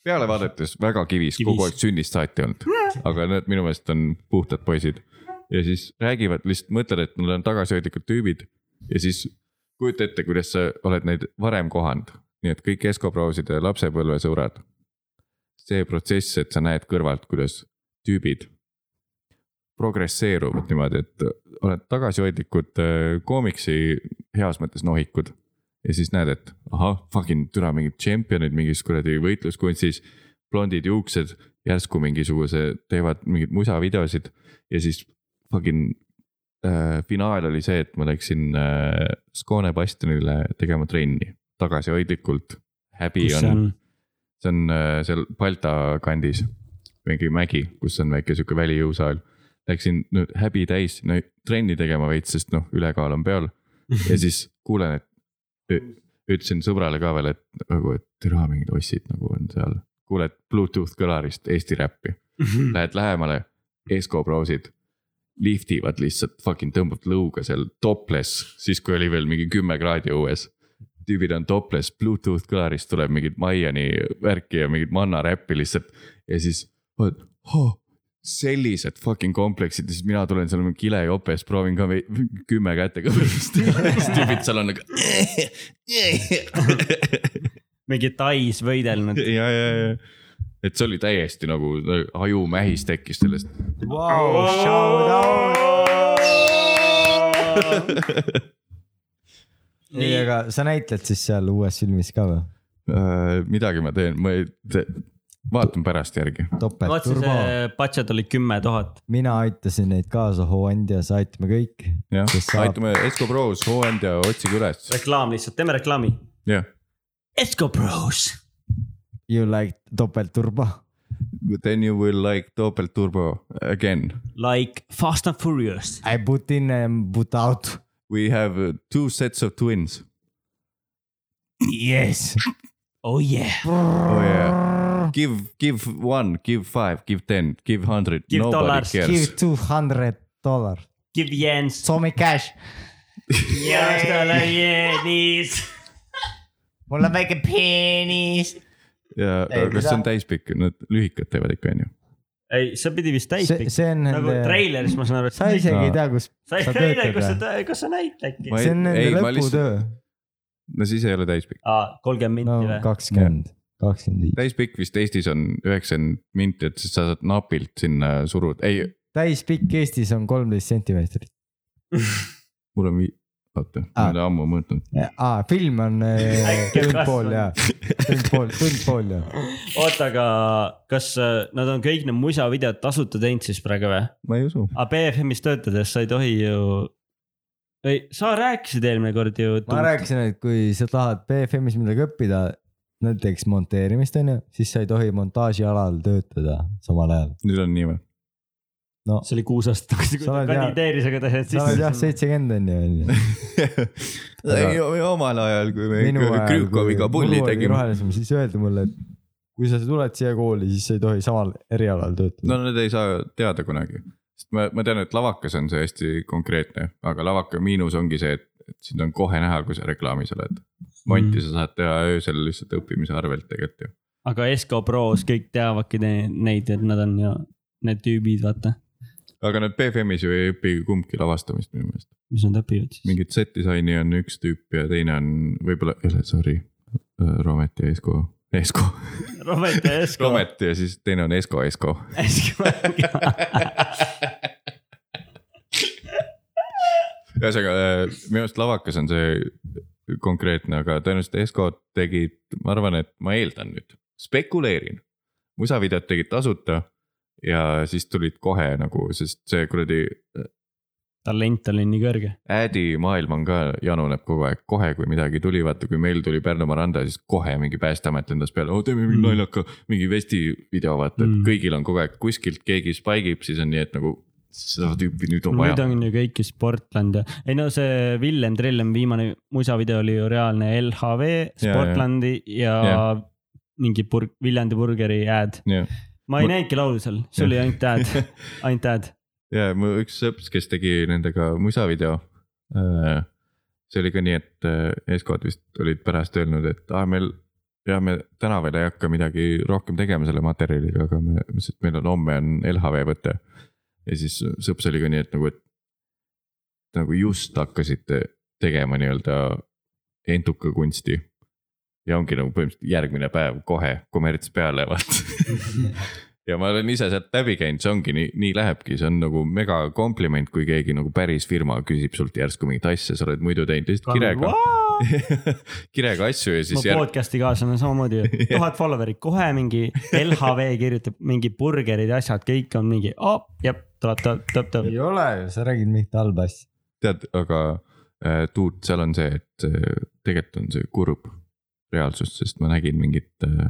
peale vaadates väga kivis, kivis. , kogu
Kivis.
aeg sünnist saati olnud , aga need minu meelest on puhtad poisid . ja siis räägivad , lihtsalt mõtled , et nad on tagasihoidlikud tüübid ja siis kujuta ette , kuidas sa oled neid varem kohanud , nii et kõik Escobrowside lapsepõlvesõbrad . see protsess , et sa näed kõrvalt , kuidas tüübid progresseeruvad äh, niimoodi , et oled tagasihoidlikud äh, koomiksi heas mõttes nohikud . ja siis näed , et ahah , fucking türa mingid tšempionid mingis kuradi võitluskunstis , blondid juuksed , järsku mingisuguse , teevad mingeid musavideosid ja siis fucking äh, finaal oli see , et ma läksin äh, Skoone bastionile tegema trenni tagasihoidlikult . häbi
kus see
on
on ?
see on äh, seal Balta kandis mingi mägi , kus on väike sihuke välijõusaal . Läksin nüüd häbi täis no, trenni tegema veits , sest noh , ülekaal on peal ja siis kuulen , et ü- ütlesin sõbrale ka veel , et nagu , et türa mingid ossid nagu on seal . kuuled Bluetooth kõlarist Eesti räppi , lähed lähemale , Esko brausid liftivad lihtsalt fucking tõmbavad lõuga seal topless , siis kui oli veel mingi kümme kraadi õues . tüübid on topless , Bluetooth kõlarist tuleb mingit Miami värki ja mingit manna räppi lihtsalt ja siis oled oh, . sellised fucking kompleksid ja siis mina tulen seal mingi kilejopes , proovin ka vei- kümme kätega pärast teha , siis tüübid seal on nagu .
mingi Tais võidelnud .
ja , ja , ja , et see oli täiesti nagu ajumähis tekkis sellest .
ei , aga sa näitled siis seal uues filmis ka või ?
Äh, midagi ma teen , ma ei , vaatan pärast järgi .
vaata
topeltturbo .
see budget oli eh, kümme tuhat .
mina aitasin neid kaasa , Hoandjas aitame kõik .
jah
Kes , saab-
aitame Esko Pros , hooand ja otsige üles .
reklaam lihtsalt , teeme reklaami .
jah ,
Esco Bros .
You like topeltturbo ?
then you will like topeltturbo again .
Like Fast and Furious .
I put in and put out .
We have uh, two sets of twins .
Yes .
Oh yeah .
oh yeah . Give , give one , give five , give ten , give hundred .
Give
Nobody
dollars.
cares
Give . two hundred dollar .
Give Jens .
Soome cash .
Jens talle Jenis .
mul on väike peenis .
ja
Ei,
kas see on täispikk , need lühikad teevad ikka , onju .
ei , see pidi vist täis
see ,
pikk .
see on
nagu
nende ,
treileris ma saan aru , et .
sa isegi ei
Aa.
tea , kus
sa ei
sa
tea ,
töötad
kas
või ?
sa , kas sa näid äkki ?
Ma ei-
see on nende
ei, ma
lõputöö .
no siis ei ole täispikk .
aa , kolmkümmend
no
minti või ?
kakskümmend , kakskümmend viis .
täispikk vist Eestis on üheksakümmend minti , et siis sa saad napilt sinna suruda , ei ,
täispikk Eestis on kolmteist sentimeetrit .
mul on vii- , oota , ma
Aa.
ei ole ammu mõõtnud .
aa , film on eh,
Äkki on
tund pool
kasvanud.
ja , tund pool , tund pool ja .
oota , aga kas äh, nad on kõik need musavideod tasuta teinud siis praegu või ?
ma ei usu .
aga BFM-is töötades sa ei tohi ju . ei , sa rääkisid eelmine kord ju .
ma rääkisin , et kui sa tahad BFM-is midagi õppida , näiteks monteerimist onju , siis sa ei tohi montaažialal töötada samal ajal .
nüüd on nii või ?
see oli kuus aastat tagasi , kui
Sa
ta
oled jah-
kandideeris , aga ta ei
sa oled jah
saanud sisse .
seitsekümmend onju .
ei , omal ajal , kui me ikka Krükoviga nagu pulli tegime .
rohelisem , siis öeldi mulle , et kui sa tuled siia kooli , siis sa ei tohi samal erialal töötada
no nad ei saa teada kunagi , sest ma , ma tean , et lavakas on see hästi konkreetne , aga lavaka miinus ongi see , et , et sind on kohe näha , kui sa reklaamis oled . monti sa saad teha öösel lihtsalt õppimise arvelt tegelikult ju .
aga Esko Pros kõik teavadki ne- neid , et nad on ju need tüübid , vaata ,
aga nad BFM-is ju ei õpi kumbki lavastamist minu meelest .
mis nad õpivad siis .
mingit set disaini on üks tüüp ja teine on võib-olla , sorry , Romet ja Esko , Esko ,
Robert ja Esko .
Romet ja siis teine on Esko , Esko . ühesõnaga äh, minu arust lavakas on see konkreetne , aga tõenäoliselt Esko tegid , ma arvan , et ma eeldan nüüd , spekuleerin . musavideod tegid tasuta ja siis tulid kohe nagu , sest see kuradi
talent oli nii kõrge .
ädi maailm on ka , januneb kogu aeg , kohe kui midagi tuli , vaata kui meil tuli Pärnu Maranda , siis kohe mingi päästeamet lendas peale , oo teeme mingi
Mm.
naljaka , mingi vesti video , vaata , et
Mm.
kõigil on kogu aeg kuskilt keegi spike ib , siis on nii , et nagu seda tüüpi nüüd on
no nüüd
vaja .
on ju kõik ju Sportland ja , ei no see Villem Trillem viimane musavideo oli ju reaalne LHV ,
ja.
Sportlandi ja, ja, ja.
Jah.
mingi burg, Viljandi burgeri ad .
jah ,
ma ei
Ma-
näinudki laulu seal , see oli ainult ad , ainult ad .
ja mu üks sõps , kes tegi nendega musavideo . see oli ka nii , et äh, Eskod vist olid pärast öelnud , et aa , meil , ja me täna veel ei hakka midagi rohkem tegema selle materjaliga , aga me , sest meil on homme on LHV võte . ja siis sõps oli ka nii , et nagu , et nagu just hakkasite tegema nii-öelda entukakunsti . ja ongi nagu põhimõtteliselt järgmine päev kohe kommerts peale , vaata . ja ma olen ise sealt läbi käinud , see ongi nii , nii lähebki , see on nagu mega kompliment , kui keegi nagu päris firma küsib sult järsku mingit asja , sa oled muidu teinud lihtsalt kirega . kirega asju ja
mu
siis järg- ,
podcast'i kaaslane on samamoodi , tuhat follower'it , kohe mingi LHV kirjutab mingi burgerid ja asjad , kõik on mingi , jep , tuleb , tuleb , tuleb , tuleb .
ei ole ju , sa räägid mingit halba asja .
tead , aga äh, Tuut , seal on see , et äh, tegelikult on see kurb reaalsus , sest ma nägin mingit äh,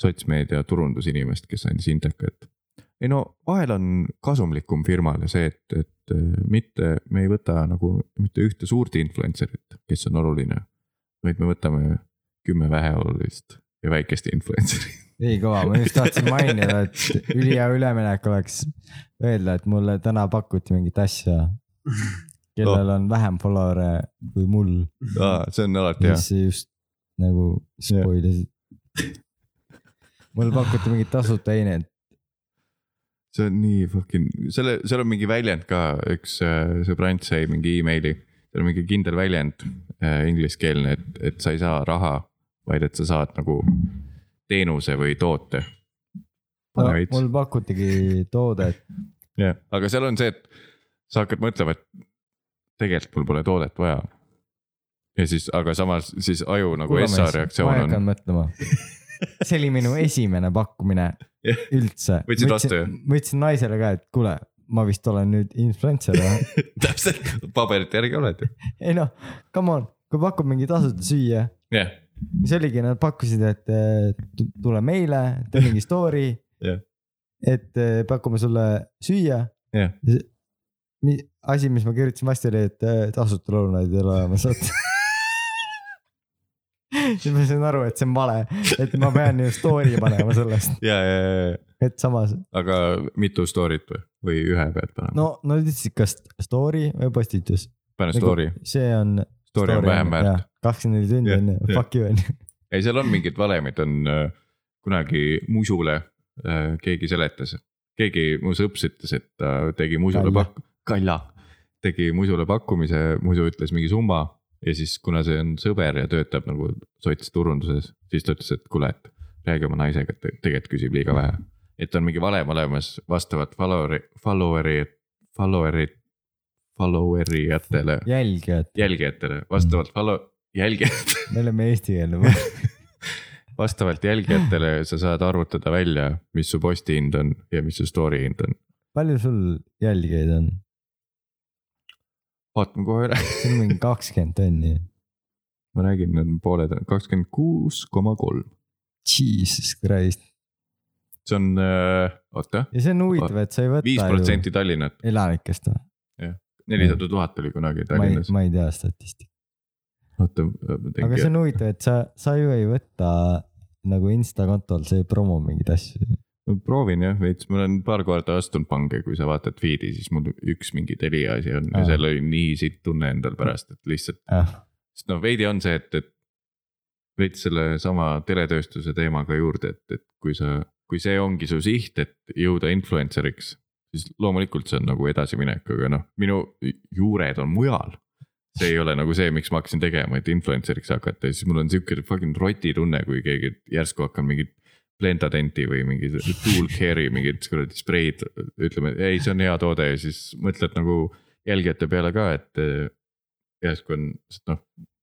sotsmeedia turundusinimest , kes andis indeka , et ei no vahel on kasumlikum firmale see , et , et äh, mitte , me ei võta nagu mitte ühte suurt influencer'it , kes on oluline , vaid me võtame kümme väheolulist ja väikest influencer'it .
ei kõva , ma just tahtsin mainida , et ülihea üleminek oleks öelda , et mulle täna pakuti mingit asja , kellel on vähem follower'e kui mul ,
see on alati hea
mis . sa just nagu spoilisid . mulle pakuti mingit tasuta einet ,
see on nii fucking , selle , seal on mingi väljend ka , üks äh, sõbrant sai mingi emaili , seal on mingi kindel väljend äh, ingliskeelne , et , et sa ei saa raha , vaid et sa saad nagu teenuse või toote . aga
mul pakutigi toodet ,
seal on see , et sa hakkad mõtlema , et tegelikult mul pole toodet vaja . ja siis , aga samas siis aju nagu SA
ma
reaktsioon
hakkan
on ,
mõtlema . see oli minu esimene pakkumine
Jah.
üldse .
Võtsid vastu, jah?
ma ütlesin naisele ka , et kuule , ma vist olen nüüd influencer või ?
täpselt paberite järgi oled ju .
ei noh , come on , kui pakub mingi tasuta süüa ,
jah ,
mis oligi , nad pakkusid , et eh, tu- tule meile , tee mingi story
Jah. .
et eh, pakume sulle süüa
Jah. .
asi , mis ma kirjutasin vastu oli , et eh, tasuta lõunaid ei ole olemas , vot . siis ma sain aru , et see on vale , et ma pean ju story panema sellest ,
ja , ja , ja , ja ,
et samas ,
aga mitu story't või , või ühe pead panema no, ?
no nagu nad ütlesid , kas story või postitus .
pane story ,
see on .
story on vähem väärt .
kakskümmend neli tundi
Jah,
on ju ,
jah.
fuck you on ju .
ei , seal on mingid valemid , on äh, kunagi musule äh, keegi seletas , keegi mu sõps ütles , et ta tegi musule
Kalja.
pak- , Kalja . tegi musule pakkumise , musu ütles mingi summa ja siis , kuna see on sõber ja töötab nagu sots turunduses , siis ta ütles , et kuule , et räägi oma naisega , et te- tegelikult küsib liiga vähe . et on mingi valem olemas vastavalt follower'i , follower'i , follower'i , follower'i jatele ,
jälgijad ,
jälgijatele , vastavalt follow , jälgijatele .
me oleme eestikeelne või ?
vastavalt jälgijatele sa saad arvutada välja , mis su posti hind on ja mis su story hind on .
palju sul jälgijaid on ?
vaatame kohe üle .
sul on mingi kakskümmend on ju .
ma räägin , need on pooled , kakskümmend kuus koma kolm .
Jesus Christ
see on äh, , oota ,
ja see on huvitav , et sa ei
viis
võta ju
protsenti Tallinnat ,
elanikest või ?
nelisada tuhat oli kunagi
ma ei
Tallinnas ,.
ma ei tea statistikat ,
oota , ma
aga see
teen ,
on huvitav , et sa , sa ju ei võta nagu Insta kontol , sa ei promo mingeid asju .
proovin jah veits , ma olen paar korda astunud pange , kui sa vaatad feed'i , siis mul üks mingi Telia asi on ja
Aa.
seal oli nii sitt tunne endal pärast , et lihtsalt , sest noh , veidi on see , et , et veits sellesama teletööstuse teemaga juurde , et , et kui sa , kui see ongi su siht , et jõuda influencer'iks , siis loomulikult see on nagu edasiminek , aga noh , minu juured on mujal . see ei ole nagu see , miks ma hakkasin tegema , et influencer'iks hakata ja siis mul on sihuke fucking roti tunne , kui keegi järsku hakkab mingit . Blendadenti või mingi tool care'i mingid kuradi spreid , ütleme , ei , see on hea toode ja siis mõtled nagu jälgijate peale ka , et eh, järsku on , sest noh ,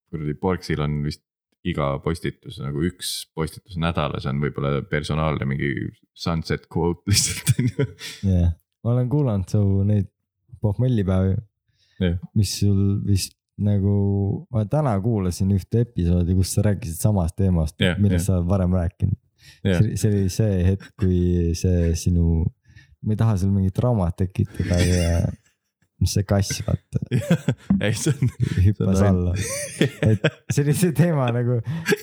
kuradi Borgsil on vist iga postitus nagu üks postitus nädalas on võib-olla personaalne mingi sunset quote lihtsalt on ju .
jah , ma olen kuulanud su neid pohmellipäevi
Jah. ,
mis sul vist nagu , ma täna kuulasin ühte episoodi , kus sa rääkisid samast teemast
Jah, ,
millest sa oled varem rääkinud .
Jah.
see see oli see hetk , kui see sinu , ma ei taha sul mingit traumat tekitada , aga mis see kass vaata
ei , see on ,
hüppas
See on
alla . et see oli see teema nagu ,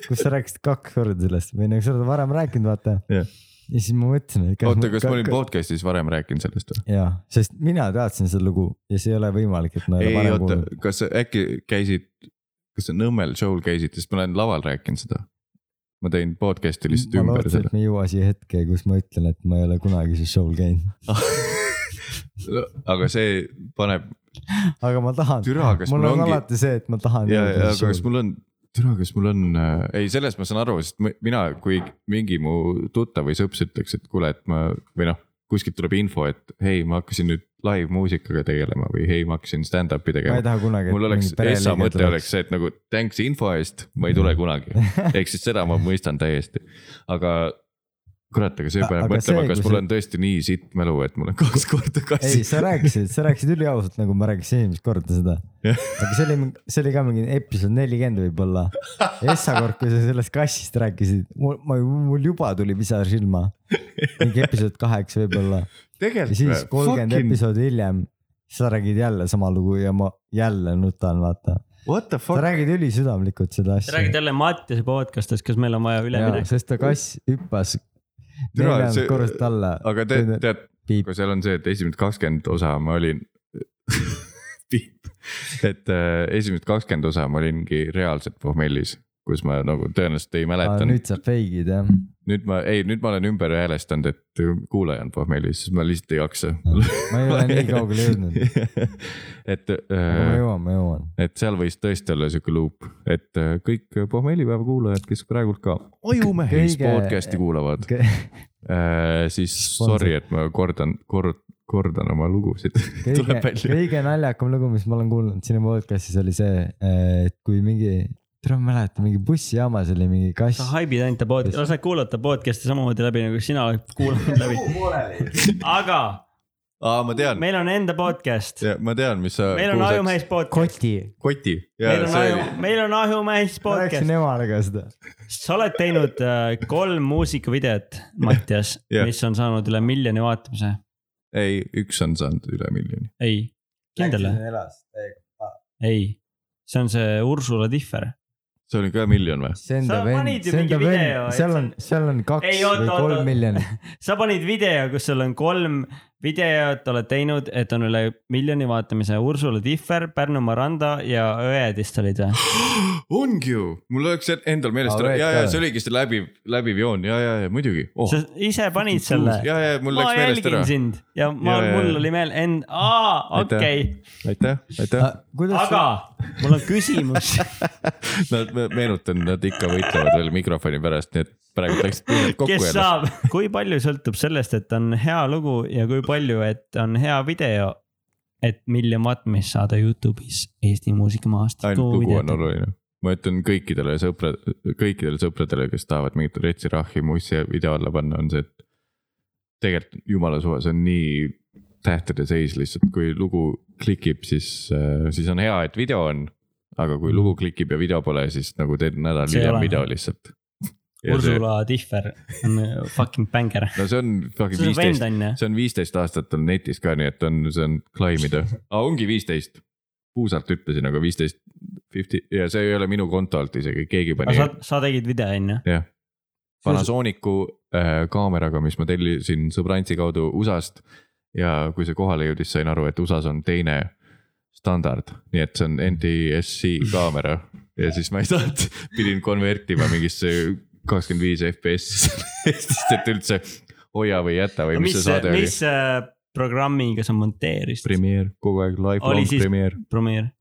kus sa rääkisid kaks korda sellest või nagu sa oled varem rääkinud , vaata
Jah.
ja siis ma mõtlesin , et .
oota , kas ma olin podcast'is varem rääkinud sellest või ?
jah , sest mina teadsin seda lugu ja see ei ole võimalik , et ma
ei
ei ole varem
oota
kuulnud .,
kas sa äkki käisid , kas sa Nõmmel show'l käisid , sest ma olen laval rääkinud seda . ma tegin podcast'i lihtsalt
ma
ümber
lootsin ,
selle
et . me ei jõua siia hetke , kus ma ütlen , et ma ei ole kunagi siis show'l käinud ,
aga see paneb ,
aga ma tahan .
türa , kas
mul
mul
on
ongi
alati see , et ma tahan .
ja , ja aga kas mul on , türa , kas mul on ,
äh,
ei , sellest ma saan aru , sest mi- mina , kui mingi mu tuttav või sõps ütleks , et kuule , et ma või noh , kuskilt tuleb info , et hei , ma hakkasin nüüd live-muusikaga tegelema või hei , ma hakkasin stand-up'i
ma ei
tegema .
taha kunagi .
mul oleks , Essa mõte oleks see , et nagu thanks info eest , ma ei tule kunagi . ehk siis seda ma mõistan täiesti , aga kurat , aga see
A-
paneb
aga
mõtlema
see, ,
kas
kui
mul
see-
on tõesti nii sitt mälu , et mul on kaks korda
ei ,
kassi .
sa rääkisid , sa rääkisid üliausalt , nagu ma rääkisin eelmist korda seda .
Jah.
aga see oli , see oli ka mingi episood nelikümmend võib-olla . Essa kord , kui sa sellest kassist rääkisid , mul , ma , mul juba tuli pisar silma . mingi episood kaheksa võib-olla ja siis
tegelikult
kolmkümmend
fucking
episoodi hiljem sa räägid jälle sama lugu ja ma jälle nutan , vaata .
what the
sa
fuck ,
räägid ülisüdamlikult seda
sa räägid
asja .
jälle Mattiase podcast'is , kas meil on vaja üleminek .
sest ta kass hüppas
Türa,
neljandast
see-
korrust alla .
aga tead , tead ,
Piip.
kui seal on see , et esimesed kakskümmend osa ma olin , piip , et äh, esimesed kakskümmend osa ma olingi reaalselt pohmellis , kus ma nagu tõenäoliselt ei
Aa,
mäletanud .
nüüd sa feigid jah ?
nüüd ma , ei , nüüd ma olen ümber häälestanud , et kuulaja on pohmellis , siis ma lihtsalt ei jaksa .
ma ei ole nii kaugele jõudnud ,
et ,
aga ma jõuan , ma jõuan .
et seal võis tõesti olla sihuke luup , et äh, kõik pohmellipäeva kuulajad , kes praegult ka Ojumehes
Kõige-
podcast'i kuulavad , Äh, siis sorry , et ma kordan , kord- , kordan oma lugusid .
kõige
tuleb , välja .
kõige naljakam lugu , mis ma olen kuulnud sinu podcast'is oli see , et kui mingi , tead ma ei mäleta , mingi bussijaamas oli mingi kass
sa . haibid ainult ta podcast'i , sa saad kuulata podcast'i samamoodi läbi nagu sina oled kuulanud läbi . aga
aa , ma tean ,
meil on enda podcast ,
ma tean , mis sa .
meil on Ajumehes podcast ,
koti .
koti .
meil on Aju , meil on Ajumehes
ma rääkisin
podcast .
emale ka seda .
sa oled teinud äh, kolm muusikavideot , Mattias
Jah.
mis on saanud üle miljoni vaatamise .
ei , üks on saanud üle miljoni .
ei , kindel või ? ei , see on see Ursula Tihver .
see oli ka miljon või ?
see on ta
Sa
vend
panid , ju
see on
mingi
ta
video,
vend ,
et
seal
see
on
on- ,
seal on kaks
Ei, oota,
või
oota,
kolm
oota.
miljonit .
sa panid video , kus sul on kolm videot oled teinud , et on üle miljoni vaatamise Ursula Tihver , Pärnu Maranda ja Õed vist olid või ?
ongi ju , mul oleks see endal meelest
Aa, , Red
ja , ja
ka.
see oligi see läbiv , läbiv joon ja , ja , ja muidugi oh. .
sa ise panid selle ?
ja , ja mul
ma
läks meelest
jälgin
ära .
sind ja ma
Ja, , ja, ja.
mul oli meel , en- , aa ,
Aitäh.
okei ,
aitäh , aitäh .
aga mul on küsimus .
Nad , meenutan , nad ikka võitlevad veel mikrofoni pärast , nii et praegu läksid tunned kokku
kes
jälle .
saab , kui palju sõltub sellest , et on hea lugu ja kui palju , et on hea video , et miljon vaatamist saada Youtube'is Eesti muusikamaastikku
ainult lugu on
videot .
oluline . ma ütlen kõikidele sõpra , kõikidele sõpradele , kes tahavad mingit retsi rahhi mussi video alla panna , on see , et tegelikult jumala suva , see on nii tähtede seis lihtsalt , kui lugu klikib , siis , siis on hea , et video on . aga kui lugu klikib ja video pole , siis nagu teed nädal
Mhm. See ei
hiljem
ole.
video lihtsalt . no
Ursula Tihver on äh, fucking bängar .
see on fucking
see on vend
viisteist ,
on ju ,
see on viisteist aastat on netis ka , nii et on , see on klaimida ah, , ongi viisteist . puusalt ütlesin , aga viisteist , fifty ja see ei ole minu konto alt isegi , keegi pani
sa , sa tegid video on ju ,
Panasonicu äh, kaameraga , mis ma tellisin sõbrantsi kaudu USA-st . ja kui see kohale jõudis , sain aru , et USA-s on teine standard , nii et see on NTSC kaamera ja siis ma ei saanud , pidin konvertima mingisse kakskümmend viis FPS-i Eestist , et üldse hoia või jäta või mis
mis
see , saade oli .
mis äh, programmiga sa monteerisid ,
Premiere , kogu aeg
Oli
lifelong
siis-
Premiere .
Premiere ,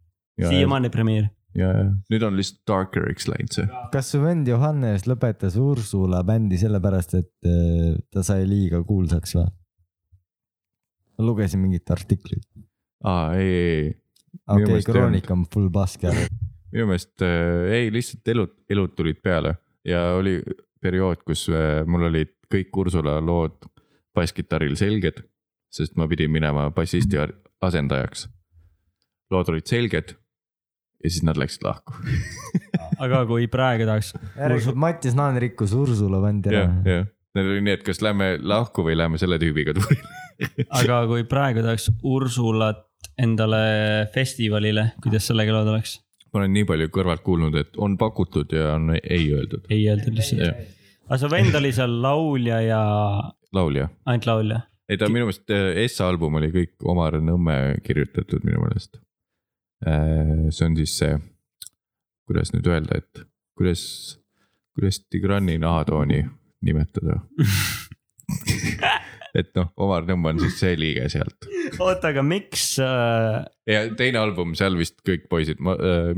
ja ,
siiamaani Premiere .
ja , ja nüüd on lihtsalt darker'iks läinud see .
kas su vend Johannes lõpetas Ursula bändi sellepärast , et äh, ta sai liiga kuulsaks või ? ma lugesin mingit artiklit .
aa , ei , ei , ei ,
okei okay, ,
meelest ei
Kroonika on full basket .
minu meelest äh, ei , lihtsalt elud , elud tulid peale ja oli periood , kus äh, mul olid kõik Ursula lood basskitarril selged , sest ma pidin minema bassisti ar- asendajaks . lood olid selged ja siis nad läksid lahku .
aga kui praegu tahaks ,
järelikult Mattias Naan rikkus Ursula bändi
jah ,
ära .
jah , neil oli nii , et kas lähme lahku või lähme selle tüübiga tuurile .
aga kui praegu tahaks Ursulat endale festivalile , kuidas sellega lood oleks ?
ma olen nii palju kõrvalt kuulnud , et on pakutud ja on ei öeldud ,
ei öeldud lihtsalt
Jah. .
aga su vend oli seal laulja ja
laulja
ainult laulja ,
ei ta minu meelest , Essa album oli kõik Omar Nõmme kirjutatud minu meelest . see on siis see , kuidas nüüd öelda , et kuidas , kuidas Tigrani nahatooni nimetada ? et noh , Omar Nõmme on siis see liige sealt
oota , aga miks äh,
ja teine album , seal vist kõik poisid ,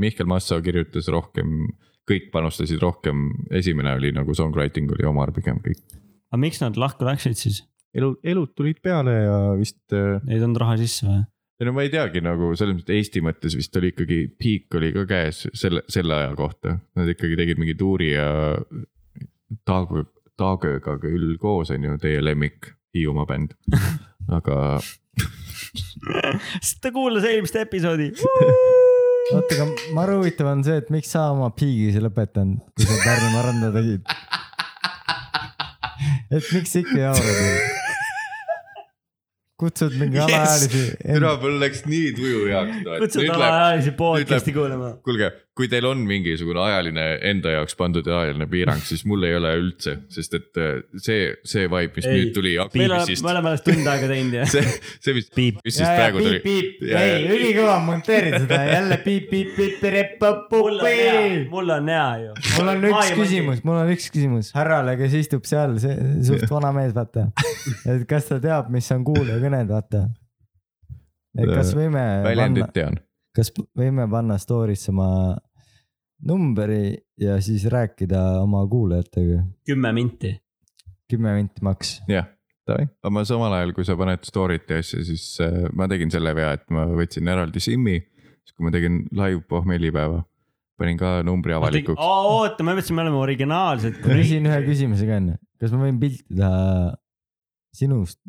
Mihkel Massa kirjutas rohkem , kõik panustasid rohkem , esimene oli nagu songwriting oli Omar pigem kõik .
aga miks nad lahku läksid siis ?
elu , elud tulid peale ja vist , äh, ei
ei tulnud raha sisse või ?
no ma ei teagi nagu selles mõttes Eesti mõttes vist oli ikkagi peak oli ka käes selle , selle aja kohta. Nad ikkagi tegid mingi tuuri ja Taagö , Taagöga küll koos on ju teie lemmik Hiiumaa bänd . aga
sest ta kuulas eelmist episoodi .
oota , aga maru huvitav on see , et miks sa oma piigis ei lõpetanud , kui sa Pärnu Maranda tegid . et miks ikka ei haaranud ? kutsud mingi
Yes.
alaealisi
türa
yes. ,
mul läks nii tuju heaks no, .
kutsud alaealisi podcast'i
nüüd
kuulama .
kuulge , kui teil on mingisugune ajaline enda jaoks pandud ajaline piirang , siis mul ei ole üldse , sest et äh, see , see vibe , mis
Ei,
ei, nüüd tuli
me oleme ,
Aktiivisist
me , oleme alles tund aega teinud ja .
see , see , mis ,
Piip.
mis siis praegu
piip ,
tuli .
piip ,
Ja,
ei
ja. ,
ülikõva , monteeri seda jälle piip , piip ,
mul
piip ,
on hea
pirep-põpp-põpp-põpp .,
mul on hea ju .
mul on üks küsimus , mul on üks küsimus härrale , kes istub seal , see suht vana mees , vaata . et kas ta teab , mis on kuulajakõned , vaata . et kas võime panna
Äh, väljendit , tean .
kas p- võime panna story'sse oma numberi ja siis rääkida oma kuulajatega ?
kümme minti .
kümme minti maks .
jah , aga ma samal ajal , kui sa paned story't ja asja , siis äh, ma tegin selle vea , et ma võtsin eraldi SIM-i , siis kui ma tegin live pohmellipäeva , panin ka numbri avalikuks .
oota , ma mõtlesin , me oleme originaalsed .
ma küsin ühe küsimuse ka enne , kas ma võin pilti teha sinust ,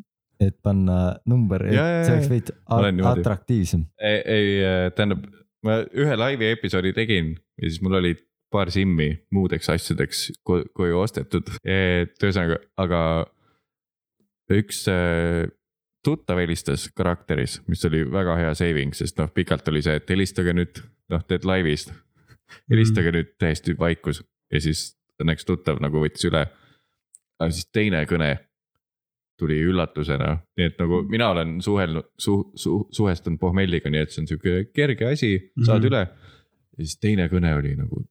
et panna number , et
Jaa, jaa,
see oleks
jaa.
veits
Ma olen
a-
niimoodi.
atraktiivsem .
ei, ei , tähendab , ma ühe laivi episoodi tegin ja siis mul oli paar SIM-i muudeks asjadeks ko- koju ostetud , et ühesõnaga , aga üks äh, tuttav helistas karakteris , mis oli väga hea saving , sest noh , pikalt oli see , et helistage nüüd , noh , teed laivis . helistage nüüd täiesti vaikus ja siis õnneks tuttav nagu võttis üle . aga siis teine kõne tuli üllatusena , nii et nagu mina olen suhelnud , su- , su- , suhestunud pohmelliga , nii et see on sihuke kerge asi , saad
Mhm.
mm -hmm. üle . ja siis teine kõne oli nagu ,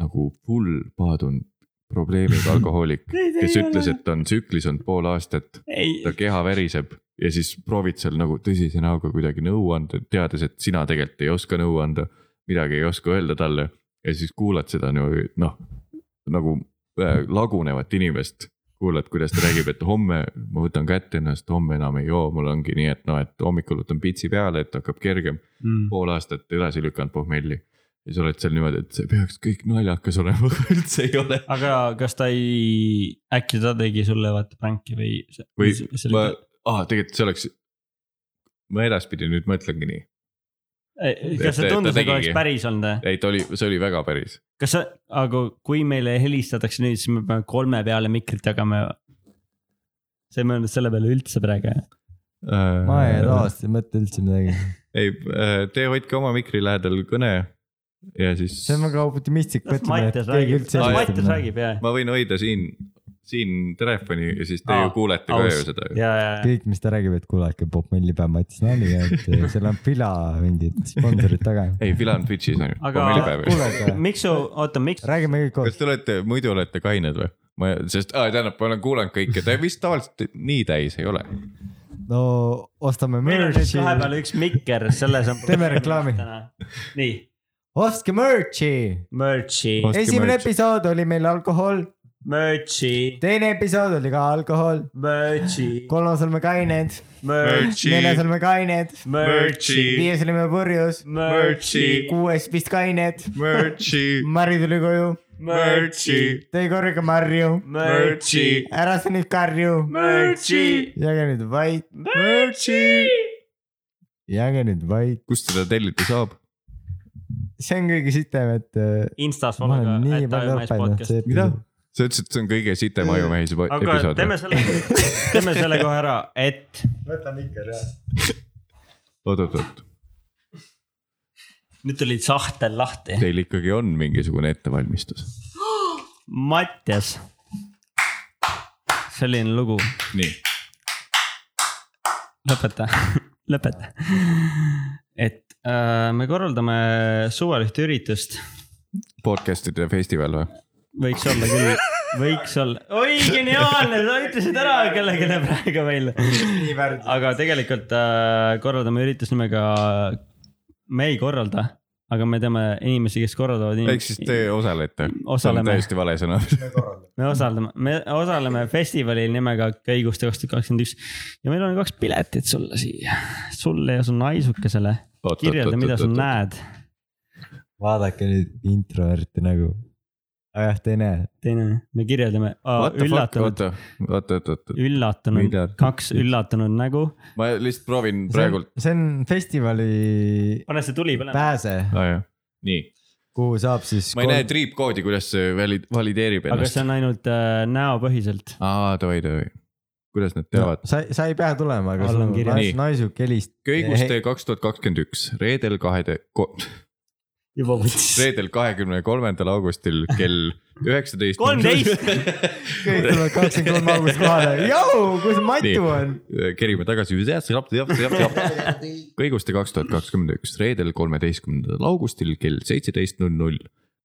nagu full paadunud probleemiga alkohoolik , kes ütles , et ta on tsüklis olnud pool aastat , ta keha väriseb ja siis proovid seal nagu tõsise näoga kuidagi nõu anda , teades , et sina tegelikult ei oska nõu anda , midagi ei oska öelda talle ja siis kuulad seda niimoodi, noh , nagu äh, lagunevat inimest kuulad , kuidas ta räägib , et homme ma võtan kätte ennast , homme enam ei joo , mul ongi nii , et noh , et hommikul võtan pitsi peale , et hakkab kergem .
Mm.
pool aastat edasi lükanud pohmelli ja sa oled seal niimoodi , et see peaks kõik naljakas olema , aga üldse ei ole .
aga kas ta ei , äkki ta tegi sulle vaata pränki või ?
Või ma , aa , tegelikult see oleks , ma edaspidi nüüd mõtlengi nii ,
kas see
ta- ta
tundus nagu
tegigi.
oleks päris olnud või ?
ei ta oli , see oli väga päris .
kas sa , aga kui meile helistatakse nüüd , siis me peame kolme peale mikrit jagama . sa ei mõelnud selle peale üldse praegu ?
ma ei tavaliselt ei mõtle üldse midagi ,
ei , te hoidke oma mikri lähedal kõne ja siis
see on väga optimistlik
las
mõtlemine , et
Mattias
keegi
räägib ,
üldse nagu
las
Aa,
Mattias . räägib ja ,
ma võin hoida siin , siin telefoni ja siis te
Aa,
ju kuulete ka
aus.
ju seda .
ja , ja ,
kõik , mis ta räägib , et kuule , äkki Bob Milli peab Mattis nali , et eh, seal on Fila mingid sponsorid taga .
ei , Fila on Twitch'is on ju ,
Aga-
pommelipäev .
kuulake ,
miks su , oota , miks ,
räägime kõik koos
kas . te olete , muidu olete kained või ? ma , sest , tähendab , ma olen kuulanud kõike , te vist tavaliselt nii täis ei ole .
no ostame
meil on nüüd
merch'i ,
kahepeal üks mikker , selles on .
Teeme reklaami. .
nii ,
ostke merch'i .
merch'i ,
Ostke
esimene
merch'i.
episood oli meil alkohol ,
merch'i ,
teine episood oli ka alkohol ,
merch'i ,
kolmas olime kained ,
merch'i ,
neljas olime kained ,
merch'i ,
viies olime purjus ,
merch'i ,
kuues vist kained ,
Merch'i ,
Mari tuli koju ,
merch'i ,
tõi korraga marju ,
merch'i ,
ära sa nüüd karju ,
merch'i ,
jääge nüüd vait ,
merch'i .
jääge nüüd vait ,
kust seda tellida saab ?
see on kõige sitem , et äh,
Instas
ma olen nii palju õppinud
follow .
see episood .
sa ütlesid , et see on kõige sitem ajumehis
aga
episood
teeme
või ?
selle , teeme selle kohe ära , et
võtame ikka ära .
oot-oot-oot ,
nüüd tuli sahtel lahti .
teil ikkagi on mingisugune ettevalmistus .
Mattias , selline lugu ,
nii ,
lõpeta , lõpeta . et äh, me korraldame suvel ühte üritust ,
podcast'ide festival või ?
võiks olla küll , võiks olla , oi geniaalne , sa ütlesid ära kellelegi praegu meil . aga tegelikult äh, korraldame üritust nimega , me ei korralda , aga me teame inimesi , kes korraldavad .
ehk siis te osalete .
Mm. Osaleme.
täiesti vale sõna .
me osaleme , me osaleme festivalil nimega Köiguste kaks tuhat kakskümmend üks ja meil on kaks piletit sulle siia , sulle ja su naisukesele . kirjelda , mida sa . näed .
vaadake nüüd introverti nägu . aga jah , te ei näe .
teine , me kirjeldame
oota , oota ,
üllatunud ,
oota , oota , oota ,
üllatunud
Mida- ,
kaks üllatunud nägu .
ma lihtsalt proovin praegult .
see on festivali
pane see tuli põlema .
pääse ,
Ah, nii ,
kuhu saab siis .
ma ei näe . triipkoodi , kuidas see vali- , valideerib
aga see
ennast .
on ainult äh, näopõhiselt .
aa , davai , davai . kuidas nad teavad ?
sa , sa ei pea tulema , aga
All
sul
on
on
kirjas.
nais-
Nii.
naisuk helist .
köiguste kaks tuhat kakskümmend üks , reedel kahe ,
juba võttis .
reedel kahekümne kolmandal augustil kell üheksateist .
kolmteist .
Ah,
kõik tulevad kakskümmend kolm august kohale , jõu , kus
Nii.
Matu on ?
kerime tagasi . kõiguste kaks tuhat kakskümmend üks , reedel kolmeteistkümnendal augustil kell seitseteist null null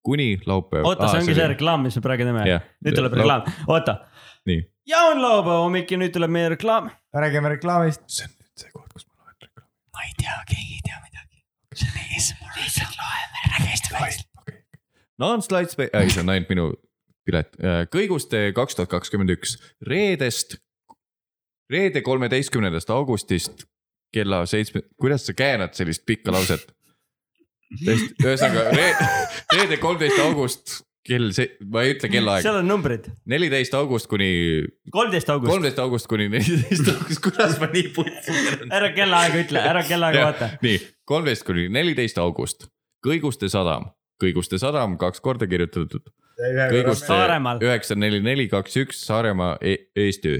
kuni laupäev .
oota , see ongi see reklaam , mis me praegu teeme . nüüd tuleb . reklaam , oota .
Nii.
ja on laupäeva hommik ja nüüd tuleb meie reklaam .
räägime reklaamist .
see on nüüd see koht , kus ma loen reklaami .
ma ei tea , keegi ei tea midagi . see on eesmärk , lihtsalt loeme , räägi hästi vaikselt .
Non-slides , Äh, ei see on ainult minu pilet . kõiguste kaks tuhat kakskümmend üks , reedest , reede kolmeteistkümnendast augustist kella seitsme , kuidas sa käänad sellist pikka lauset ? ühesõnaga reede , reede kolmteist august kell see , ma ei ütle kellaaega ,
seal on numbrid ,
neliteist august kuni ,
kolmteist august ,
kolmteist august kuni neliteist august , kuidas ma nii putsi keeran ?
ära kellaaega ütle , ära kellaaega
Jah.
vaata .
nii , kolmteist kuni neliteist august , Kõiguste sadam , Kõiguste sadam kaks korda kirjutatud . kõiguste
Saaremaal.
üheksa , neli , neli , kaks , üks , Saaremaa , Eesti .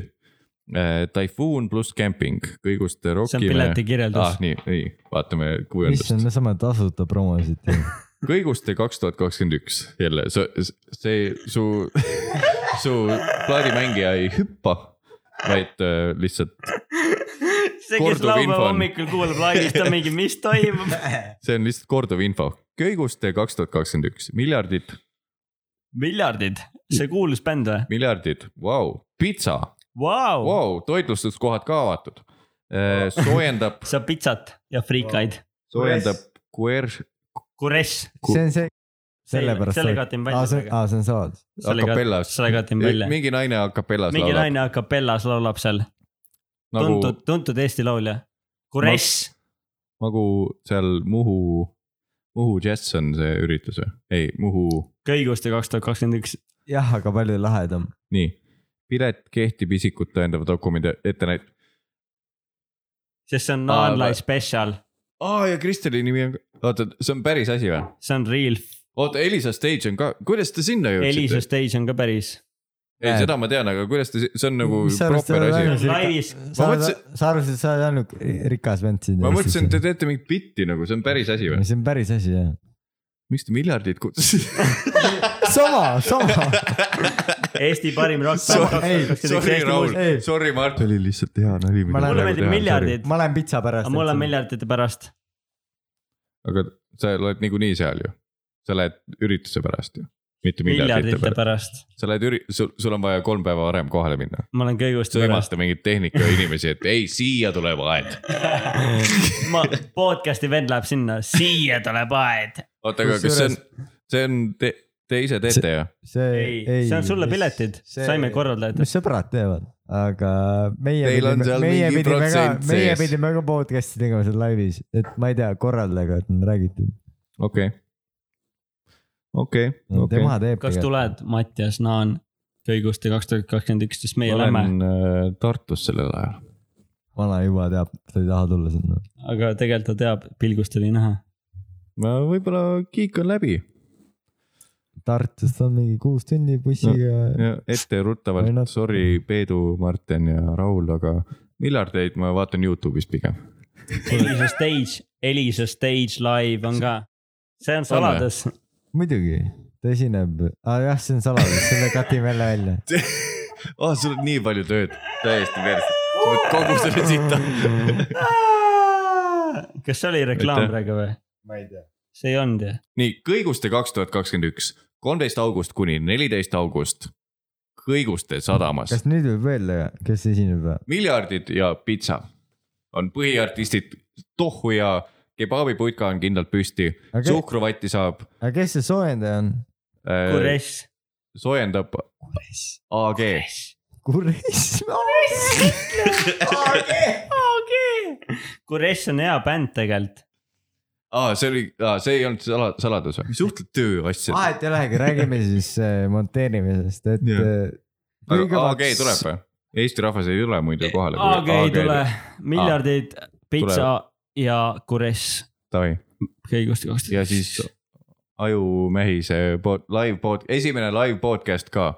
Taifuun pluss camping , Kõiguste
see on
rokime .
pileti kirjeldus
ah, . nii , nii , vaatame
issand ,
kujundust .
me saame tasuta promosid teha .
kõiguste kaks tuhat kakskümmend üks , jälle see , see su , su plaadimängija ei hüppa , vaid äh, lihtsalt
see , kes
korduv info
laupäeva
on.
hommikul kuulab laivis , ta mingi , mis toimub .
see on lihtsalt korduv info . köiguste kaks tuhat kakskümmend üks , miljardid ,
miljardid , see kuulus bänd või ?
miljardid , vau , pitsa ,
Vau ,
vau , toitlustuskohad ka avatud . soojendab ,
saab pitsat ja friikaid .
soojendab kuer- ,
Kures .
see on see , sellepärast .
selle katin
aa , see on ,
välja .
aa , see on saladus .
Acapellas.
selle katin välja .
mingi naine a capellas
mingi
laulab
naine a capellas laulab seal ,
nagu
tuntud ,, tuntud Eesti laulja . Kures ,
nagu seal Muhu , Muhu Jazz on see üritus või ? ei , Muhu ,
Kõiguste kaks tuhat kakskümmend üks .
jah , aga palju lahedam .
nii , pilet kehtib isikut tõendava dokumendi ettenäit- .
sest see on
Aa,
Naanlai
vä-
spetsial ,
aa , ja Kristeli nimi on , oota , see on päris asi või ?
see on real .
oota , Elisa Stage on ka , kuidas te sinna
Elisa
jõudsite ?
Stage on ka päris .
ei , seda ma tean , aga kuidas te , see on nagu
Mis sa arvad,
proper
see on
asi
ainus- .
laivis ,
sa arvad
mõtlesin- ,
sa arvasid , sa oled ainult rikas vend siin .
ma mõtlesin , te teete mingit bitti nagu , see on päris asi või ?
see on päris asi jah .
miks te miljardid kutsusite ?
sama , sama .
Eesti parim
Sorry, sorry , Raul
rock-bänd .
Ei. ,
sorry , Mart . see oli lihtsalt hea nali .
Ma lähen-
mulle meeldib miljardid ,
ma lähen pitsa pärast .
aga mulle . miljardite pärast .
aga sa oled niikuinii seal ju . sa lähed ürituse pärast ju , mitte miljardite
miljardite
pärast .
pärast .
sa lähed üri- , sul , sul on vaja kolm päeva varem kohale minna .
ma olen Kõiguste pärast .
sõimata mingeid tehnikainimesi , et ei , siia tuleb aed .
ma , podcast'i vend läheb sinna , siia tuleb aed .
oota , aga kas see on , see on , te , te ise teete ju ?
see
ei, ei , see on sulle piletid , saime . korraldajatest .
mis Noh, sõbrad teevad , aga meie .
Teil on seal
meie
mingi
pidime ka
protsent ,
meie
sees.
pidime ka podcast'i tegema seal laivis , et ma ei tea , korraldajaga on räägitud .
okei . okei , okei .
tema teeb .
kas ? tuled , Mattias Naan , Kõiguste kaks tuhat kakskümmend üks , sest meie lähme ,
olen äh, Tartus sellel ajal .
vana juba teab , ta ei taha tulla sinna .
aga tegelikult ta teab , pilgust oli näha .
ma võib-olla kiik on läbi
Tartust on mingi kuus tundi bussiga .
ja
Why
etteruttavalt
not?
sorry , Peedu , Martin ja Raul , aga miljardeid ma vaatan Youtube'is pigem .
Elisa Stage , Elisa Stage live on ka , see on saladus .
muidugi , ta esineb , aa jah , see on saladus , selle katime jälle välja .
oh, . sul on nii palju tööd , täiesti perse , sa pead kogu selle sita .
kas see oli reklaam
Aitäh.
praegu või ?
ma ei tea .
see ei olnud ju ,
nii , kõiguste kaks tuhat kakskümmend üks , kolmteist august kuni neliteist august . kõiguste sadamas
kas , nüüd võib öelda , kes esineb või ?
miljardid ja pitsa on põhiartistid Tohu ja kebaabiputka on kindlalt püsti okay. ,
aga ,
suhkruvatti saab ,
aga Ah, kes see soojendaja on ?
Kures ,
soojendab AG .
kuris .
Kures on hea bänd tegelikult .
aa , see oli , see ei olnud sala- , saladus või ? suhtled tööasjadega .
vahet ei olegi , räägime siis äh, monteerimisest , et eh,
Jah.
yeah. .
aga AG tuleb või ? Eesti rahvas ei tule muidu kohale .
AG ei tule , miljardid , pitsa ja Kures ,
Davai ,
kõigust ja kaksteist .
ja siis ajumehise pod- , live pod- , esimene live podcast ka .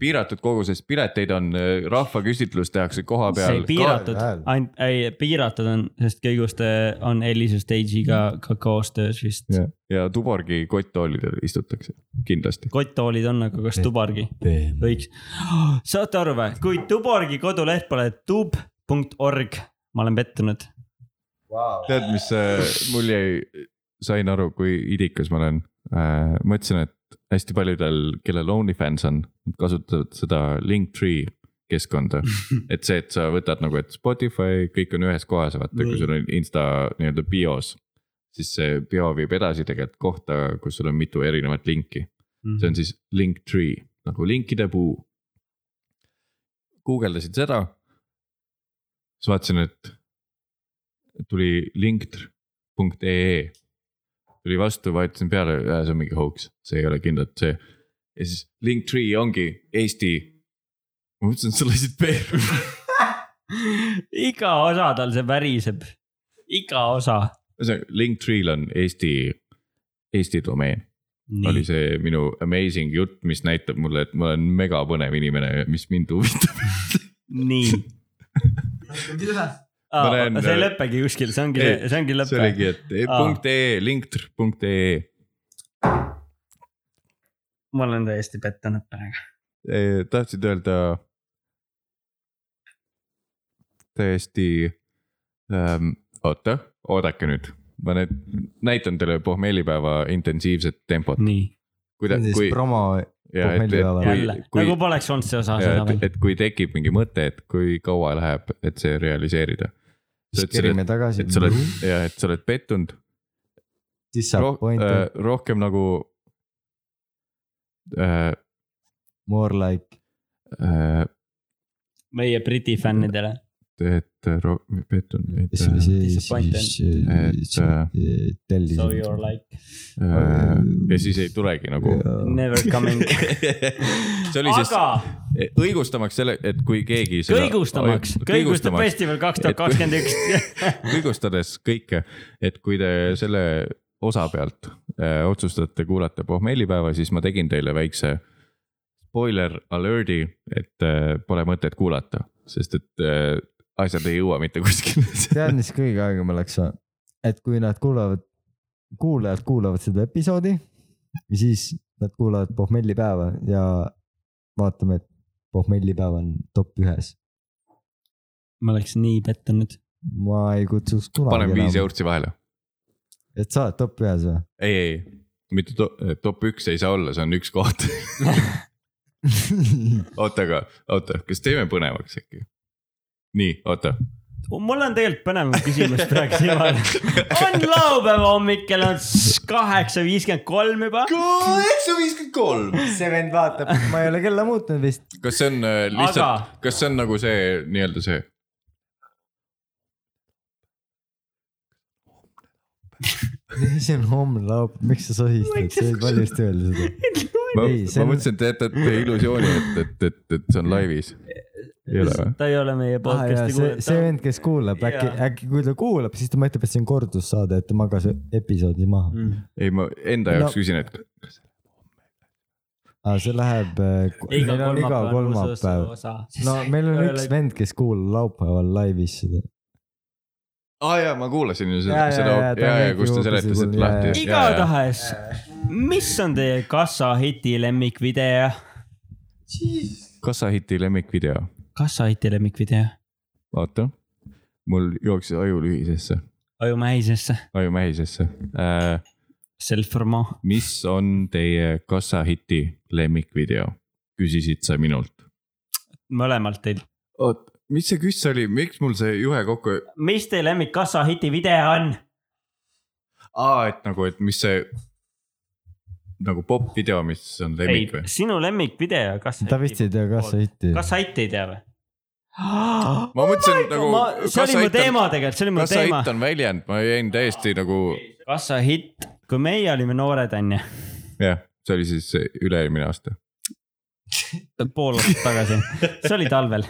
piiratud koguses pileteid on , rahvaküsitlus tehakse koha
see ei
peal .
piiratud
Ka- hääl. ,
ainult , ei piiratud on , sest kõiguste on Elise Stage'iga ka koostöös vist .
ja Tuborgi kotttoolidel istutakse kindlasti .
kotttoolid on , aga kas tubargi ? võiks , saate aru või , kui Tuborgi koduleht pole tub.org , ma olen pettunud .
tead , mis äh, mul jäi , sain aru , kui idikas ma olen äh, . mõtlesin , et hästi paljudel , kellel OnlyFans on , kasutavad seda Linktree keskkonda . et see , et sa võtad nagu , et Spotify , kõik on ühes kohas , vaata , kui sul on insta nii-öelda bios . siis see bio viib edasi tegelikult kohta , kus sul on mitu erinevat linki . see on siis Linktree nagu linkide puu . guugeldasin seda , siis vaatasin , et tuli E linktr.ee , tuli vastu , vajutasin peale , see on mingi hoax , see ei ole kindlalt see . ja siis Linktree ongi Eesti , ma mõtlesin , et sa lasid peale .
iga osa tal see väriseb , iga osa .
ühesõnaga Linktree'l on Eesti , Eesti domeen . oli see minu amazing jutt , mis näitab mulle , et ma olen mega põnev inimene , mis mind huvitab .
nii .
Ma näen- äh,
see ei lõpegi kuskil , see ongi ,
Ei,
see ongi
see
lõpe .
oligi , et
Aa.
punkt E, ee , linktr.ee .
ma olen täiesti pettunud praegu .
tahtsid öelda täiesti ähm, , oota , oodake nüüd , ma nüüd näitan teile pohmeelipäeva intensiivset tempot ,
nii ,
kuidas ,
siis
kui ,
promo ,
ja et ,
pohmeelipäeval.
jälle ,
et kui ,
nagu poleks olnud see osa
kui ,
seda .
et kui tekib mingi mõte , et kui kaua läheb , et see realiseerida . sa
siis
ütlesid ,
kerime tagasi
et , sa oled , ja et sa oled pettunud
siis
Roh,
saab pointi
äh, . rohkem nagu äh, .
More like ,
Äh,
meie Briti fännidele .
et ro- , pettunud , et äh,
siis , siis ,
Disappointed.
Et,
siis
äh, ,
So you are
tellisin .
like
äh, ja siis ei tulegi nagu .
never coming .
see oli siis
aga
õigustamaks selle , et kui keegi .
kõigustamaks , kõigustab . festival kaks tuhat kakskümmend üks .
kõigustades kõike , et kui te selle osa pealt äh, otsustate kuulata pohmellipäeva , siis ma tegin teile väikse spoiler alert'i , et äh, pole mõtet kuulata , sest et äh, asjad ei jõua mitte kuskile .
tead , mis kõige aeglasem oleks või ? et kui nad kuulavad , kuulajad kuulavad seda episoodi ja siis nad kuulavad pohmellipäeva ja vaatame , et pohmellipäev on top ühes .
ma oleks nii pettunud .
ma ei kutsuks kunagi
panen viis
enam ,
eurtsi vahele .
et sa oled top ühes või ?
ei , ei , mitte to, top üks ei saa olla , see on üks koht . oota , aga oota , kas teeme põnevaks äkki ? nii , oota .
mul on tegelikult põnevam küsimus praegu silmal . on laupäeva hommik , kell on kaheksa viiskümmend kolm juba .
kaheksa viiskümmend kolm .
see vend vaatab , ma ei ole kella muutnud vist .
kas see on äh, lihtsalt ,
aga
kas see on nagu see nii-öelda see ?
see on homne laupäev , miks sa sohistad , sa võid valjusti öelda seda .
ma,
Ei, see
ma
on-
mõtlesin , et te jätate illusiooni , et , et , et , et see on laivis . ei ole või ?
ta ei ole meie
Ah, jaa,
podcast'i
see , see
kuulatav .
vend , kes kuulab , äkki
Jaa. ,
äkki kui ta kuulab , siis ta mõtleb , et see on kordussaade , et ta magas episoodi maha .
Mm.
ei , ma enda jaoks
No.
küsin , et
aga Ah, see läheb ,
iga
meil on iga kolmapäev
kolmapäev ..
no meil on üks vend , kes kuulab laupäeval laivis seda .
aa ah, jaa , ma kuulasin ju
Jaa,
seda
jaa, ,
seda
jaa, , ta
jaa , jaa ,
räägib
kus te
hoopis
seletasite
võib-olla, jaa,
lahti .
igatahes , mis on teie kassahiti lemmikvideo ?
kassahiti lemmikvideo ,
kassahiti lemmikvideo ?
vaata . mul jooksis aju lühisesse ,
ajumähisesse ,
aju mähisesse äh, .
Self-Formo .
mis on teie kassahiti lemmikvideo , küsisid sa minult .
mõlemalt teilt .
oot , mis see küss oli , miks mul see juhe kokku ,
mis teie lemmik kassahiti video on ?
aa , et nagu , et mis see nagu popp-video , mis on
ei
lemmik või ?,
sinu lemmikvideo , kas .
ta vist ei tea , kas aitti .
kas Ait ei tea või ?
ma
Oh
mõtlesin nagu .
see oli mu teema tegelikult , see oli mu
kas sa
teema
hitt . on väljend , ma jäin täiesti nagu ,
kas sa hitt , kui meie olime noored , onju ,
jah , see oli siis see üle-eelmine aasta .
pool aastat tagasi , see oli talvel ,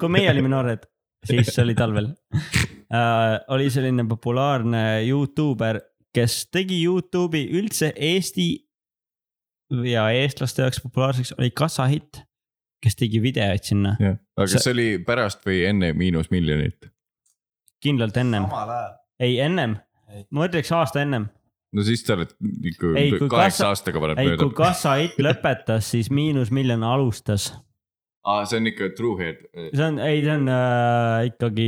kui meie olime noored , siis see oli talvel uh, . oli selline populaarne Youtuber , kes tegi Youtube'i üldse Eesti ja eestlaste jaoks populaarseks , oli Kasa Hitt , kes tegi videoid sinna
jah , aga
See-
see... see oli pärast või enne miinus miljonit ?
kindlalt ennem , ei ennem , ma ütleks aasta ennem .
no siis sa oled ikka
Ei, kui
kaheksa
kassa-
aastaga paned
ei ,
mööda
kui . Kasa Hitt lõpetas , siis Miinus Miljon alustas
aa , see on ikka true head .
see on , ei , see on äh, ikkagi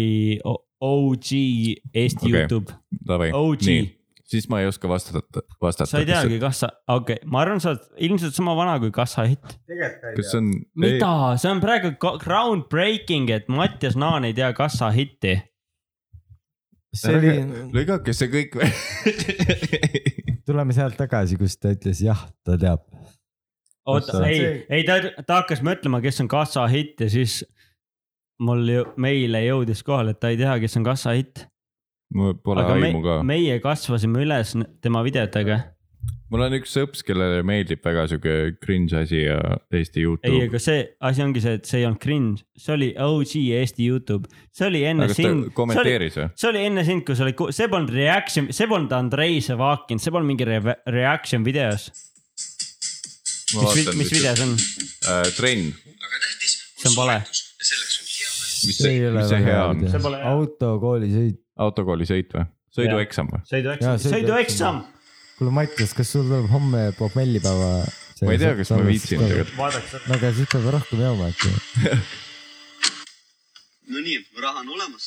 O- OG Eesti
Okei.
okay. Youtube ,
Davai ,
OG.
nii , siis ma ei oska vastata , vastata .
sa ei teagi , kas sa , okei okay. , ma arvan , sa oled ilmselt sama vana kui Kassahitt .
kas see on ,
mida , see on praegu ko- groundbreaking , et Mattias Naan ei tea Kassahitti .
see oli ,
lõigake see kõik välja .
tuleme sealt tagasi , kus ta ütles jah , ta teab .
oota ,
Kas sa-
ei , ei ta , ta hakkas mõtlema , kes on Kassahitt ja siis mul ju , meile jõudis kohale , et ta ei tea , kes on Kassahitt .
mul pole
aga me,
aimu ka .
meie kasvasime üles n- tema videotega .
mul on üks sõps , kellele meeldib väga sihuke cringe asi ja Eesti
ei ,
Youtube .
aga see asi ongi see , et see ei olnud cringe , see oli OG Eesti Youtube , see oli enne
aga kas ta
sind .
kommenteeris või ?
see oli enne sind , kui sa olid , see polnud reaction , see polnud Andrei Sevakin , see polnud mingi re reaction videos . mis , mis video see on ?
on ? Äh, trenn ,
see on vale .
mis see , mis see hea on ?
autokoolisõit .
autokoolisõit või ? sõidueksam või ?
Jaa,
sõidueksam ,
sõidueksam.
sõidueksam ,
kuule , Mattias , kas sul tuleb homme pohmellipäeva ?
ma ei tea , kas ma viitsin . tegelikult .
vaadake seda .
no aga siis peab rohkem jooma äkki .
Nonii , raha on olemas .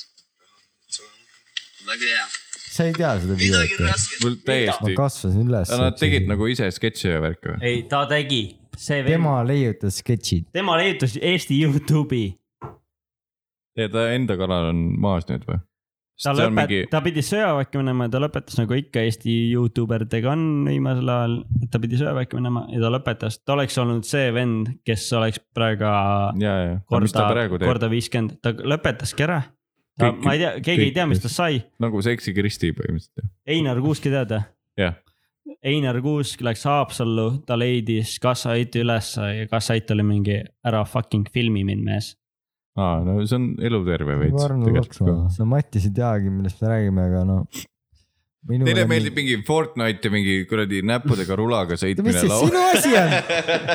väga hea .
sa ei tea seda
midagi on
videot .
raske .
mul
ma
täiesti ,
kasvasin üles .
nad tegid . nagu ise sketši ja värke või ?
ei , ta tegi , see vend ,
tema leiutas sketšid .
tema leiutas Eesti Youtube'i .
ja ta enda kanal on maas nüüd või ?
ta
see on
lõpet-
mingi ,
ta pidi sõjaväkke minema ja ta lõpetas nagu ikka Eesti Youtube idega on viimasel ajal , ta pidi sõjaväkke minema ja ta lõpetas , ta oleks olnud see vend , kes oleks praegu
ja , ja , mis ta
korda ,
praegu teeb ,
korda viiskümmend , ta lõpetaski ära . ta ,
Kõik-
ma ei tea , keegi ei
kõik-
tea , mis tast sai ,
nagu Seksi Kristi põhimõtteliselt ju.
Einar Kuuski tead või ?
jah ,
Einar Kuusk läks Haapsallu , ta leidis Kassahiti ülesse ja Kassahit oli mingi ära fucking filmi mind mees .
aa , no see on eluterve veits
Varno
tegelikult ka.
Loksmaa , no Mattias ei teagi , millest me räägime , aga no .
Teile meeldib mingi Fortnite ja mingi kuradi näppudega rulaga
mis
sõitmine
see
laua .
sinu asi on ?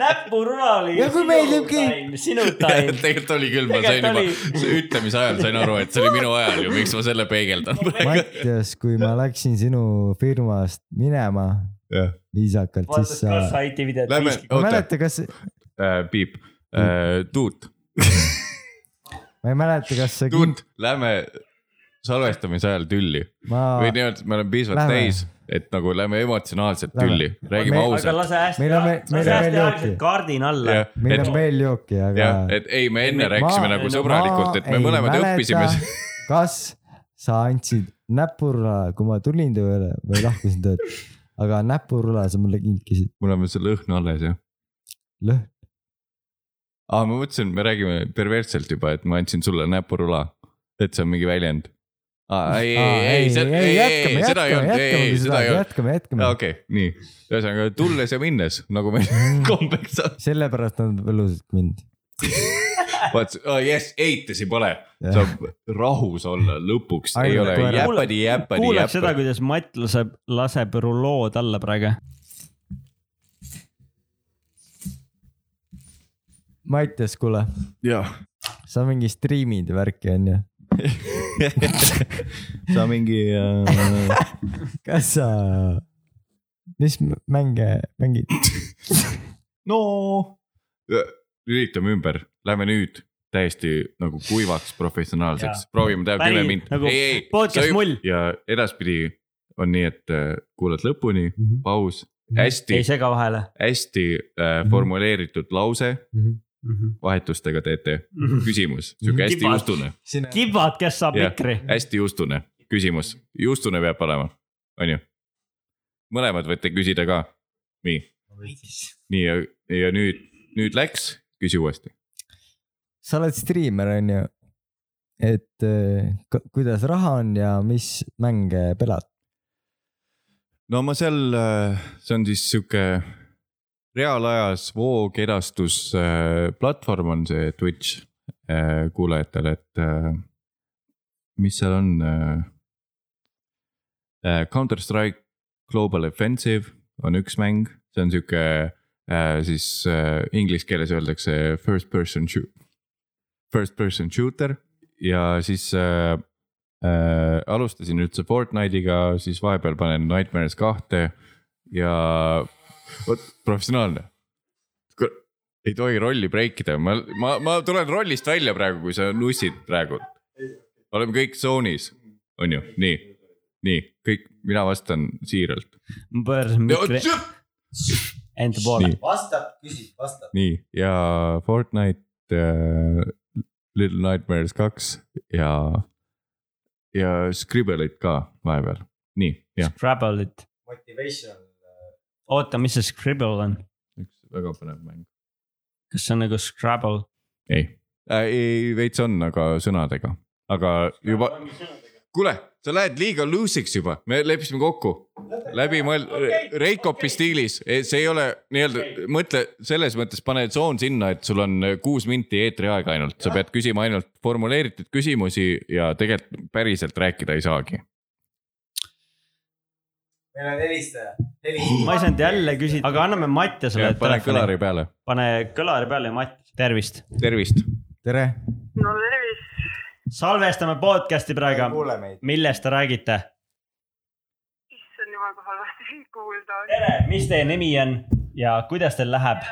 näpurula oli
Ja kui sinu meeldibki- time,
sinu
tegelikult oli küll , ma sain juba
Tegelikult oli-
see ütlemise ajal sain aru , et see oli minu ajal ju , miks ma selle peegeldan praegu .
Mattias , kui ma läksin sinu firmast minema
Jah.
viisakalt , siis
äh,
sa .
videot
Lähme ,
ma ei
oota ,
mäleta , kas ,
piip , tuut ,
ma ei mäleta , kas sa ,
tuut , lähme salvestamise ajal tülli
ma ,
või nii-öelda , et me oleme piisavalt
Lähme.
täis , et nagu lähme emotsionaalselt
Lähme.
tülli , räägime
Me-
aga
ausalt .
lase hästi ,
Meil on veel- meil
lase
on
hästi
veel
aeglaselt
jooki.
kaardin alla .
jah ,
meil
et
on veel jooki , aga .
jah , et ei , me enne rääkisime nagu sõbralikult , et me mõlemad õppisime .
kas sa andsid näpurula , kui ma tulin tööle või lahkusin töölt , aga näpurula sa mulle kinkisid ,
mul on veel see lõhn alles ju .
lõhn ,
aa , ma mõtlesin , me räägime perversselt juba , et ma andsin sulle näpurula , et see on mingi väljend . aa , ei , ei , ei , ei , ei , ei , ei , seda ei olnud , ei , ei , seda ei olnud .
jätkame , jätkame
aa ,, okei , nii , ühesõnaga tulles ja minnes , nagu meil kombeks on .
sellepärast nad võlusid mind .
vaat , jess , eitusi pole , saab rahus olla lõpuks , ei
Ainult
ole
koera-
jäpadi , jäpadi ,
kuuleks seda ,
jäpadi .
kuidas Matt laseb , laseb rulood alla praegu .
Mattias , kuule ,
jah ,
sa mingi striimid ja värki onju ,
sa mingi äh,
kas sa , mis m- mänge mängid ?
no . Äh, lülitame ümber , lähme nüüd täiesti nagu kuivaks professionaalseks , proovime teha
Päris
kümme minti
nagu
ei , ei ,
podcast mull.
ja edaspidi on nii , et äh, kuulad lõpuni ,
Mhm.
paus ,
ei
hästi ,
sega vahele .
hästi äh, formuleeritud lause , vahetustega teete , küsimus , sihuke hästi
Kibad.
juustune ,
kibad , kes saab
Jah.
mikri .
hästi juustune küsimus , juustune peab olema , onju . mõlemad võite küsida ka , nii . nii ja , ja nüüd , nüüd läks , küsi uuesti .
sa oled striimer , onju . et eh, ku- kuidas raha on ja mis mänge pelad ?
no ma seal , see on siis sihuke reaalajas voogedastusplatvorm on see Twitch äh, kuulajatele , et äh, mis seal on . äh, Counter Strike Global Offensive on üks mäng , see on sihuke äh, siis äh, inglise keeles öeldakse first person shoot , first person shooter ja siis äh, äh, alustasin üldse Fortnite'iga , siis vahepeal panen Nightmares kahte ja vot professionaalne . ei tohi rolli break ida , ma , ma , ma tulen rollist välja praegu , kui sa nussid praegu . oleme kõik zone'is , on ju , nii , nii kõik , mina vastan siiralt .
ma pöörasin mikri enda poole .
vastab , küsib , vastab .
nii ja Fortnite äh, , Little Nightmares kaks ja , ja Scribble'it ka vahepeal , nii , jah .
Scrabble'it ,
Motivation .
äh, oota , mis see Scribble on ?
üks väga põnev mäng .
kas see on nagu Scrabble ?
ei äh, , ei veits on , aga sõnadega , aga juba . kuule , sa lähed liiga loose'iks juba , me leppisime kokku . läbimõeld- okay, , Reikopi okay. stiilis , see ei ole nii-öelda okay. , mõtle selles mõttes pane tsoon sinna , et sul on äh, kuus minti eetriaega ainult , sa pead küsima ainult formuleeritud küsimusi ja tegelikult päriselt rääkida ei saagi .
meil on helistaja .
ma ei saanud jälle küsida , aga anname Mattiasele
pane
telefoni ,
kõlari peale ,
pane kõlari peale ja Matt , tervist .
tervist .
tere .
no tervist ,
salvestame podcast'i praegu ,
kuule meid .
millest te räägite ?
issand jumal , kui halvasti sind kuulda on .
tere , mis teie nimi on ja kuidas teil läheb ?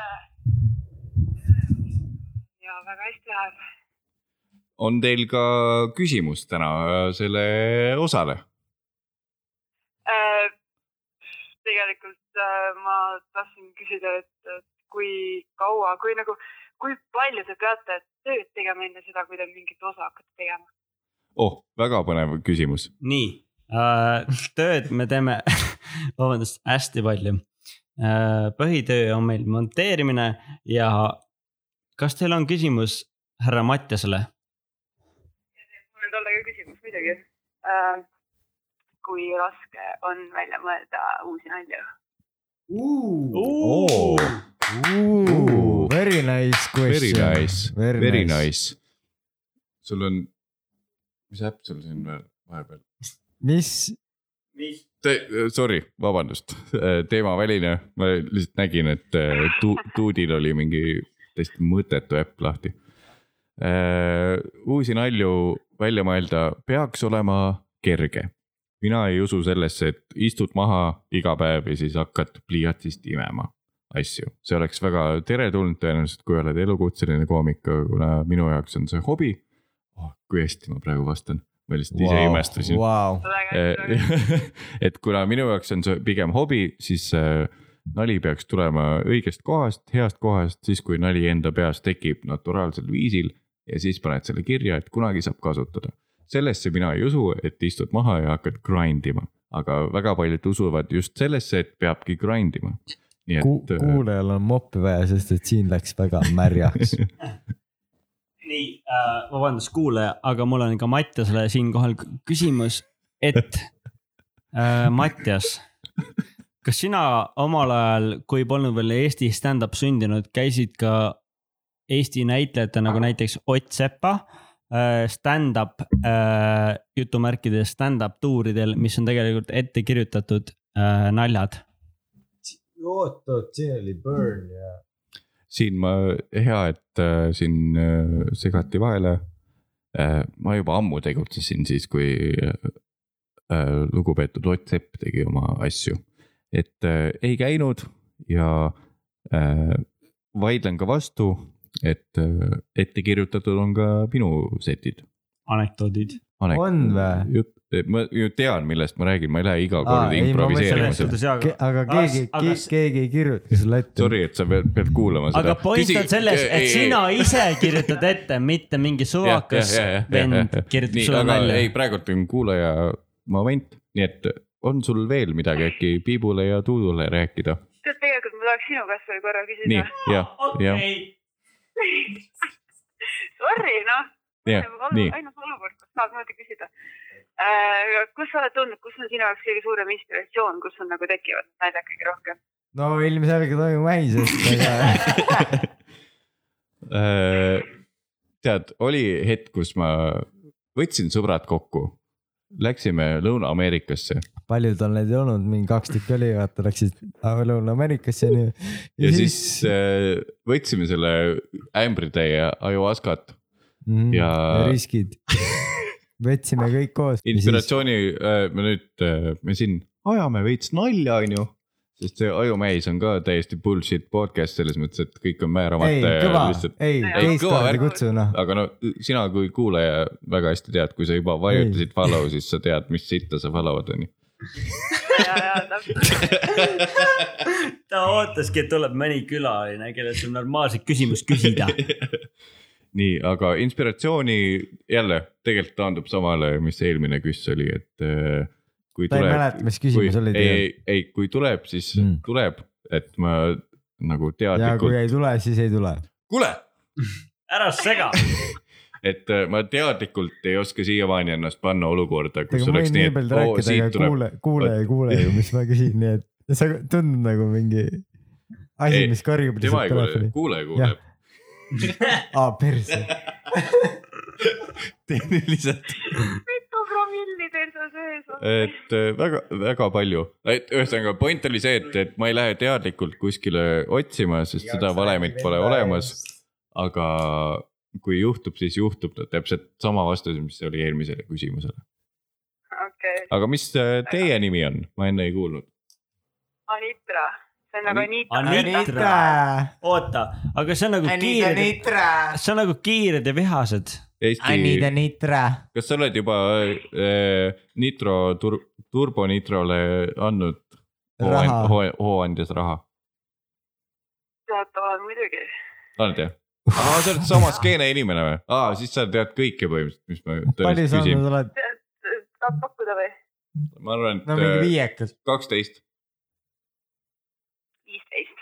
ja väga hästi läheb .
on teil ka küsimus täna äh, selle osale ?
Äh, tegelikult äh, ma tahtsin küsida , et et kui kaua , kui nagu , kui palju te peate tööd tegema enne seda , kui te mingit osa hakkate tegema ?
oh , väga põnev küsimus .
nii äh, , tööd me teeme , vabandust , hästi palju äh, . põhitöö on meil monteerimine ja kas teil on küsimus härra Mattiasele ?
mul on talle ka küsimus muidugi äh, . kui raske on välja mõelda uusi nalju ?
Very nice
Very
question .
nice , very . nice . sul on , mis äpp sul siin veel vahepeal ?
mis ,
Sorry , vabandust , teemaväline , ma lihtsalt nägin , et eh, tu- Tuudil oli mingi täiesti mõttetu äpp lahti . uusi nalju välja mõelda peaks olema kerge . mina ei usu sellesse , et istud maha iga päev ja siis hakkad pliiatsist imema asju , see oleks väga teretulnud tõenäoliselt , kui oled elukutseline koomik , aga kuna minu jaoks on see hobi oh, . kui hästi ma praegu vastan , ma lihtsalt wow. ise imestasin .
wow. .
väga hästi äh, ,
Eh, et kuna minu jaoks on see pigem hobi , siis eh, nali peaks tulema õigest kohast , heast kohast , siis kui nali enda peas tekib naturaalsel viisil ja siis paned selle kirja , et kunagi saab kasutada . sellesse mina ei usu , et istud maha ja hakkad grind ima , aga väga paljud usuvad just sellesse , et peabki grind ima . nii
Ku- ,
et eh,
kuulajal on moppi vaja , sest et siin läks väga märjaks .
nii äh, , vabandust , kuulaja , aga mul on ka Mattiasele siinkohal k- küsimus , et äh, Mattias , kas sina omal ajal , kui polnud veel Eesti stand-up sündinud , käisid ka Eesti näitlejate nagu näiteks Ott Sepa äh, stand-up äh, , jutumärkides stand-up tuuridel , mis on tegelikult ette kirjutatud äh, naljad ?
oot , oot , siin oli Burn ja .
siin ma , hea , et äh, siin äh, segati vahele . ma juba ammu tegutsesin siis , kui äh, lugupeetud Ott Sepp tegi oma asju , et äh, ei käinud ja äh, vaidlen ka vastu , et äh, ette kirjutatud on ka minu setid .
anekdoodid .
On vä? ?
ma ju tean , millest ma räägin , ma ei lähe iga
Aa,
kord
ei, ma
improviseerima
selles
mõtlesin,
seda .
suhtes jaa , aga
aga keegi
Aga- , aga-
keegi ei kirjuta sulle ette .
Sorry , et sa pead pead kuulama seda .
aga point on selles , et sina ise kirjutad ette , mitte mingi suvakas vend kirjutab
Nii,
sulle
aga ei ,
nalja .
praegult on kuulaja moment , nii et on sul veel midagi äkki Piibule ja Tuudule rääkida ?
tead , tegelikult ma tahaks sinu käest veel korra
nii
küsida . ,
jah , jah ,
Sorry , noh .
jah , nii .
ainus olukord , kus saab niimoodi küsida . kus sa oled tundnud , kus on sinu jaoks kõige suurem inspiratsioon , kus on nagu tekivad naljad kõige rohkem ?
no ilmselgelt on ju mähisest , aga
Äh, tead , oli hetk , kus ma võtsin sõbrad kokku , läksime Lõuna-Ameerikasse
paljud on need ei olnud , mingi kaks tükki oli , vaata läksid Lõuna-Ameerikasse onju .
ja siis äh, võtsime selle ämbritäie ja ajuaskat ,
mm, ja...
ja-
riskid . võtsime kõik koos .
inspiratsiooni äh, me nüüd , me siin ajame veits nalja , onju sest see Ajumees on ka täiesti bullshit podcast selles mõttes , et kõik on
ei
määramata , ja
kõva ,
äh, lihtsalt ,
ei
Ei,
teist
kõva
korda
värk.
kutsu noh .
aga no sina kui kuulaja väga hästi tead , kui sa juba vajutasid follow , siis sa tead , mis sitta sa follow'd onju .
ja , ja täpselt .
ta ootaski , et tuleb mõni külaline , kellelt saab normaalset küsimust küsida .
nii , aga inspiratsiooni jälle tegelikult taandub samale , mis eelmine küss oli , et äh, kui
ta ei
tuleb-
mäleta , mis küsimus
kui,
oli
ei ,
teil .
ei , ei , kui tuleb , siis mm.
Mm.
tuleb , et ma nagu
ja kui
teadlikult ,
ei tule , siis ei tule .
kuule ,
ära sega .
et äh, ma teadlikult ei oska siiamaani ennast panna olukorda , kus
ega ma
oleks
võin
nii ,
nii
et
palju
oo ,
rääkida ,
siit
aga
tuleb .
kuule , kuule ja kuule ju , mis ma küsin , nii et sa tundud nagu mingi asi
Ei, ,
mis karjub
tema
lihtsalt
ei kuule ,
telefoni .
kuule
Jah.
kuuleb .
aa , perse .
tehniliselt ,
mitu promilli teil seal sees on ?
et äh, väga , väga palju , et ühesõnaga point oli see , et , et ma ei lähe teadlikult kuskile otsima , sest seda valemit pole olemas . aga kui juhtub , siis juhtub ta täpselt sama vastus , mis oli eelmisele küsimusele .
okei ,
aga mis äh, teie nimi on , ma enne ei kuulnud .
Anitra , see on nagu Anita .
Anitra , oota , aga see on nagu kiired ,
Nitra .
see on nagu kiired ja vihased .
Eesti ,
Nitra .
kas sa oled juba äh, nitro tur, , turbonitrole andnud
Raha.
hoo- hoo- hooandjas raha ?
tead , olen muidugi .
oled jah ? aa , sa oled sama skeene inimene või ? aa , siis sa tead kõike põhimõtteliselt , mis ma
palju
tõenäoliselt
sa
küsin .
andnud oled ?
tahad pakkuda või ?
ma arvan ,
no
et
mingi
äh,
viiekas .
kaksteist ,
viisteist .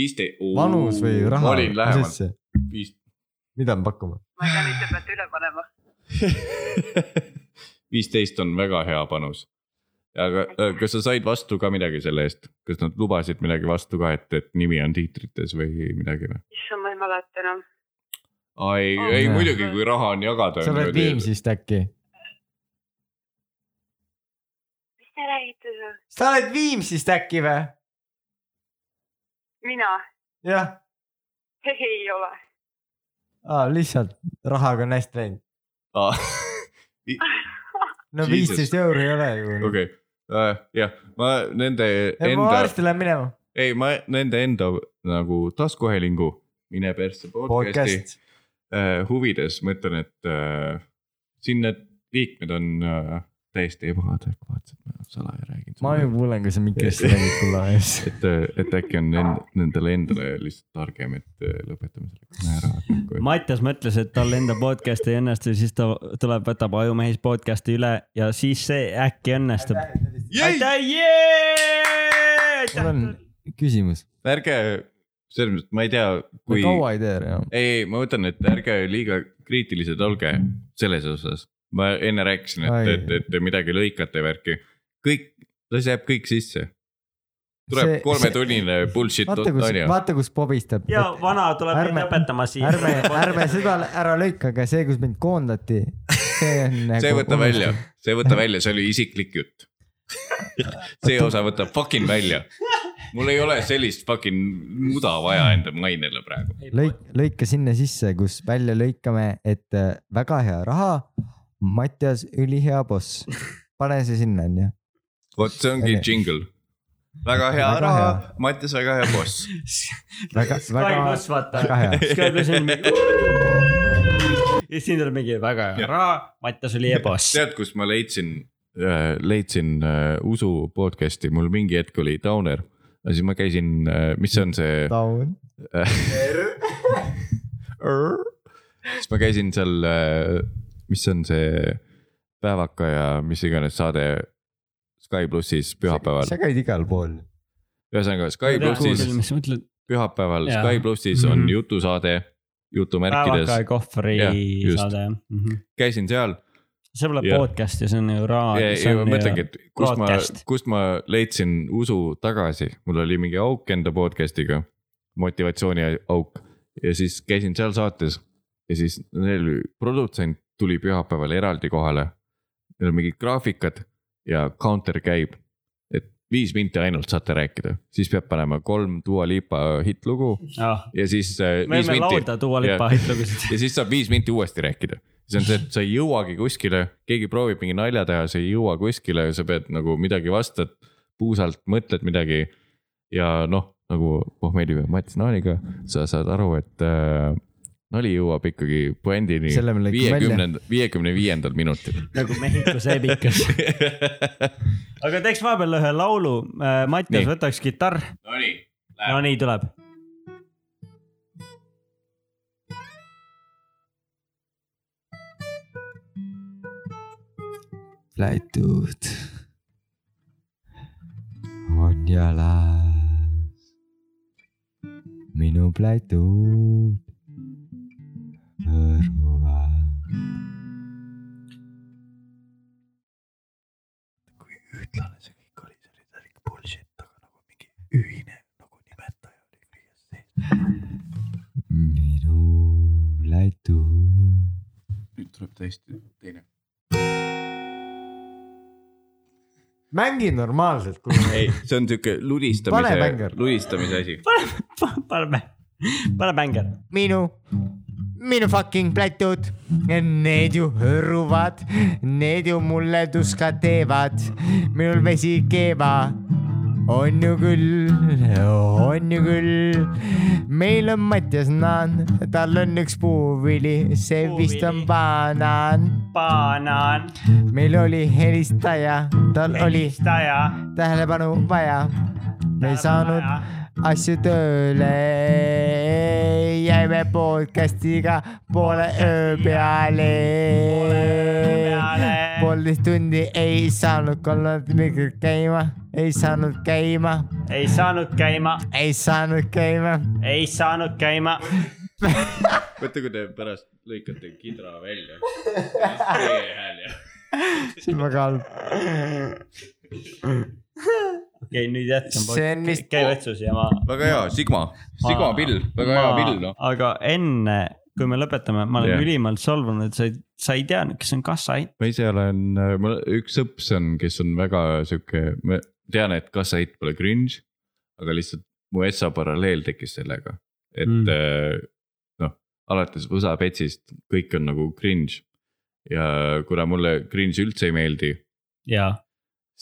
viisteist .
vanus või raha ?
ma olin lähemal , viis ,
mida me pakume ?
ma ei tea , mis te peate üle panema .
viisteist on väga hea panus . aga äh, kas sa said vastu ka midagi selle eest , kas nad lubasid midagi vastu ka , et , et nimi on tiitrites või midagi või ?
issand , ma ei mäleta enam .
ei
Oh, ,
ei
Ah, jah.
muidugi , kui raha on jagada .
sa oled Viimsist äkki ?
mis te räägite seal ?
sa oled Viimsist äkki või ?
mina ?
jah ,
ei ole .
lihtsalt rahaga on hästi läinud .
Ah,
no
Jesus.
viisteist euri ei ole ju .
okei , jah , ma nende
ma
enda ,
varsti lähen minema .
ei , ma nende enda nagu taskuhäälingu Mine persse podcast'i
podcast .
äh, huvides ma ütlen , et äh, siin need liikmed on äh, täiesti ebaadekvaatsed , ma salaja räägin .
ma ju kuulen , kui sa mikrisse räägid kulla ees .
et , et äkki on end, nendele endale lihtsalt targem , et äh, lõpetame selle kõne ära .
Mattias mõtles , et tal enda podcast ei õnnestu , siis ta tuleb , võtab Ajumehis podcast'i üle ja siis see äkki õnnestub . aitäh , jee
mul on küsimus .
ärge , selles mõttes , ma ei tea ,
kui
kui ,
kaua ei tee enam ?
ei , ei , ma mõtlen , et ärge liiga kriitilised olge selles osas . ma enne rääkisin , et ,
Ai.
et , et te midagi lõikate värki , kõik , las jääb kõik sisse . tuleb
See-
kolmetunnine bullshit
vaata , kus ,
nalja .
vaata , kus pobistab .
ja vana tuleb
Ärme-
mind õpetama siia .
ärme , ärme seda ära lõika , aga see , kus mind koondati , see on . nagu
see võta välja , see võta välja , see oli isiklik jutt . see osa võta fucking välja . mul ei ole sellist fucking muda vaja enda mainele praegu .
lõik , lõika sinna sisse , kus välja lõikame , et äh, väga hea raha , Mattias , ülihea boss . pane see sinna , onju .
vot see ongi jingle . väga hea
Väga
raha
hea. ,
Mattias väga hea boss .
väga ,
Sky
väga ,
pluss , vaata .
väga hea .
Sky pluss on mingi . ja siis siin tuleb mingi väga hea raha , Mattias oli ebass .
tead , kus ma leidsin , leidsin äh, usu podcast'i , mul mingi hetk oli Downer . aga siis ma käisin , mis see on see ?
Down .
siis ma käisin seal , äh, mis on see päevaka ja mis iganes saade . Sky plussis pühapäeval
sa , käid igal pool .
ühesõnaga Sky plussis ,
mis sa mõtled ?
pühapäeval
Jaa.
Sky plussis on
Mhm.
jutusaade , jutumärkides
päevaka , ja kohvri
Jah, just.
saade jah mm -hmm. .
käisin seal
see pole
Jah.
podcast ja see on ju raadio .
ja, ja ma mõtlengi , et kust ma
podcast. ,
kust ma leidsin usu tagasi , mul oli mingi auk enda podcast'iga , motivatsiooni auk ja siis käisin seal saates ja siis neil produtsent tuli pühapäeval eraldi kohale . Neil on mingid graafikad ja counter käib , et viis minti ainult saate rääkida , siis peab panema kolm Dua Lipa hittlugu
ah, .
ja siis äh,
me
viis
võime
minti
laulda Dua Lipa
Jah.
hitlugusid .
ja siis saab viis minti uuesti rääkida . see on see , et sa ei jõuagi kuskile , keegi proovib mingi nalja teha , sa ei jõua kuskile , sa pead nagu midagi vastad , puusalt mõtled midagi . ja noh , nagu Pohmeli või Mats Naaniga , sa saad aru , et äh, nali jõuab ikkagi puändini
Selle me lõikame välja.
viiekümnenda , viiekümne viiendal minutil .
nagu Mehhikos ebikas . aga teeks vahepeal ühe laulu . Mattias ,
Nii.
võtaks kitarr .
Nonii .
no nii tuleb .
lätud on jalas . minu plätud hõõruvad .
ühtlane see kõik oli , see oli täielik bullshit , aga nagu mingi ühine nagu nimetaja oli kõiges sees .
minu plätud
nüüd tuleb täiesti teine .
mängi normaalselt , kuule .
ei , see on sihuke
Pane
ludistamise
mänger. ,
ludistamise asi .
paneme , pane bänger .
minu , minu fucking plätud , need ju hõõruvad , need ju mulle tuska teevad . minul vesi keeva on ju küll , on ju küll . meil on Mattias Naan , tal on üks puuvili , see vist on
Puuvili.
banaan .
banaan ,
meil oli helistaja , tal oli
helistaja .
tähelepanu vaja . me ei saanud asju tööle . jäime podcastiga poole öö peale . poolteist tundi ei saanud kolmandat mikrit käima , ei saanud käima ,
ei saanud käima ,
ei saanud käima .
ei saanud käima .
mõtle , kui te pärast lõikate kidra välja . teie hääl ja .
see on väga halb .
okei , nüüd jätkame .
See on vist-
käi vetsus ja ma .
väga hea , Sigma , Sigma
Ma-
pill , väga hea pill noh .
aga enne , kui me lõpetame , ma olen
Jah.
yeah. ülimalt solvunud , et sa ei , sa ei teadnud , kes on kassait .
ma ise olen , mul üks õps on , kes on väga sihuke , ma tean , et kassait pole cringe , aga lihtsalt mu essa paralleel tekkis sellega , et
Mm.
mm. noh , alates võsapetsist kõik on nagu cringe ja kuna mulle cringe üldse ei meeldi ,
jaa ,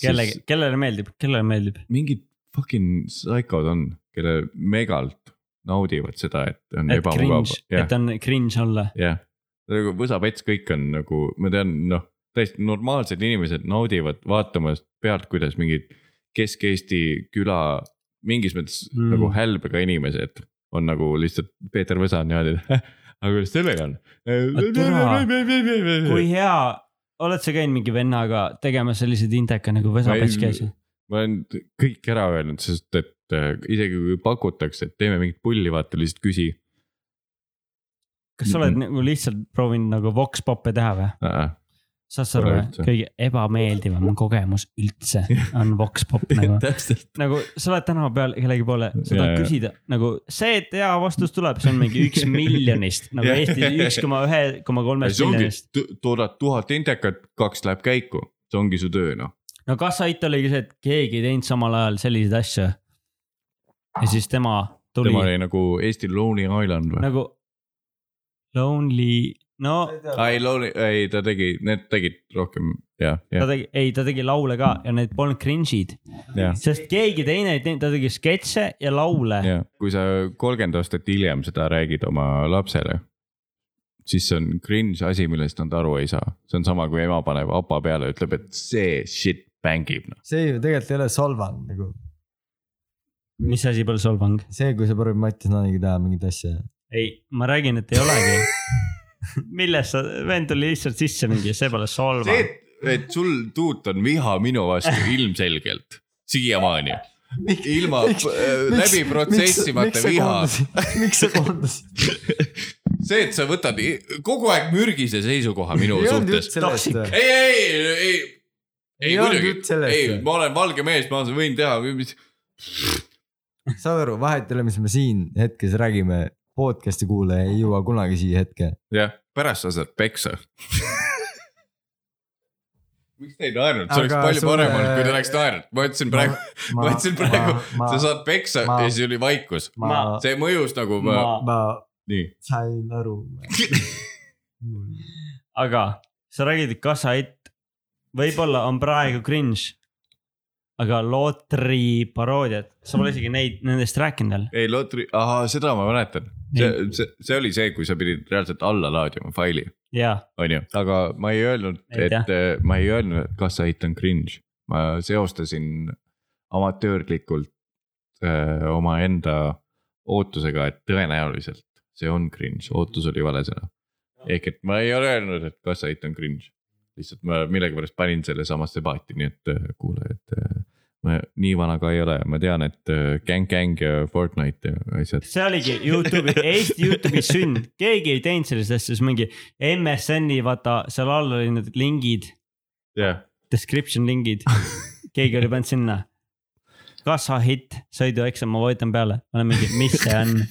kelle
siis ,
kellele meeldib , kellele meeldib ?
mingid fucking psychod on , kelle megalt naudivad seda , et on
et
ebamugav
cringe ,.
jah
et , on cringe olla .
jah , nagu võsapets , kõik on nagu , ma tean , noh , täiesti normaalsed inimesed naudivad vaatamas pealt , kuidas mingid Kesk-Eesti küla mingis mõttes mm.
Mm.
nagu hälbega inimesed on nagu lihtsalt Peeter Võsa on niimoodi , et aga kuidas sellega on ?
türa, Ah, kui hea , oled sa käinud mingi vennaga tegemas selliseid indeka nagu Vesa
Ma ei-
Pets käis ?
ma olen kõik ära öelnud , sest et äh, isegi kui pakutakse , et teeme mingit pulli , vaata lihtsalt küsi
kas sa oled nagu lihtsalt proovinud nagu vox pop'e teha või ?
uh . -uh.
saad sa aru
Pole
või
üldse. ,
kõige ebameeldivam kogemus üldse on vox pop nagu .
täpselt .
nagu sa oled tänava peal kellegi poole , sa
Jaa,
tahad
jaa.
küsida nagu see , et hea vastus tuleb , see on mingi üks miljonist , nagu
Jah.
Eestis üks koma ühe koma kolmest
see ongi
miljonist .,
toodad tuhat intekat , kaks läheb käiku , see ongi su töö noh .
no kassait oligi see , et keegi ei teinud samal ajal selliseid asju . ja siis tema tuli
tema oli nagu Eesti Lonely Island või ?
nagu lonely , no
Nagu-
ei , Lonely , ei ta tegi , need tegid rohkem jah ,
ta
jah ,
tegi , ei , ta tegi laule ka ja need polnud cringe'id ,
jah ,
sest keegi teine ei teinud , ta tegi sketše ja laule .
jah . kui sa kolmkümmend aastat hiljem seda räägid oma lapsele , siis see on cringe asi , millest nad aru ei saa . see on sama , kui ema paneb apa peale , ütleb , et see shit bängib noh .
see ju tegelikult ei ole solvang nagu ,
mis asi pole solvang ?
see , kui sa proovid Mattias Naaniga teha mingit asja .
ei , ma räägin , et ei olegi . millest sa , vend tuli lihtsalt sisse mingi , see pole solvang .
et et sul tuut on viha minu vastu ilmselgelt siiamaani . ilma
miks-
äh, läbi protsessimata viha ..
miks sa koondasid ?
see , et sa võtad i- kogu aeg mürgise seisukoha minu
ei olnud jutt
suhtes .
sellest .
ei , ei , ei , ei
Ei olnud jutt
kuidagi ,
sellest.
ei , ma olen valge mees , ma võin teha , mis ,
saad aru , vahet ei ole , mis me siin hetkes räägime , podcast'i kuulaja ei jõua kunagi siia hetke .
jah , pärast sa saad peksa . miks te ei naernud , see oleks
Aga
palju
sulle-
parem olnud , kui te oleks naernud , ma ütlesin praegu , ma ütlesin praegu , sa saad peksa
ma-
ja siis oli vaikus .
ma ,
see mõjus nagu ma... ,
ma ,
ma
nii .
sain aru .
aga sa räägid kassait , võib-olla on praegu cringe , aga lootri paroodiad , sa pole isegi neid , nendest rääkinud veel .
ei , Lotri , ahaa , seda ma mäletan . see , see , see oli see , kui sa pidid reaalselt alla laadima faili ,
jaa ,
onju , aga ma ei öelnud ,
Ei tea.
et eh, ma ei öelnud , et kas sa eitan cringe . ma seostasin amatöörlikult äh, omaenda ootusega , et tõenäoliselt see on cringe , ootus oli vale sõna . ehk et ma ei ole öelnud , et kas sa eitan cringe , lihtsalt ma millegipärast panin selle samasse paati , nii et eh, kuule , et eh, ma nii vana ka ei ole , ma tean , et eh, Gang Gang ja Fortnite ja asjad .
see oligi Youtube'i , Eesti Youtube'i sünd , keegi ei teinud sellist asja , siis mingi MSN-i vaata , seal all olid need lingid ,
jah ,
description lingid , keegi oli pannud sinna . kassahitt , sõidueksam , ma vajutan peale , ma olen mingi , mis see on ,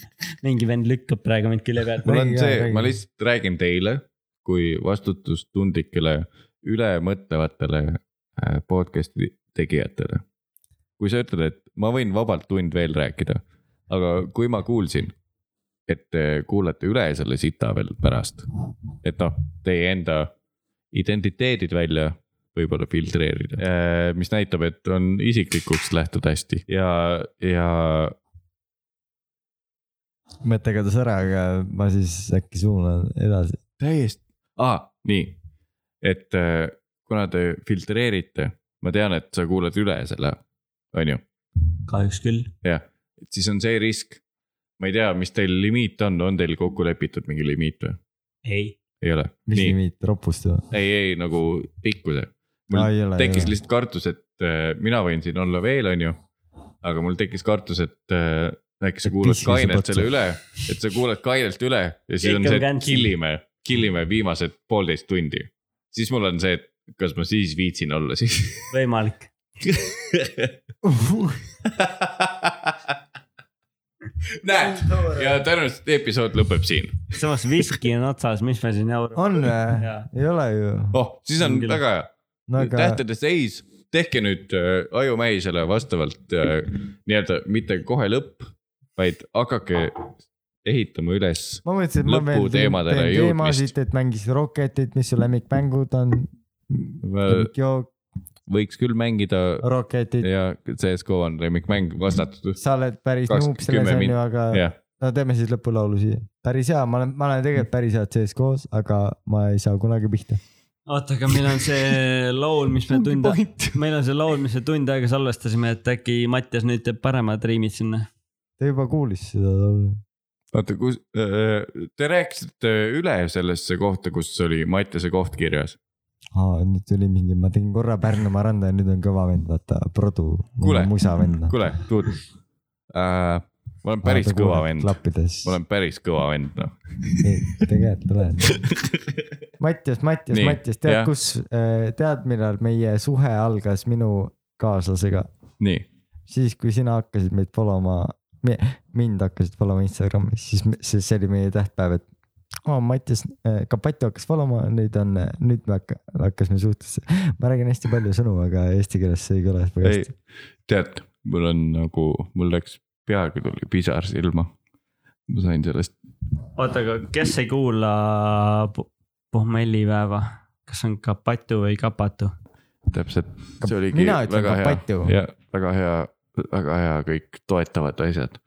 mingi vend lükkab praegu mind külje pealt .
mul on
Räägi ka,
see ,
räägi.
ma lihtsalt räägin teile kui vastutustundlikele , ülemõtlevatele äh, podcast'i tegijatele . kui sa ütled , et ma võin vabalt tund veel rääkida , aga kui ma kuulsin , et te kuulate üle selle sita veel pärast , et noh , teie enda identiteedid välja võib-olla filtreerida , Äh, mis näitab , et on isiklikuks lähtud hästi ja , ja
mõte kadus ära , aga ma siis äkki suunan edasi .
täiesti ah, , nii , et äh, kuna te filtreerite , ma tean , et sa kuulad üle selle , on ju ,
kahjuks küll .
et siis on see risk . ma ei tea , mis teil limiit on , on teil kokku lepitud mingi limiit või ?
ei ,
ei ole ,
mis
nii ,
nimi , ropust või ?
ei , ei nagu pikkuse . mul
Aa, ei ole, ei
tekkis
ole.
lihtsalt kartus , et äh, mina võin siin olla veel , on ju . aga mul tekkis kartus , et äh, äkki sa
Et
kuulad
pissin su
kainelt
patsa.
selle üle , et sa kuulad kainelt üle ja siis
Kõik
on
on
see , et
cancel.
killime , killime viimased poolteist tundi . siis mul on see , et kas ma siis viitsin olla siis .
võimalik .
näed , ja tõenäoliselt episood lõpeb siin .
samas viski on otsas , mis me siin jaurame .
on või ?
jaa ,
ei ole ju .
oh , siis on
On küll.
väga hea .
no
aga...
aga ,
tähtede seis , tehke nüüd äh, ajumähisele vastavalt äh, nii-öelda mitte kohe lõpp , vaid hakake ehitama üles .
ma mõtlesin , et ma veel teen
lõputeemadele
teen
jõudmist.
teemasid , et mängisid Rocketit , mis su lemmikmängud on .
Äh.
lemmikjook ,
võiks küll mängida
Rocketit ,
ja CSGO on lemmikmäng vastatud .
sa oled päris
kaks-
nuup selles
kümme
on
min-
ju , aga
jah ,
no teeme siis lõpulaulu siia . päris hea , ma olen , ma olen tegelikult päris hea CSGO-s , aga ma ei saa kunagi pihta .
oota , aga meil on see laul , mis me tund , meil on see laul , mis me tund aega salvestasime , et äkki Mattias nüüd teeb paremad riimid sinna .
ta juba kuulis seda laulu .
oota , kus , te rääkisite üle sellesse kohta , kus oli Mattiase koht kirjas .
aa , nüüd tuli mingi , ma tegin korra Pärnumaa randa ja nüüd on kõva vend , vaata , produ .
Kuule,
musa vend . noh.
kuule , Tuut äh, , ma olen päris kõva vend , ma
klappides .
olen päris kõva vend , noh .
tegelikult olen . Mattias , Mattias
Nii, ,
Mattias , tead
jah.
kus , tead , millal meie suhe algas minu kaaslasega ?
nii ,
siis , kui sina hakkasid meid follow ma , mind hakkasid follow ma Instagramis , siis me- see , see oli meie tähtpäev , et aa , Mattias , ka Patu hakkas follow ma , nüüd on , nüüd me hakka- , hakkasime suhtesse . ma räägin hästi palju sõnu , aga eesti keeles see ei kõla väga
ei
hästi .,
tead , mul on nagu , mul läks , peaaegu tuli pisar silma . ma sain sellest ,
oota , aga kes ei kuula po- pohmellipäeva , kas on kapatu või kapatu ?
täpselt , see oligi
mina ütlen
väga
ka
hea
patju. ,
ja väga hea , väga hea kõik toetavad asjad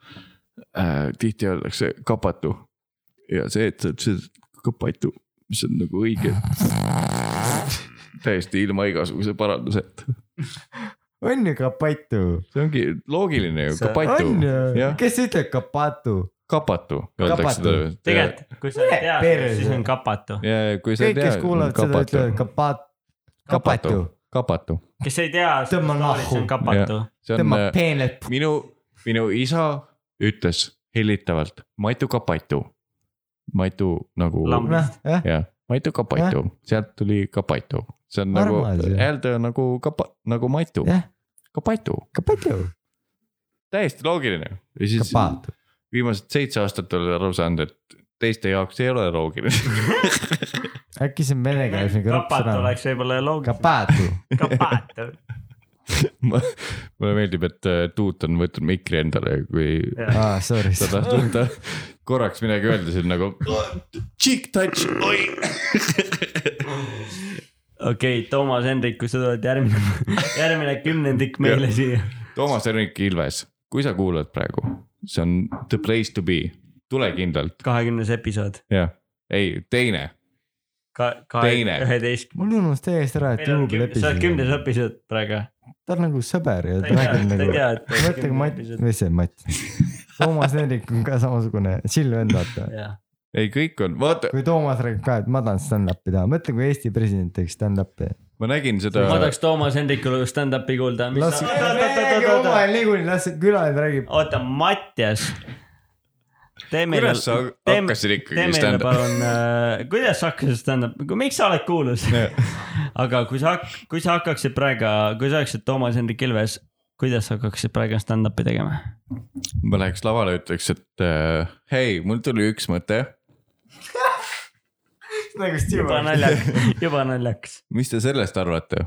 äh, . tihti öeldakse kapatu ja see , et sa ütlesid kapatu , mis on nagu õige . täiesti ilma igasuguse paranduseta ,
on ju ka Patu ?
see ongi loogiline ju ,
See-
kapatu
on , ju
jah ,,
kes ütleb ka Patu ?
kapatu öeldakse
Kapatu.
seda .
tegelikult , kui sa ei tea ,
Perse.
siis on kapatu .
ja , ja kui sa
kõik ,
ei tea .
kes kuulavad seda , ütlevad ka Pat- ,
kapatu ,
kapatu ,
kes ei tea ,
Tõmba
see on
nahku.
kapatu .
see on
tõmbab
äh,
peenelt .
minu , minu isa ütles hellitavalt maitu kapatu , maitu nagu
Lamb.
noh,
jah ,
jah , maitu kapatu , sealt tuli kapatu , see on nagu
Armas, jah.
hääldaja nagu kapa- , nagu maitu
Jah. ,
kapatu ,
kapatu ,
täiesti loogiline . ja siis
kapatu .
viimased seitse aastat olen aru saanud , et teiste jaoks ei ole loogiline .
äkki see on vene keeles nagu
kapatu
rõõmsõna ?
oleks võib-olla loogiline .
kapatu ,
kapatu .
mulle meeldib , et äh, Tuut on võtnud mikri endale , kui
aa sorry ,
sa tahtsid ta korraks midagi öelda , siis nagu cheek touch , oi .
okei , Toomas , Hendrik , kui sa tuled järgmine , järgmine kümnendik meile siia .
Toomas Henrik Ilves , kui sa kuulad praegu , see on the place to be , tule kindlalt ,
kahekümnes episood .
jah , ei teine ,
ka- ,
Teine.
kahe , üheteistkümnes .
mul unus täiesti ära , et
sa oled kümnes
juubelepisood .
episood praegu .
ta on nagu sõber ja
ta
ta
ei tea ,
räägib nagu
ta ei tea , et .
mõtle , kui Mats , või see Mats , Toomas Hendrik on ka samasugune chill vend , vaata .
jah ,
ei kõik on , vaata ,
kui Toomas räägib ka , et ma tahan stand-up'i teha , mõtle , kui Eesti president teeks stand-up'i .
ma nägin seda
ma , tahaks Toomas Hendrikule stand-up'i kuulda .
las , räägi omavahel niikuinii , las see külaline räägib .
oota , Mattias . tee meile .
kuidas sa hakkasid
tee
ikkagi
meile
stand-up'i ?
palun äh, , kuidas sa hakkasid stand-up'i , miks sa oled kuulus ? aga kui sa , kui sa hakkaksid praegu , kui sa oleksid Toomas Hendrik Ilves , kuidas sa hakkaksid praegu stand-up'i tegema ?
ma läheks lavale , ütleks , et äh, hei , mul tuli üks mõte ,
nagu
juba naljakas , juba naljakas .
mis te sellest arvate ?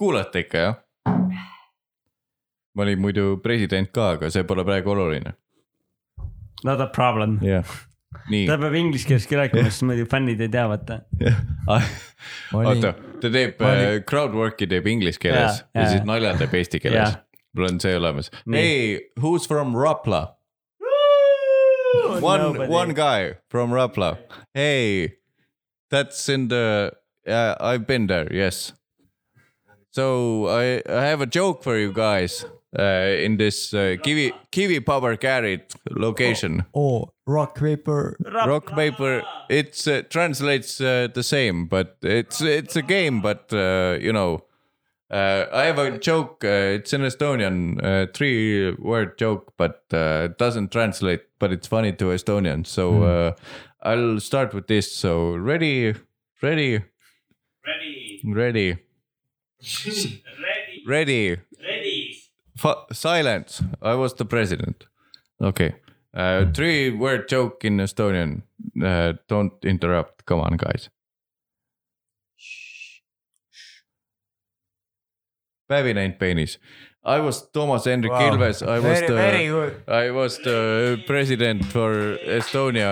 kuulate ikka jah ? ma olin muidu president ka , aga see pole praegu oluline .
Not a problem .
jah . nii
ta , peab inglise keeles ka rääkima , sest muidu fännid ei tea , vaata .
Ah, oota , ta teeb
ma olin-
äh, crowd work'i teeb inglise keeles
Jaa,
ja, ja
jaa.
siis nalja teeb eesti keeles
Jaa. .
mul on see olemas .
Nii.
Hey , who's from Rapla ? One , one guy from Rapla . Hey , that's in the uh, , I have been there , yes . So I , I have a joke for you guys uh, in this uh, Kivi , Kivi Power Carrot location .
oo , rock paper ,
Rock paper it's uh, translates uh, the same but it's it's a game but uh, you know uh, I have a joke uh, it's an Estonian uh, three word joke but uh, it doesn't translate but it's funny to Estonian so uh, I'll start with this so ready ready ready ready ready Fu- silence I was the president okay uh, three word joke in Estonian. Uh, don't interrupt. Come on, guys. Päevinäinud peenis . I was Toomas Hendrik wow. Ilves , I was the , I was the president for Estonia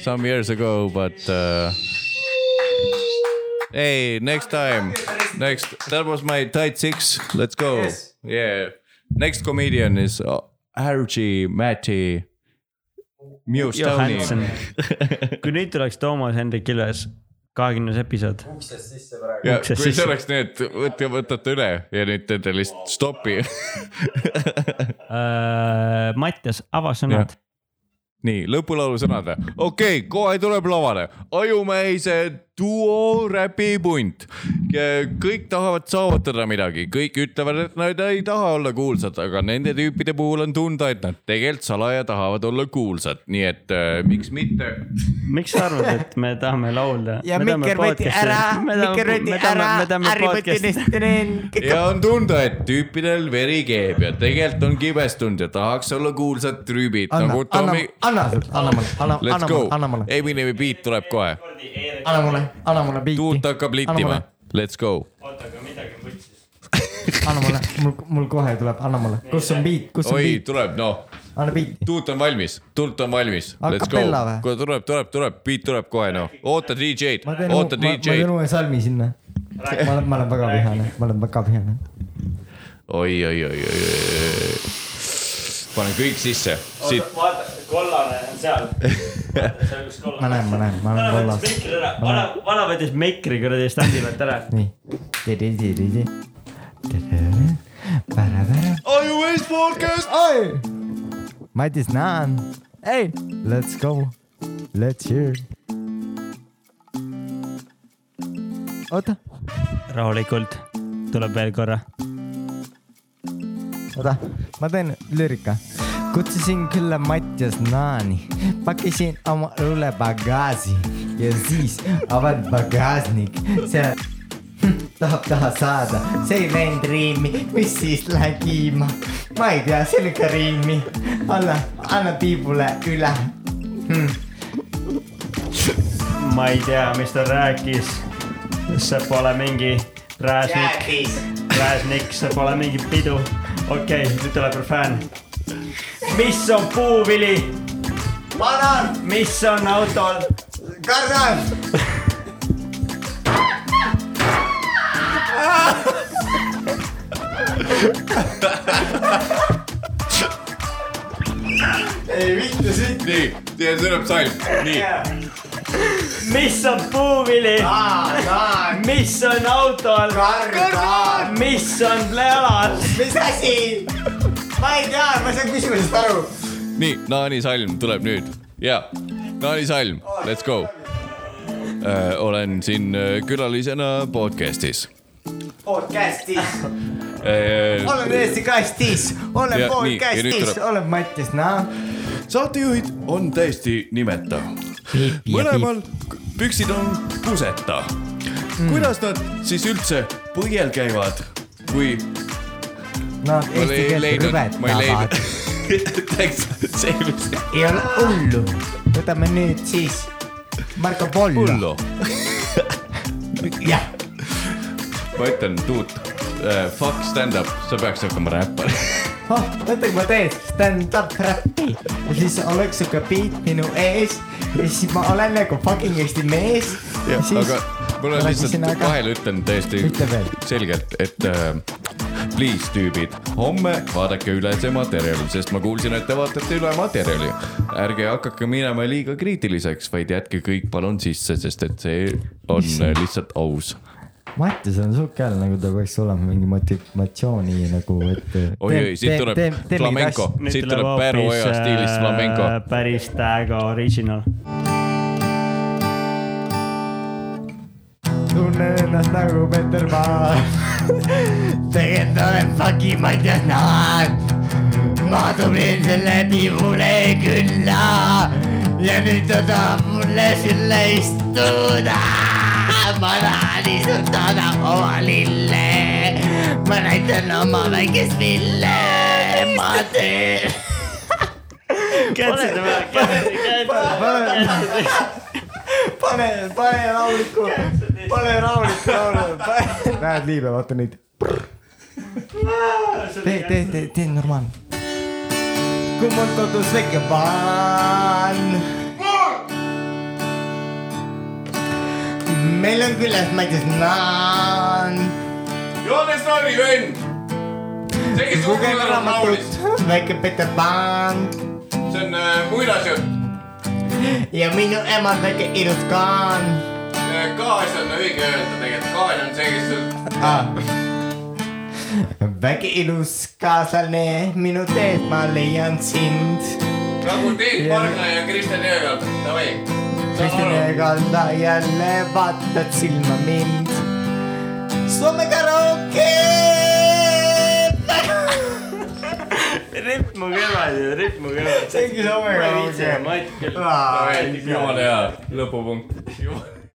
some years ago but uh, . Hey , next time , next , that was my tight six , let's go yes. . Yeah , next comedian is uh, Archie Matti . Muse
Johanson
Tony ..
kui nüüd tuleks Toomas Hendrik Ilves , kahekümnes episood .
ja
uksest
kui see
sisse.
oleks nii , et võtke , võtate üle ja nüüd teete lihtsalt stopi .
Äh, Mattias , ava sõnad .
nii , lõpulaulu sõnad . okei okay, , kohe tuleb lavale Ajumäise duo räpipunt . kõik tahavad saavutada midagi , kõik ütlevad , et nad ei taha olla kuulsad , aga nende tüüpide puhul on tunda , et nad tegelikult salaja tahavad olla kuulsad , nii et äh, miks mitte .
miks sa arvad , et me tahame laulda ?
ja mikker võeti ära , mikker võeti ära , äri võeti neist .
ja on tunda , et tüüpidel veri keeb ja tegelikult on kibestunud ja tahaks olla kuulsad trüübid
anna
nagu ,
anna
Tommy ,.
anna , anna mulle , anna ,
Let's
anna mulle
go ,,
anna mulle ,
Eminemi beat tuleb kohe ,
anna mulle , anna mulle biiti ,
tuult hakkab
Anna
littima
mulle. ,
let's go
anna mulle , mul , mul kohe tuleb , anna mulle , kus on biit , kus on
oi ,
biit ,
tuleb noh ,
anna biiti .
tuut on valmis , tuult on valmis .
A cappella või?
kuule tuleb , tuleb , tuleb , beat tuleb kohe noh , oota DJ-d
ma teen ,
oota
ma, ma teen
DJ-d .
uue salmi sinna . ma olen , ma olen väga vihane , ma olen väga vihane .
oi , oi , oi , oi , oi , oi . panen kõik sisse , siit ,
vaata , kollane on seal .
ma näen , ma näen , ma olen kollas .
vana , vana võttis meikri kuradi standi pealt ära .
nii .
Ajumees podcast .
oi , Madis Naan , ei , let's go , let's hear .
oota ,
rahulikult , tuleb veel korra .
oota , ma teen lüürika . kutsusin külla Mattias Naani , pakkisin oma õlle pagasi ja siis avan pagasnik , see tahab taha saada , see ei läinud riimi , mis siis läheb kiima . ma ei tea , see lükka riimi , anna , anna piibule üle hm. .
ma ei tea , mis ta rääkis . see pole mingi rääsnik ,
jäätis ,
rääsnik , see pole mingi pidu . okei okay, , nüüd tuleb refrään . mis on puuvili ,
banan ,
mis on autol ?
kardan .
nii , see tuleb salm , nii .
mis on puuvili ,
banan ,
mis on autol ,
kardan .
mis on jalad ?
mis asi ? ma ei tea , ma ei saa küsimusest aru .
nii , naanisalm tuleb nüüd ja naanisalm , let's go äh, . olen siin äh, külalisena podcast'is
podcast'is ,
äh, .
olen Eesti kastis , olen
Ja, nii, ja nüüd
podcast'is ,
tuleb-
olen Mattias Naa .
saatejuhid on täiesti nimeta . mõlemal püksid on kuseta mm. . kuidas nad siis üldse põiel käivad , kui
Nad
ma
eesti
ei
keelt
leidnud , ma ei
rüvetavad ,
leidnud . see ei ole
ei ole hullu . võtame nüüd siis Marko Polo .
hullu .
jah ,
ma ütlen , tuut uh, , fuck stand-up , sa peaks hakkama räppama .
oh , mõtle , kui ma teen stand-up räppi ja siis oleks siuke beat minu ees ja siis ma olen nagu fucking eesti mees .
jah , aga mul on lihtsalt , vahel ütlen täiesti
Ütle veel.
selgelt , et äh, please tüübid , homme vaadake üle see materjal , sest ma kuulsin , et te vaatate üle materjali . ärge hakake minema liiga kriitiliseks , vaid jätke kõik palun sisse , sest et see on äh, lihtsalt aus .
Mattis on siuke hääl , nagu ta peaks olema mingi motivatsiooni nagu , et .
oi , oi , siit tuleb flamenco , siit tuleb Pärnu oja stiilis flamenco .
äh, päris täiega original .
tunnen ennast nagu Peter Pan . tegelikult olen fucking Mattias Naan . ma tulin selle pibule külla ja nüüd ta tahab mulle sülle istuda . ma tahan istutada oma lille , ma näitan oma väikest ville , ma teen . pane , pane rahulikku , pane rahulikku laulu , pane . näed liive , vaata neid . tee , tee , tee , tee normaalne . kui mul kodus väike paan . meil on külas Madis Naan .
Joones Naani vend , see , kes
lugege raamatut , väike Peter Pan
see on äh, muinasjutt ,
ja minu ema on väike ilus kaan
kaas Äh, on õige öelda tegelikult , kaan on see , kes
ah. . väike ilus kaaslane , minu teed ma leian sind
nagu Tiit
Jah. Pargla
ja Kristjan Jõekalp , davai .
Kristine kanda jälle vaatad silma mind . Soome karaoke .
ripp mu kõrval , ripp mu kõrval .
see ongi Soome
ma ei viitsi , ma
karaoke .
ei tea .
uh, jumala hea lõpupunkt .